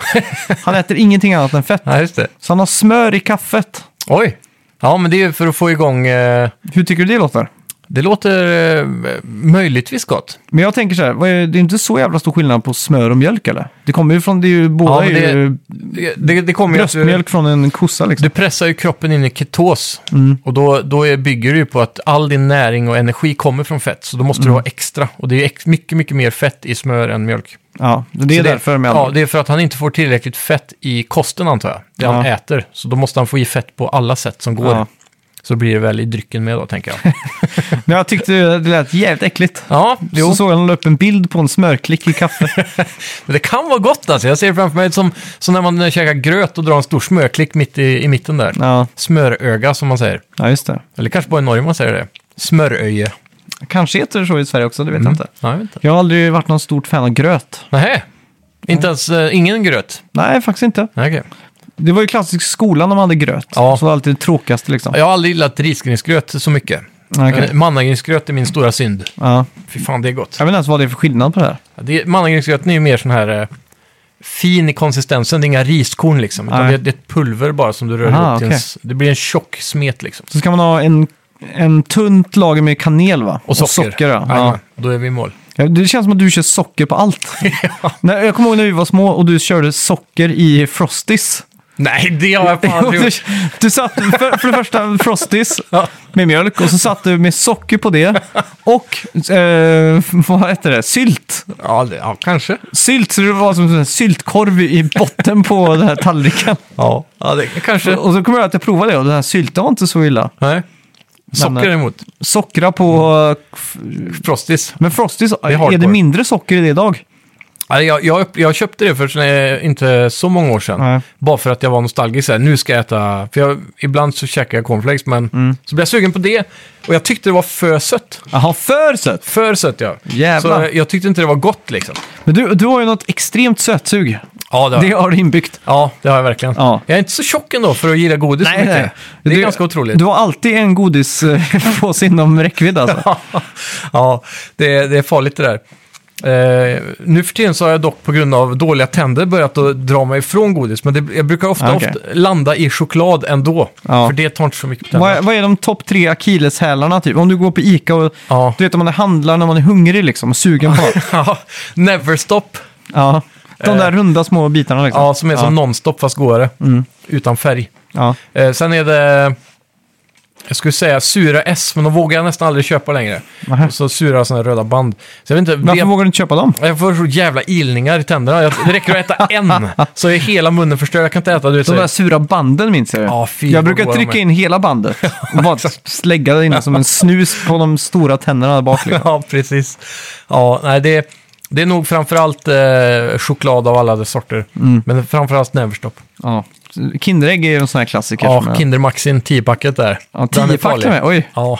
[SPEAKER 1] han äter ingenting annat än fett.
[SPEAKER 2] Ja, just det.
[SPEAKER 1] Så han har smör i kaffet.
[SPEAKER 2] Oj! Ja, men det är ju för att få igång... Eh,
[SPEAKER 1] Hur tycker du det låter?
[SPEAKER 2] Det låter eh, möjligtvis gott.
[SPEAKER 1] Men jag tänker så här, vad är, det är inte så jävla stor skillnad på smör och mjölk eller? Det kommer ju från, det är ju båda
[SPEAKER 2] men det-
[SPEAKER 1] är ju
[SPEAKER 2] Det, det, det kommer ju att du,
[SPEAKER 1] bröstmjölk från en kossa liksom.
[SPEAKER 2] du pressar ju kroppen in i ketos.
[SPEAKER 1] Mm.
[SPEAKER 2] Och då, då är, bygger det ju på att all din näring och energi kommer från fett. Så då måste
[SPEAKER 1] Mm.
[SPEAKER 2] du ha extra. Och det är ex, mycket, mycket mer fett i smör än mjölk.
[SPEAKER 1] ja, det
[SPEAKER 2] Så
[SPEAKER 1] är därför med
[SPEAKER 2] Ja,
[SPEAKER 1] all...
[SPEAKER 2] det är för att han inte får tillräckligt fett i kosten antar jag. Det han
[SPEAKER 1] Ja.
[SPEAKER 2] äter. Så då måste han få i fett på alla sätt som går.
[SPEAKER 1] Ja.
[SPEAKER 2] Så blir det väl i drycken med då, tänker jag.
[SPEAKER 1] Men jag tyckte det lät jävligt äckligt.
[SPEAKER 2] Ja, jo.
[SPEAKER 1] Så såg jag att han la upp en bild på en smörklick i kaffe.
[SPEAKER 2] Men det kan vara gott alltså. Jag ser framför mig som, som när man käkar gröt och drar en stor smörklick mitt i, i mitten där.
[SPEAKER 1] ja,
[SPEAKER 2] Smöröga som man säger.
[SPEAKER 1] ja, just det.
[SPEAKER 2] Eller kanske bara i Norge man säger det. Smöröje.
[SPEAKER 1] Kanske heter det så i Sverige också, det vet jag inte.
[SPEAKER 2] Nej, jag vet inte.
[SPEAKER 1] Jag har aldrig varit någon stort fan av gröt.
[SPEAKER 2] Nähä. Inte ens, eh, ingen gröt?
[SPEAKER 1] Nej, faktiskt inte.
[SPEAKER 2] Nej, okej.
[SPEAKER 1] Det var ju klassiskt skolan när man hade gröt.
[SPEAKER 2] Ja.
[SPEAKER 1] Så det var alltid det tråkigaste liksom.
[SPEAKER 2] Jag har aldrig gillat risgrynsgröt så mycket.
[SPEAKER 1] Ja, okej.
[SPEAKER 2] Eh, Mannagrynsgröt är min stora synd.
[SPEAKER 1] Ja.
[SPEAKER 2] Fy fan, det är gott.
[SPEAKER 1] Jag vet inte ens vad det är för skillnad på det här.
[SPEAKER 2] Det- Mannagrynsgröten är ju mer sån här eh, fin i konsistensen. Det är inga riskorn liksom. Utan
[SPEAKER 1] Nej.
[SPEAKER 2] det, det är ett pulver bara som du rör
[SPEAKER 1] Aha,
[SPEAKER 2] ihop till en
[SPEAKER 1] okej.
[SPEAKER 2] s- Det blir en tjock smet liksom.
[SPEAKER 1] Så ska man ha en, en tunt lager med kanel va?
[SPEAKER 2] Och socker.
[SPEAKER 1] ja.
[SPEAKER 2] Jajamän,
[SPEAKER 1] ja.
[SPEAKER 2] Då är vi i mål.
[SPEAKER 1] Ja, Det känns som att du kör socker på allt. Nej, jag kommer ihåg när vi var små och du körde socker i Frosties.
[SPEAKER 2] Nej, det har jag fan aldrig
[SPEAKER 1] du,
[SPEAKER 2] gjort.
[SPEAKER 1] du satt för, för det första Frosties
[SPEAKER 2] Ja.
[SPEAKER 1] med mjölk och så satt du med socker på det och eh, vad heter det? Sylt.
[SPEAKER 2] Ja, det, ja, kanske.
[SPEAKER 1] Sylt, så det var som en syltkorv i botten på den här tallriken.
[SPEAKER 2] Ja, ja det, kanske.
[SPEAKER 1] Och så kommer jag att jag provade det och den här sylten var inte så illa.
[SPEAKER 2] Nej. Socker emot.
[SPEAKER 1] Sockra på...
[SPEAKER 2] Frosties.
[SPEAKER 1] Men Frosties, är,
[SPEAKER 2] hardcore.
[SPEAKER 1] det mindre socker i det idag?
[SPEAKER 2] Ja, Jag, jag, upp- jag köpte det för eh, inte så många år sedan.
[SPEAKER 1] Nej.
[SPEAKER 2] Bara för att jag var nostalgisk. Så här, nu ska jag äta... För jag, ibland så käkar jag cornflakes, men
[SPEAKER 1] Mm.
[SPEAKER 2] så blev jag sugen på det. Och jag tyckte det var för sött.
[SPEAKER 1] Jaha, för sött!
[SPEAKER 2] För sött, ja.
[SPEAKER 1] Jävlar.
[SPEAKER 2] Så jag tyckte inte det var gott liksom.
[SPEAKER 1] Men du, du har ju något extremt sötsug.
[SPEAKER 2] Ja, det har,
[SPEAKER 1] Det har du inbyggt.
[SPEAKER 2] ja, det har jag verkligen.
[SPEAKER 1] Ja.
[SPEAKER 2] Jag är inte så tjock ändå för att gilla godis så mycket. Det är
[SPEAKER 1] Du-
[SPEAKER 2] ganska otroligt.
[SPEAKER 1] Du har alltid en godis eh, på sig inom räckvidd alltså.
[SPEAKER 2] ja, det är, det är farligt det där. Eh, nu för tiden så har jag dock på grund av dåliga tänder börjat att dra mig ifrån godis. Men det, jag brukar ofta,
[SPEAKER 1] Ah, okej.
[SPEAKER 2] ofta landa i choklad ändå.
[SPEAKER 1] Ja.
[SPEAKER 2] För det tar inte så mycket på
[SPEAKER 1] Vad,
[SPEAKER 2] tänderna.
[SPEAKER 1] vad är de topp tre akilleshälarna typ? Om du går på Ica och...
[SPEAKER 2] Ja.
[SPEAKER 1] Du vet om man handlar när man är hungrig liksom och sugen på allt.
[SPEAKER 2] Ja, Never stop.
[SPEAKER 1] Ja. De där runda små bitarna liksom.
[SPEAKER 2] Ja, som är som nonstop fast godare.
[SPEAKER 1] Mm.
[SPEAKER 2] Utan färg.
[SPEAKER 1] Ja.
[SPEAKER 2] Eh, sen är det... Jag skulle säga sura S, men de vågar jag nästan aldrig köpa längre.
[SPEAKER 1] Nähä.
[SPEAKER 2] Och så sura sådana här röda band. Så jag vet inte,
[SPEAKER 1] Varför
[SPEAKER 2] ve-
[SPEAKER 1] vågar du inte köpa dem?
[SPEAKER 2] Jag får så jävla ilningar i tänderna. Jag, det räcker att äta en, så är hela munnen förstörd. Jag kan inte äta du vet,
[SPEAKER 1] De
[SPEAKER 2] så-
[SPEAKER 1] där sura banden minns jag ju.
[SPEAKER 2] Ja, fy,
[SPEAKER 1] jag
[SPEAKER 2] vad
[SPEAKER 1] brukar
[SPEAKER 2] goda de
[SPEAKER 1] trycka
[SPEAKER 2] är.
[SPEAKER 1] in hela bandet och bara slägga det in som en snus på de stora tänderna där bak. Liksom.
[SPEAKER 2] Ja, precis. Ja, nej, det, det är nog framförallt eh, choklad av alla dess sorter.
[SPEAKER 1] Mm.
[SPEAKER 2] Men framförallt Neverstop.
[SPEAKER 1] Ja. Kinderägg är ju en sån här klassiker.
[SPEAKER 2] Ja,
[SPEAKER 1] som jag-
[SPEAKER 2] Kinder Maxin 10-packet där.
[SPEAKER 1] ja,
[SPEAKER 2] Den är
[SPEAKER 1] tio pack
[SPEAKER 2] farlig.
[SPEAKER 1] till mig. Oj.
[SPEAKER 2] Ja,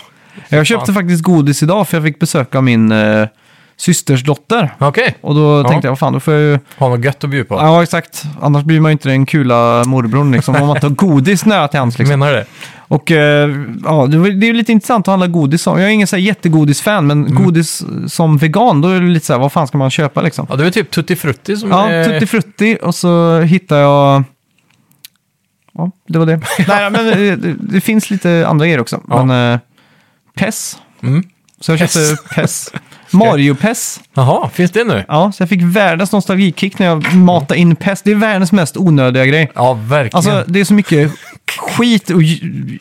[SPEAKER 1] Jag köpte
[SPEAKER 2] fan.
[SPEAKER 1] faktiskt godis idag för jag fick besöka min eh, systers dotter.
[SPEAKER 2] okej.
[SPEAKER 1] Och då
[SPEAKER 2] Ja.
[SPEAKER 1] tänkte jag, vad fan, då får jag ju...
[SPEAKER 2] Har något gött att bjuda på.
[SPEAKER 1] Ja, exakt. Annars blir man ju inte den kula morbrorn liksom, om man inte har godis nära till hands. Liksom.
[SPEAKER 2] Menar du det?
[SPEAKER 1] Och eh, ja, det var- det är ju lite intressant att handla godis som. Jag är ingen så här jättegodisfan, men godis som vegan, då är det lite så här, vad fan ska man köpa liksom?
[SPEAKER 2] Ja, det är väl typ Tutti Frutti som
[SPEAKER 1] Ja,
[SPEAKER 2] är...
[SPEAKER 1] Tutti Frutti och så hittar jag... Ja, det var det. Nej, men det, det, det finns lite andra grejer också.
[SPEAKER 2] Ja.
[SPEAKER 1] Men eh, PES.
[SPEAKER 2] Mm.
[SPEAKER 1] Så jag
[SPEAKER 2] PES.
[SPEAKER 1] köpte PES. Mario-PES.
[SPEAKER 2] Jaha, finns det nu?
[SPEAKER 1] Ja, så jag fick världens nostalgikick när jag matade in PES. Det är världens mest onödiga grej.
[SPEAKER 2] Ja, verkligen.
[SPEAKER 1] Alltså, det är så mycket skit och ju-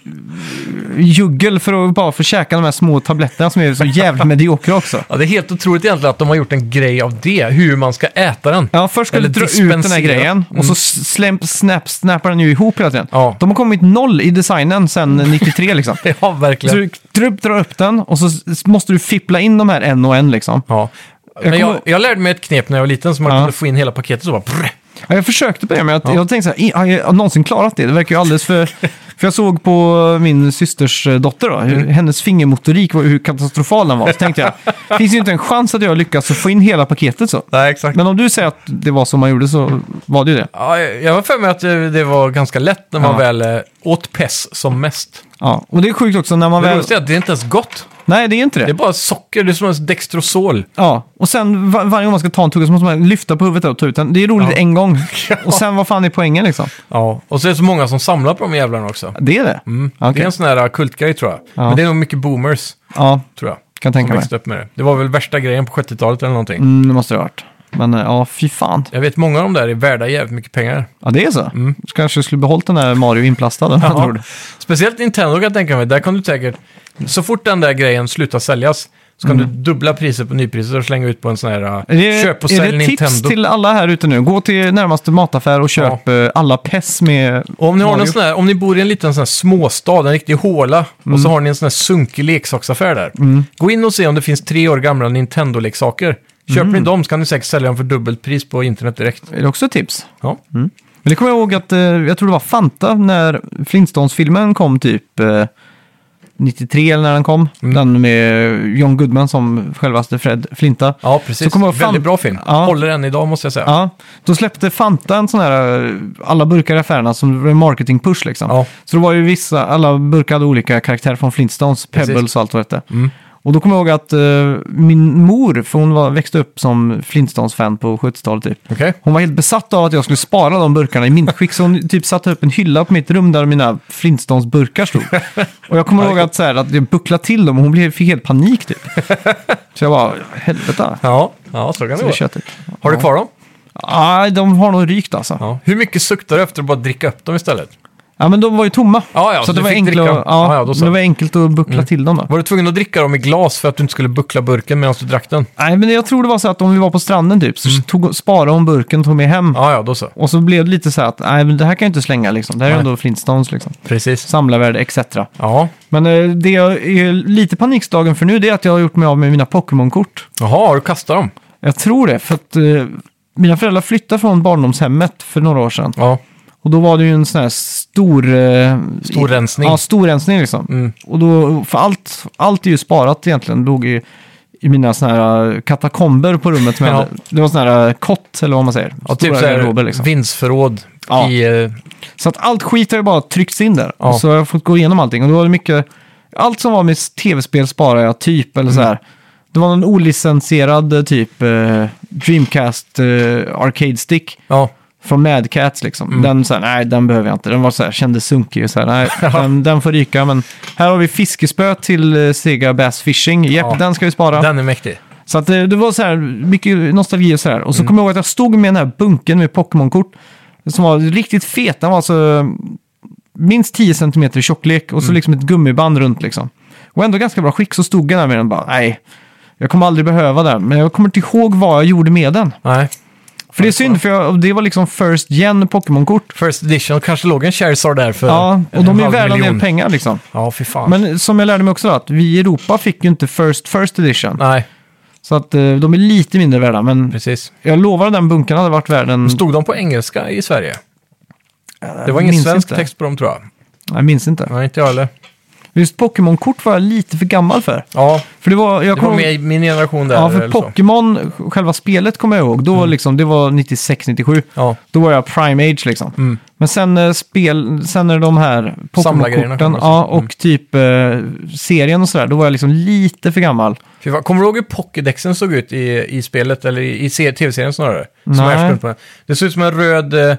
[SPEAKER 1] juggel för att bara få käka de här små tabletterna som är så jävligt mediokra också.
[SPEAKER 2] Ja, det är helt otroligt egentligen att de har gjort en grej av det, hur man ska äta den.
[SPEAKER 1] Ja, först ska
[SPEAKER 2] Eller
[SPEAKER 1] du dra ut den här
[SPEAKER 2] dispensera. Mm.
[SPEAKER 1] grejen och så slämp, snap, snappar den ju ihop hela tiden.
[SPEAKER 2] Ja. Mm.
[SPEAKER 1] De har kommit noll i designen sedan 93 liksom.
[SPEAKER 2] Ja, verkligen.
[SPEAKER 1] Så du drar upp, drar upp den och så s- måste du fippla in de här en och en liksom.
[SPEAKER 2] Ja. Jag, men
[SPEAKER 1] kommer-
[SPEAKER 2] jag, jag lärde mig ett knep när jag var liten som man
[SPEAKER 1] Ja.
[SPEAKER 2] kunde få in hela paketet så bara... Brr.
[SPEAKER 1] Ja, jag försökte på det, men jag, jag tänkte så här, i- har jag någonsin klarat det? Det verkar ju alldeles för... för jag såg på min systers eh, dotter, då,
[SPEAKER 2] Mm.
[SPEAKER 1] hur, hennes fingermotorik, var- hur katastrofal den var. Så tänkte jag, finns ju inte en chans att jag lyckas få in hela paketet så.
[SPEAKER 2] Nej, exakt.
[SPEAKER 1] Men om du säger att det var så man gjorde så var det ju det.
[SPEAKER 2] Ja, jag jag har för mig att det, det var ganska lätt när man
[SPEAKER 1] Ja.
[SPEAKER 2] väl eh, åt pess som mest.
[SPEAKER 1] Ja, och det är sjukt också när man väl...
[SPEAKER 2] Men det roligaste är att det är inte ens gott.
[SPEAKER 1] Nej, det är inte det.
[SPEAKER 2] Det är bara socker, det är som en Dextrosol.
[SPEAKER 1] Ja, och sen var, varje gång man ska ta en tugga så måste man lyfta på huvudet och ta ut den. Det är roligt
[SPEAKER 2] Ja.
[SPEAKER 1] en gång. Och sen vad fan är poängen liksom?
[SPEAKER 2] Ja, och så är det så många som samlar på de jävlarna också.
[SPEAKER 1] Det är det?
[SPEAKER 2] Mm. Det
[SPEAKER 1] Okej.
[SPEAKER 2] är en sån här kultgrej tror jag.
[SPEAKER 1] Ja.
[SPEAKER 2] Men det är nog mycket boomers,
[SPEAKER 1] Ja,
[SPEAKER 2] tror jag.
[SPEAKER 1] kan
[SPEAKER 2] Som
[SPEAKER 1] tänka mig.
[SPEAKER 2] växte upp med det. Det var väl värsta grejen på 70-talet eller någonting.
[SPEAKER 1] Mm, det måste det ha varit. Men eh, ja, fy fan.
[SPEAKER 2] Jag vet många av dem där är värda jävligt mycket pengar.
[SPEAKER 1] Ja, det är så.
[SPEAKER 2] Mm.
[SPEAKER 1] Du kanske skulle behållit den där Mario inplastad. med andra ord.
[SPEAKER 2] Speciellt Nintendo kan jag tänka mig. Där kan du säkert, så fort den där grejen slutar säljas, så kan du dubbla priset på nypriser och slänga ut på en sån här uh,
[SPEAKER 1] Mm. Är det,
[SPEAKER 2] köp och
[SPEAKER 1] är
[SPEAKER 2] sälj
[SPEAKER 1] det tips
[SPEAKER 2] Nintendo.
[SPEAKER 1] till alla här ute nu? Gå till närmaste mataffär och köp eh, alla PES med...
[SPEAKER 2] Och om ni, har
[SPEAKER 1] Mario.
[SPEAKER 2] någon sån här, om ni bor i en liten sån här småstad, en riktig håla, och
[SPEAKER 1] Mm.
[SPEAKER 2] så har ni en sån här sunkig leksaksaffär där. Gå in och se om det finns tre år gamla Nintendo-leksaker. Köper
[SPEAKER 1] Mm.
[SPEAKER 2] ni dem så kan ni säkert sälja dem för dubbelt pris på internet direkt.
[SPEAKER 1] Är det också ett tips?
[SPEAKER 2] Ja.
[SPEAKER 1] Men det kommer jag ihåg att eh, jag tror det var Fanta när Flintstones-filmen kom typ eh, 93 eller när den kom.
[SPEAKER 2] Mm.
[SPEAKER 1] Den med John Goodman som självaste Fred Flinta.
[SPEAKER 2] Ja, precis.
[SPEAKER 1] Så kommer jag fram-
[SPEAKER 2] Väldigt bra film.
[SPEAKER 1] Ja.
[SPEAKER 2] Håller än idag måste jag säga.
[SPEAKER 1] Ja, då släppte Fanta en sån här, eh, alla burkar i affärerna som en marketing push liksom.
[SPEAKER 2] Ja.
[SPEAKER 1] Så det var ju vissa, alla burkar hade olika karaktärer från Flintstones,
[SPEAKER 2] Precis. Mm.
[SPEAKER 1] Pebbles och allt vad det hette. Och då kommer jag ihåg att eh, min mor, för hon var, växte upp som Flintstones-fan på 70-talet typ.
[SPEAKER 2] Okej.
[SPEAKER 1] Hon var helt besatt av att jag skulle spara de burkarna i mintskick, så hon typ satte upp en hylla på mitt rum där mina Flintstones-burkar stod. Och jag kommer ihåg att, så här, att jag bucklade till dem och hon blev, fick helt panik typ. Så jag bara, helvete.
[SPEAKER 2] Ja. ja, så kan det
[SPEAKER 1] Det är
[SPEAKER 2] vara.
[SPEAKER 1] köttigt.
[SPEAKER 2] Har du kvar dem?
[SPEAKER 1] Nej, de har nog rykt alltså. Ja.
[SPEAKER 2] Ja. Hur mycket suktar du efter att bara dricka upp dem istället?
[SPEAKER 1] men de var ju tomma.
[SPEAKER 2] Ja, ja,
[SPEAKER 1] så
[SPEAKER 2] så
[SPEAKER 1] att det
[SPEAKER 2] du
[SPEAKER 1] var,
[SPEAKER 2] fick
[SPEAKER 1] enkelt
[SPEAKER 2] dricka.
[SPEAKER 1] att, ja,
[SPEAKER 2] Ja, ja, då så.
[SPEAKER 1] men
[SPEAKER 2] Mm.
[SPEAKER 1] det var enkelt att buckla till dem då.
[SPEAKER 2] Var du tvungen att dricka dem i glas för att du inte skulle buckla burken medan du drack den?
[SPEAKER 1] Nej, men jag tror det var så att om vi var på stranden typ, så tog, sparade hon burken och tog med hem.
[SPEAKER 2] Mm. Ja, ja, då så.
[SPEAKER 1] Och så blev det lite så här att, nej, men det här kan jag inte slänga liksom. Det här är
[SPEAKER 2] Nej.
[SPEAKER 1] ändå Flintstones liksom.
[SPEAKER 2] Precis.
[SPEAKER 1] Samlarvärde etc.
[SPEAKER 2] Ja.
[SPEAKER 1] Men eh, det jag är lite panikslagen för nu det är att jag har gjort mig av med mina Pokémon-kort.
[SPEAKER 2] Jaha, har du kastat dem?
[SPEAKER 1] Jag tror det, för att eh, mina föräldrar flyttade från barndomshemmet för några år sedan.
[SPEAKER 2] Ja.
[SPEAKER 1] Och då var det ju en sån här stor... Eh,
[SPEAKER 2] Stor rensning.
[SPEAKER 1] Ja, stor rensning liksom.
[SPEAKER 2] Mm.
[SPEAKER 1] Och då, för allt, allt är ju sparat egentligen. Låg i, i mina såna här eh, katakomber på rummet. Som jag
[SPEAKER 2] Ja.
[SPEAKER 1] hade. Det var såna här eh, kott, eller vad man säger.
[SPEAKER 2] Ja, typ
[SPEAKER 1] Stora
[SPEAKER 2] så här
[SPEAKER 1] garderober, liksom.
[SPEAKER 2] vindsförråd
[SPEAKER 1] Ja.
[SPEAKER 2] i... eh,
[SPEAKER 1] Så att allt skit har ju bara tryckts in där.
[SPEAKER 2] Ja.
[SPEAKER 1] Och så har jag fått gå igenom allting. Och då var det mycket... Allt som var med tv-spel sparade jag typ, eller
[SPEAKER 2] Mm.
[SPEAKER 1] så här. Det var någon olicensierad eh, typ eh, Dreamcast eh, Arcade Stick
[SPEAKER 2] Ja.
[SPEAKER 1] från Mad Cats liksom.
[SPEAKER 2] Mm.
[SPEAKER 1] Den så här, nej den behöver jag inte. Den var så här, kändes sunkig och så här, nej den, den får ryka. Men här har vi fiskespö till eh, Sega Bass Fishing. Japp,
[SPEAKER 2] Ja.
[SPEAKER 1] den ska vi spara.
[SPEAKER 2] Den är mäktig.
[SPEAKER 1] Så att eh, det, det var så här mycket nostalgi och så här. Och så
[SPEAKER 2] Mm.
[SPEAKER 1] kommer jag ihåg att jag stod med den här bunken med Pokémon-kort som var riktigt fet. Den var alltså minst 10 cm i tjocklek
[SPEAKER 2] Mm.
[SPEAKER 1] och så liksom ett gummiband runt liksom. Och ändå ganska bra skick så stod jag där med den och bara, nej, jag kommer aldrig behöva den. Men jag kommer inte ihåg vad jag gjorde med den.
[SPEAKER 2] Nej.
[SPEAKER 1] För det är synd, för jag, det var liksom first gen Pokémon-kort.
[SPEAKER 2] First edition, kanske låg en Charizard där för
[SPEAKER 1] Ja, och
[SPEAKER 2] en
[SPEAKER 1] de är
[SPEAKER 2] halv
[SPEAKER 1] värda en del
[SPEAKER 2] miljon.
[SPEAKER 1] pengar liksom.
[SPEAKER 2] Ja, fy fan.
[SPEAKER 1] Men som jag lärde mig också då, att vi i Europa fick ju inte first first edition.
[SPEAKER 2] Nej,
[SPEAKER 1] Så att eh, de är lite mindre värda, men
[SPEAKER 2] precis.
[SPEAKER 1] jag lovar att den bunken hade varit värd en...
[SPEAKER 2] Stod de på engelska i Sverige? Det var ingen
[SPEAKER 1] minns
[SPEAKER 2] svensk
[SPEAKER 1] inte.
[SPEAKER 2] text på dem tror jag.
[SPEAKER 1] Jag minns inte.
[SPEAKER 2] Nej, inte jag heller.
[SPEAKER 1] Just Pokémon-kort var jag lite för gammal för.
[SPEAKER 2] Ja,
[SPEAKER 1] För det var... Jag
[SPEAKER 2] det
[SPEAKER 1] kommer
[SPEAKER 2] var
[SPEAKER 1] ihåg-
[SPEAKER 2] med i min generation där.
[SPEAKER 1] Ja, för
[SPEAKER 2] eller så.
[SPEAKER 1] Pokémon, själva spelet kommer jag ihåg. Då var liksom, det var 96-97.
[SPEAKER 2] Mm. Ja, Mm.
[SPEAKER 1] Då var jag prime age liksom. Men sen, eh, spel, sen när de här
[SPEAKER 2] Samlargrejerna
[SPEAKER 1] Pokémon-korten
[SPEAKER 2] kommer Mm. sen.
[SPEAKER 1] ja, och typ eh, serien och sådär, då var jag liksom lite för gammal.
[SPEAKER 2] Fy fan, kommer du ihåg hur Pokédexen såg ut i, i spelet, eller i, i se- tv-serien snarare? Som
[SPEAKER 1] Nej.
[SPEAKER 2] är på den. Det såg ut som en röd eh,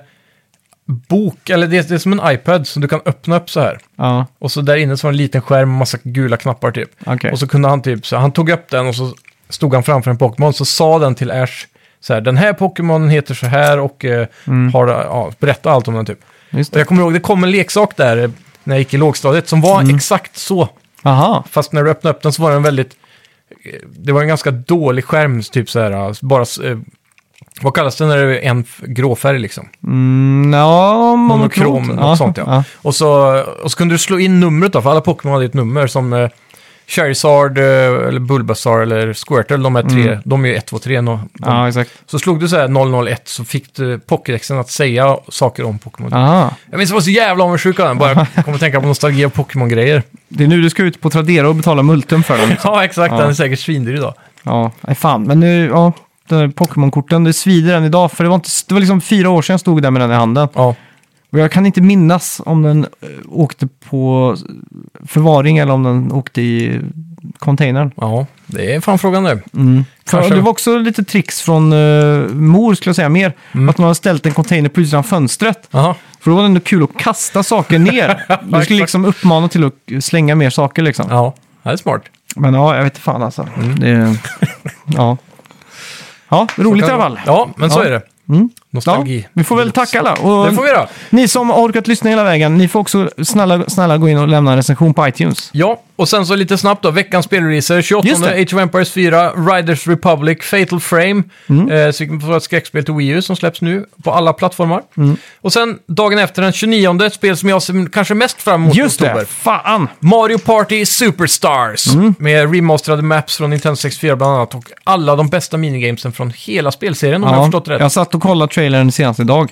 [SPEAKER 2] bok, eller det, det är som en iPad som du kan öppna upp så här.
[SPEAKER 1] Ja,
[SPEAKER 2] Och så där inne så var det en liten skärm med massa gula knappar typ.
[SPEAKER 1] okej.
[SPEAKER 2] Och så kunde han typ, så han tog upp den och så stod han framför en Pokémon, så sa den till Ash, så här, den här Pokémonen heter så här och eh,
[SPEAKER 1] Mm.
[SPEAKER 2] har, ja, berätta allt om den typ.
[SPEAKER 1] Just
[SPEAKER 2] Och
[SPEAKER 1] det.
[SPEAKER 2] jag kommer ihåg, det kom en leksak där eh, när jag gick i lågstadiet som var
[SPEAKER 1] Mm.
[SPEAKER 2] exakt så.
[SPEAKER 1] Aha.
[SPEAKER 2] Fast när du öppnade upp den så var den väldigt... eh, Det var en ganska dålig skärm, typ så här. alltså Bara, s- eh, vad kallas det när det är en f- grå färg liksom?
[SPEAKER 1] Mm, ja,
[SPEAKER 2] Monokrom,
[SPEAKER 1] monokrot.
[SPEAKER 2] något sånt ja. Och, så, och så kunde du slå in numret då, för alla Pokémon hade ett nummer som eh, Charizard, eh, eller Bulbasaur eller Squirtle, de är tre, de är ju 1, 2, 3. No, de,
[SPEAKER 1] Ja, exakt.
[SPEAKER 2] Så slog du så här 001 så fick du Pokédexen att säga saker om Pokémon.
[SPEAKER 1] Aha.
[SPEAKER 2] Jag minns jag var så jävla avundsjuk av den, bara jag kom att tänka på nostalgi och Pokémon-grejer.
[SPEAKER 1] Det är nu du ska ut på Tradera och betala multum för den.
[SPEAKER 2] Ja, exakt,
[SPEAKER 1] Ja.
[SPEAKER 2] den är säkert svindyr idag.
[SPEAKER 1] Ja, nej fan. Men nu, ja, den här Pokémon-korten, det svider än idag. För det var, inte, det var liksom fyra år sedan jag stod där med den i handen.
[SPEAKER 2] Ja.
[SPEAKER 1] Och jag kan inte minnas om den eh, åkte på förvaring eller om den åkte i containern.
[SPEAKER 2] Ja, det är fan frågan där.
[SPEAKER 1] För
[SPEAKER 2] Kanske.
[SPEAKER 1] det var också lite tricks från eh, mor, skulle jag säga, mer. Att man hade ställt en container på utsidan av fönstret.
[SPEAKER 2] Jaha.
[SPEAKER 1] För då var det ändå kul att kasta saker ner. Det
[SPEAKER 2] exakt.
[SPEAKER 1] skulle liksom uppmana till att slänga mer saker liksom.
[SPEAKER 2] Ja, det är smart.
[SPEAKER 1] Men ja, jag vet inte fan alltså.
[SPEAKER 2] Mm.
[SPEAKER 1] Det, ja. ja, roligt i alla fall.
[SPEAKER 2] Ja, men så
[SPEAKER 1] Ja.
[SPEAKER 2] är det.
[SPEAKER 1] Mm. Ja,
[SPEAKER 2] Nostalgi.
[SPEAKER 1] vi får väl tacka alla. Och
[SPEAKER 2] Det får vi göra.
[SPEAKER 1] Ni som har orkat lyssna hela vägen, ni får också snälla, snälla gå in och lämna en recension på iTunes.
[SPEAKER 2] Ja, och sen så lite snabbt då. Veckans spelresor. 28
[SPEAKER 1] Just det.
[SPEAKER 2] Age of Empires 4, Riders Republic, Fatal Frame.
[SPEAKER 1] Mm.
[SPEAKER 2] Eh, så vi får ett skräckspel till Wii U som släpps nu på alla plattformar.
[SPEAKER 1] Mm.
[SPEAKER 2] Och sen dagen efter den 29, ett spel som jag ser kanske mest fram emot i
[SPEAKER 1] Just
[SPEAKER 2] oktober.
[SPEAKER 1] det, fan!
[SPEAKER 2] Mario Party Superstars
[SPEAKER 1] Mm.
[SPEAKER 2] med remasterade maps från Nintendo 64 bland annat och alla de bästa minigamesen från hela spelserien om jag har förstått det rätt. Mm.
[SPEAKER 1] jag satt och kollade trailern senast idag.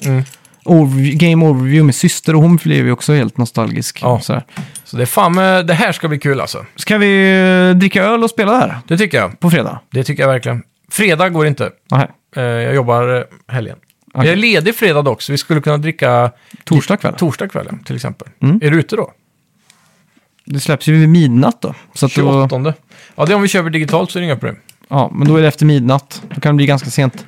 [SPEAKER 1] Overview, game overview med syster och hon blev ju också helt nostalgisk.
[SPEAKER 2] Ja.
[SPEAKER 1] Så här.
[SPEAKER 2] Så det, är fan, med- det här ska bli kul alltså.
[SPEAKER 1] Ska vi eh, dricka öl och spela det här
[SPEAKER 2] Det tycker jag.
[SPEAKER 1] på fredag?
[SPEAKER 2] Det tycker jag verkligen. Fredag går inte.
[SPEAKER 1] Nej,
[SPEAKER 2] Eh, Jag jobbar eh, helgen.
[SPEAKER 1] Okej.
[SPEAKER 2] Jag är ledig fredag dock, så vi skulle kunna dricka
[SPEAKER 1] torsdag kväll.
[SPEAKER 2] torsdag kvällen till exempel.
[SPEAKER 1] Mm.
[SPEAKER 2] Är du ute då?
[SPEAKER 1] det släpps ju vid midnatt då. Så att då
[SPEAKER 2] 28? Ja, det är om vi köper digitalt så är det inga problem.
[SPEAKER 1] ja, men då är det efter midnatt. Då kan det bli ganska sent.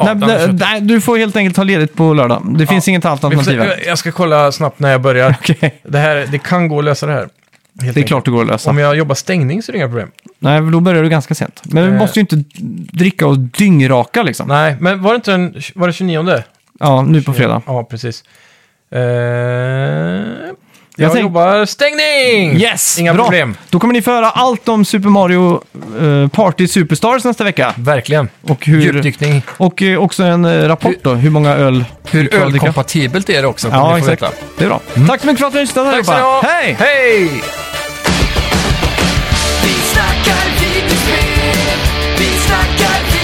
[SPEAKER 2] Ja,
[SPEAKER 1] nej,
[SPEAKER 2] den
[SPEAKER 1] nej,
[SPEAKER 2] köper-
[SPEAKER 1] nej, du får helt enkelt ta ledigt på lördag. Det finns inget
[SPEAKER 2] Vi får se.
[SPEAKER 1] alternativ. här.
[SPEAKER 2] Jag- Jag ska kolla snabbt när jag börjar.
[SPEAKER 1] Okej.
[SPEAKER 2] Det, här, det kan gå att lösa det här. Helt
[SPEAKER 1] Det är
[SPEAKER 2] enkelt.
[SPEAKER 1] klart det går att lösa.
[SPEAKER 2] Om jag jobbar stängning så är det inga problem.
[SPEAKER 1] Nej, för då börjar du ganska sent. Men vi
[SPEAKER 2] Eh.
[SPEAKER 1] måste ju inte dricka och dyngraka liksom.
[SPEAKER 2] Nej, men var det inte den var det 29?
[SPEAKER 1] Ja, nu på fredag.
[SPEAKER 2] Ja, precis. Eh, jag
[SPEAKER 1] tänk-
[SPEAKER 2] jobbar stängning!
[SPEAKER 1] Yes!
[SPEAKER 2] Inga
[SPEAKER 1] bra.
[SPEAKER 2] problem.
[SPEAKER 1] Då kommer ni få höra allt om Super Mario eh, Party Superstars nästa vecka.
[SPEAKER 2] Verkligen.
[SPEAKER 1] Och, hur,
[SPEAKER 2] Djupdykning.
[SPEAKER 1] och eh, också en eh, rapport då, hur många öl
[SPEAKER 2] Hur
[SPEAKER 1] kan dricka.
[SPEAKER 2] ölkompatibelt är det också? kommer
[SPEAKER 1] Ja,
[SPEAKER 2] ni få
[SPEAKER 1] exakt.
[SPEAKER 2] veta. Mm.
[SPEAKER 1] Det är bra. Tack så mycket för att ni har lyssnat
[SPEAKER 2] Tack ska ni
[SPEAKER 1] allihopa.
[SPEAKER 2] ha!
[SPEAKER 1] Hej!
[SPEAKER 2] Hej!
[SPEAKER 3] Vi snackar videospel, vi snackar videospel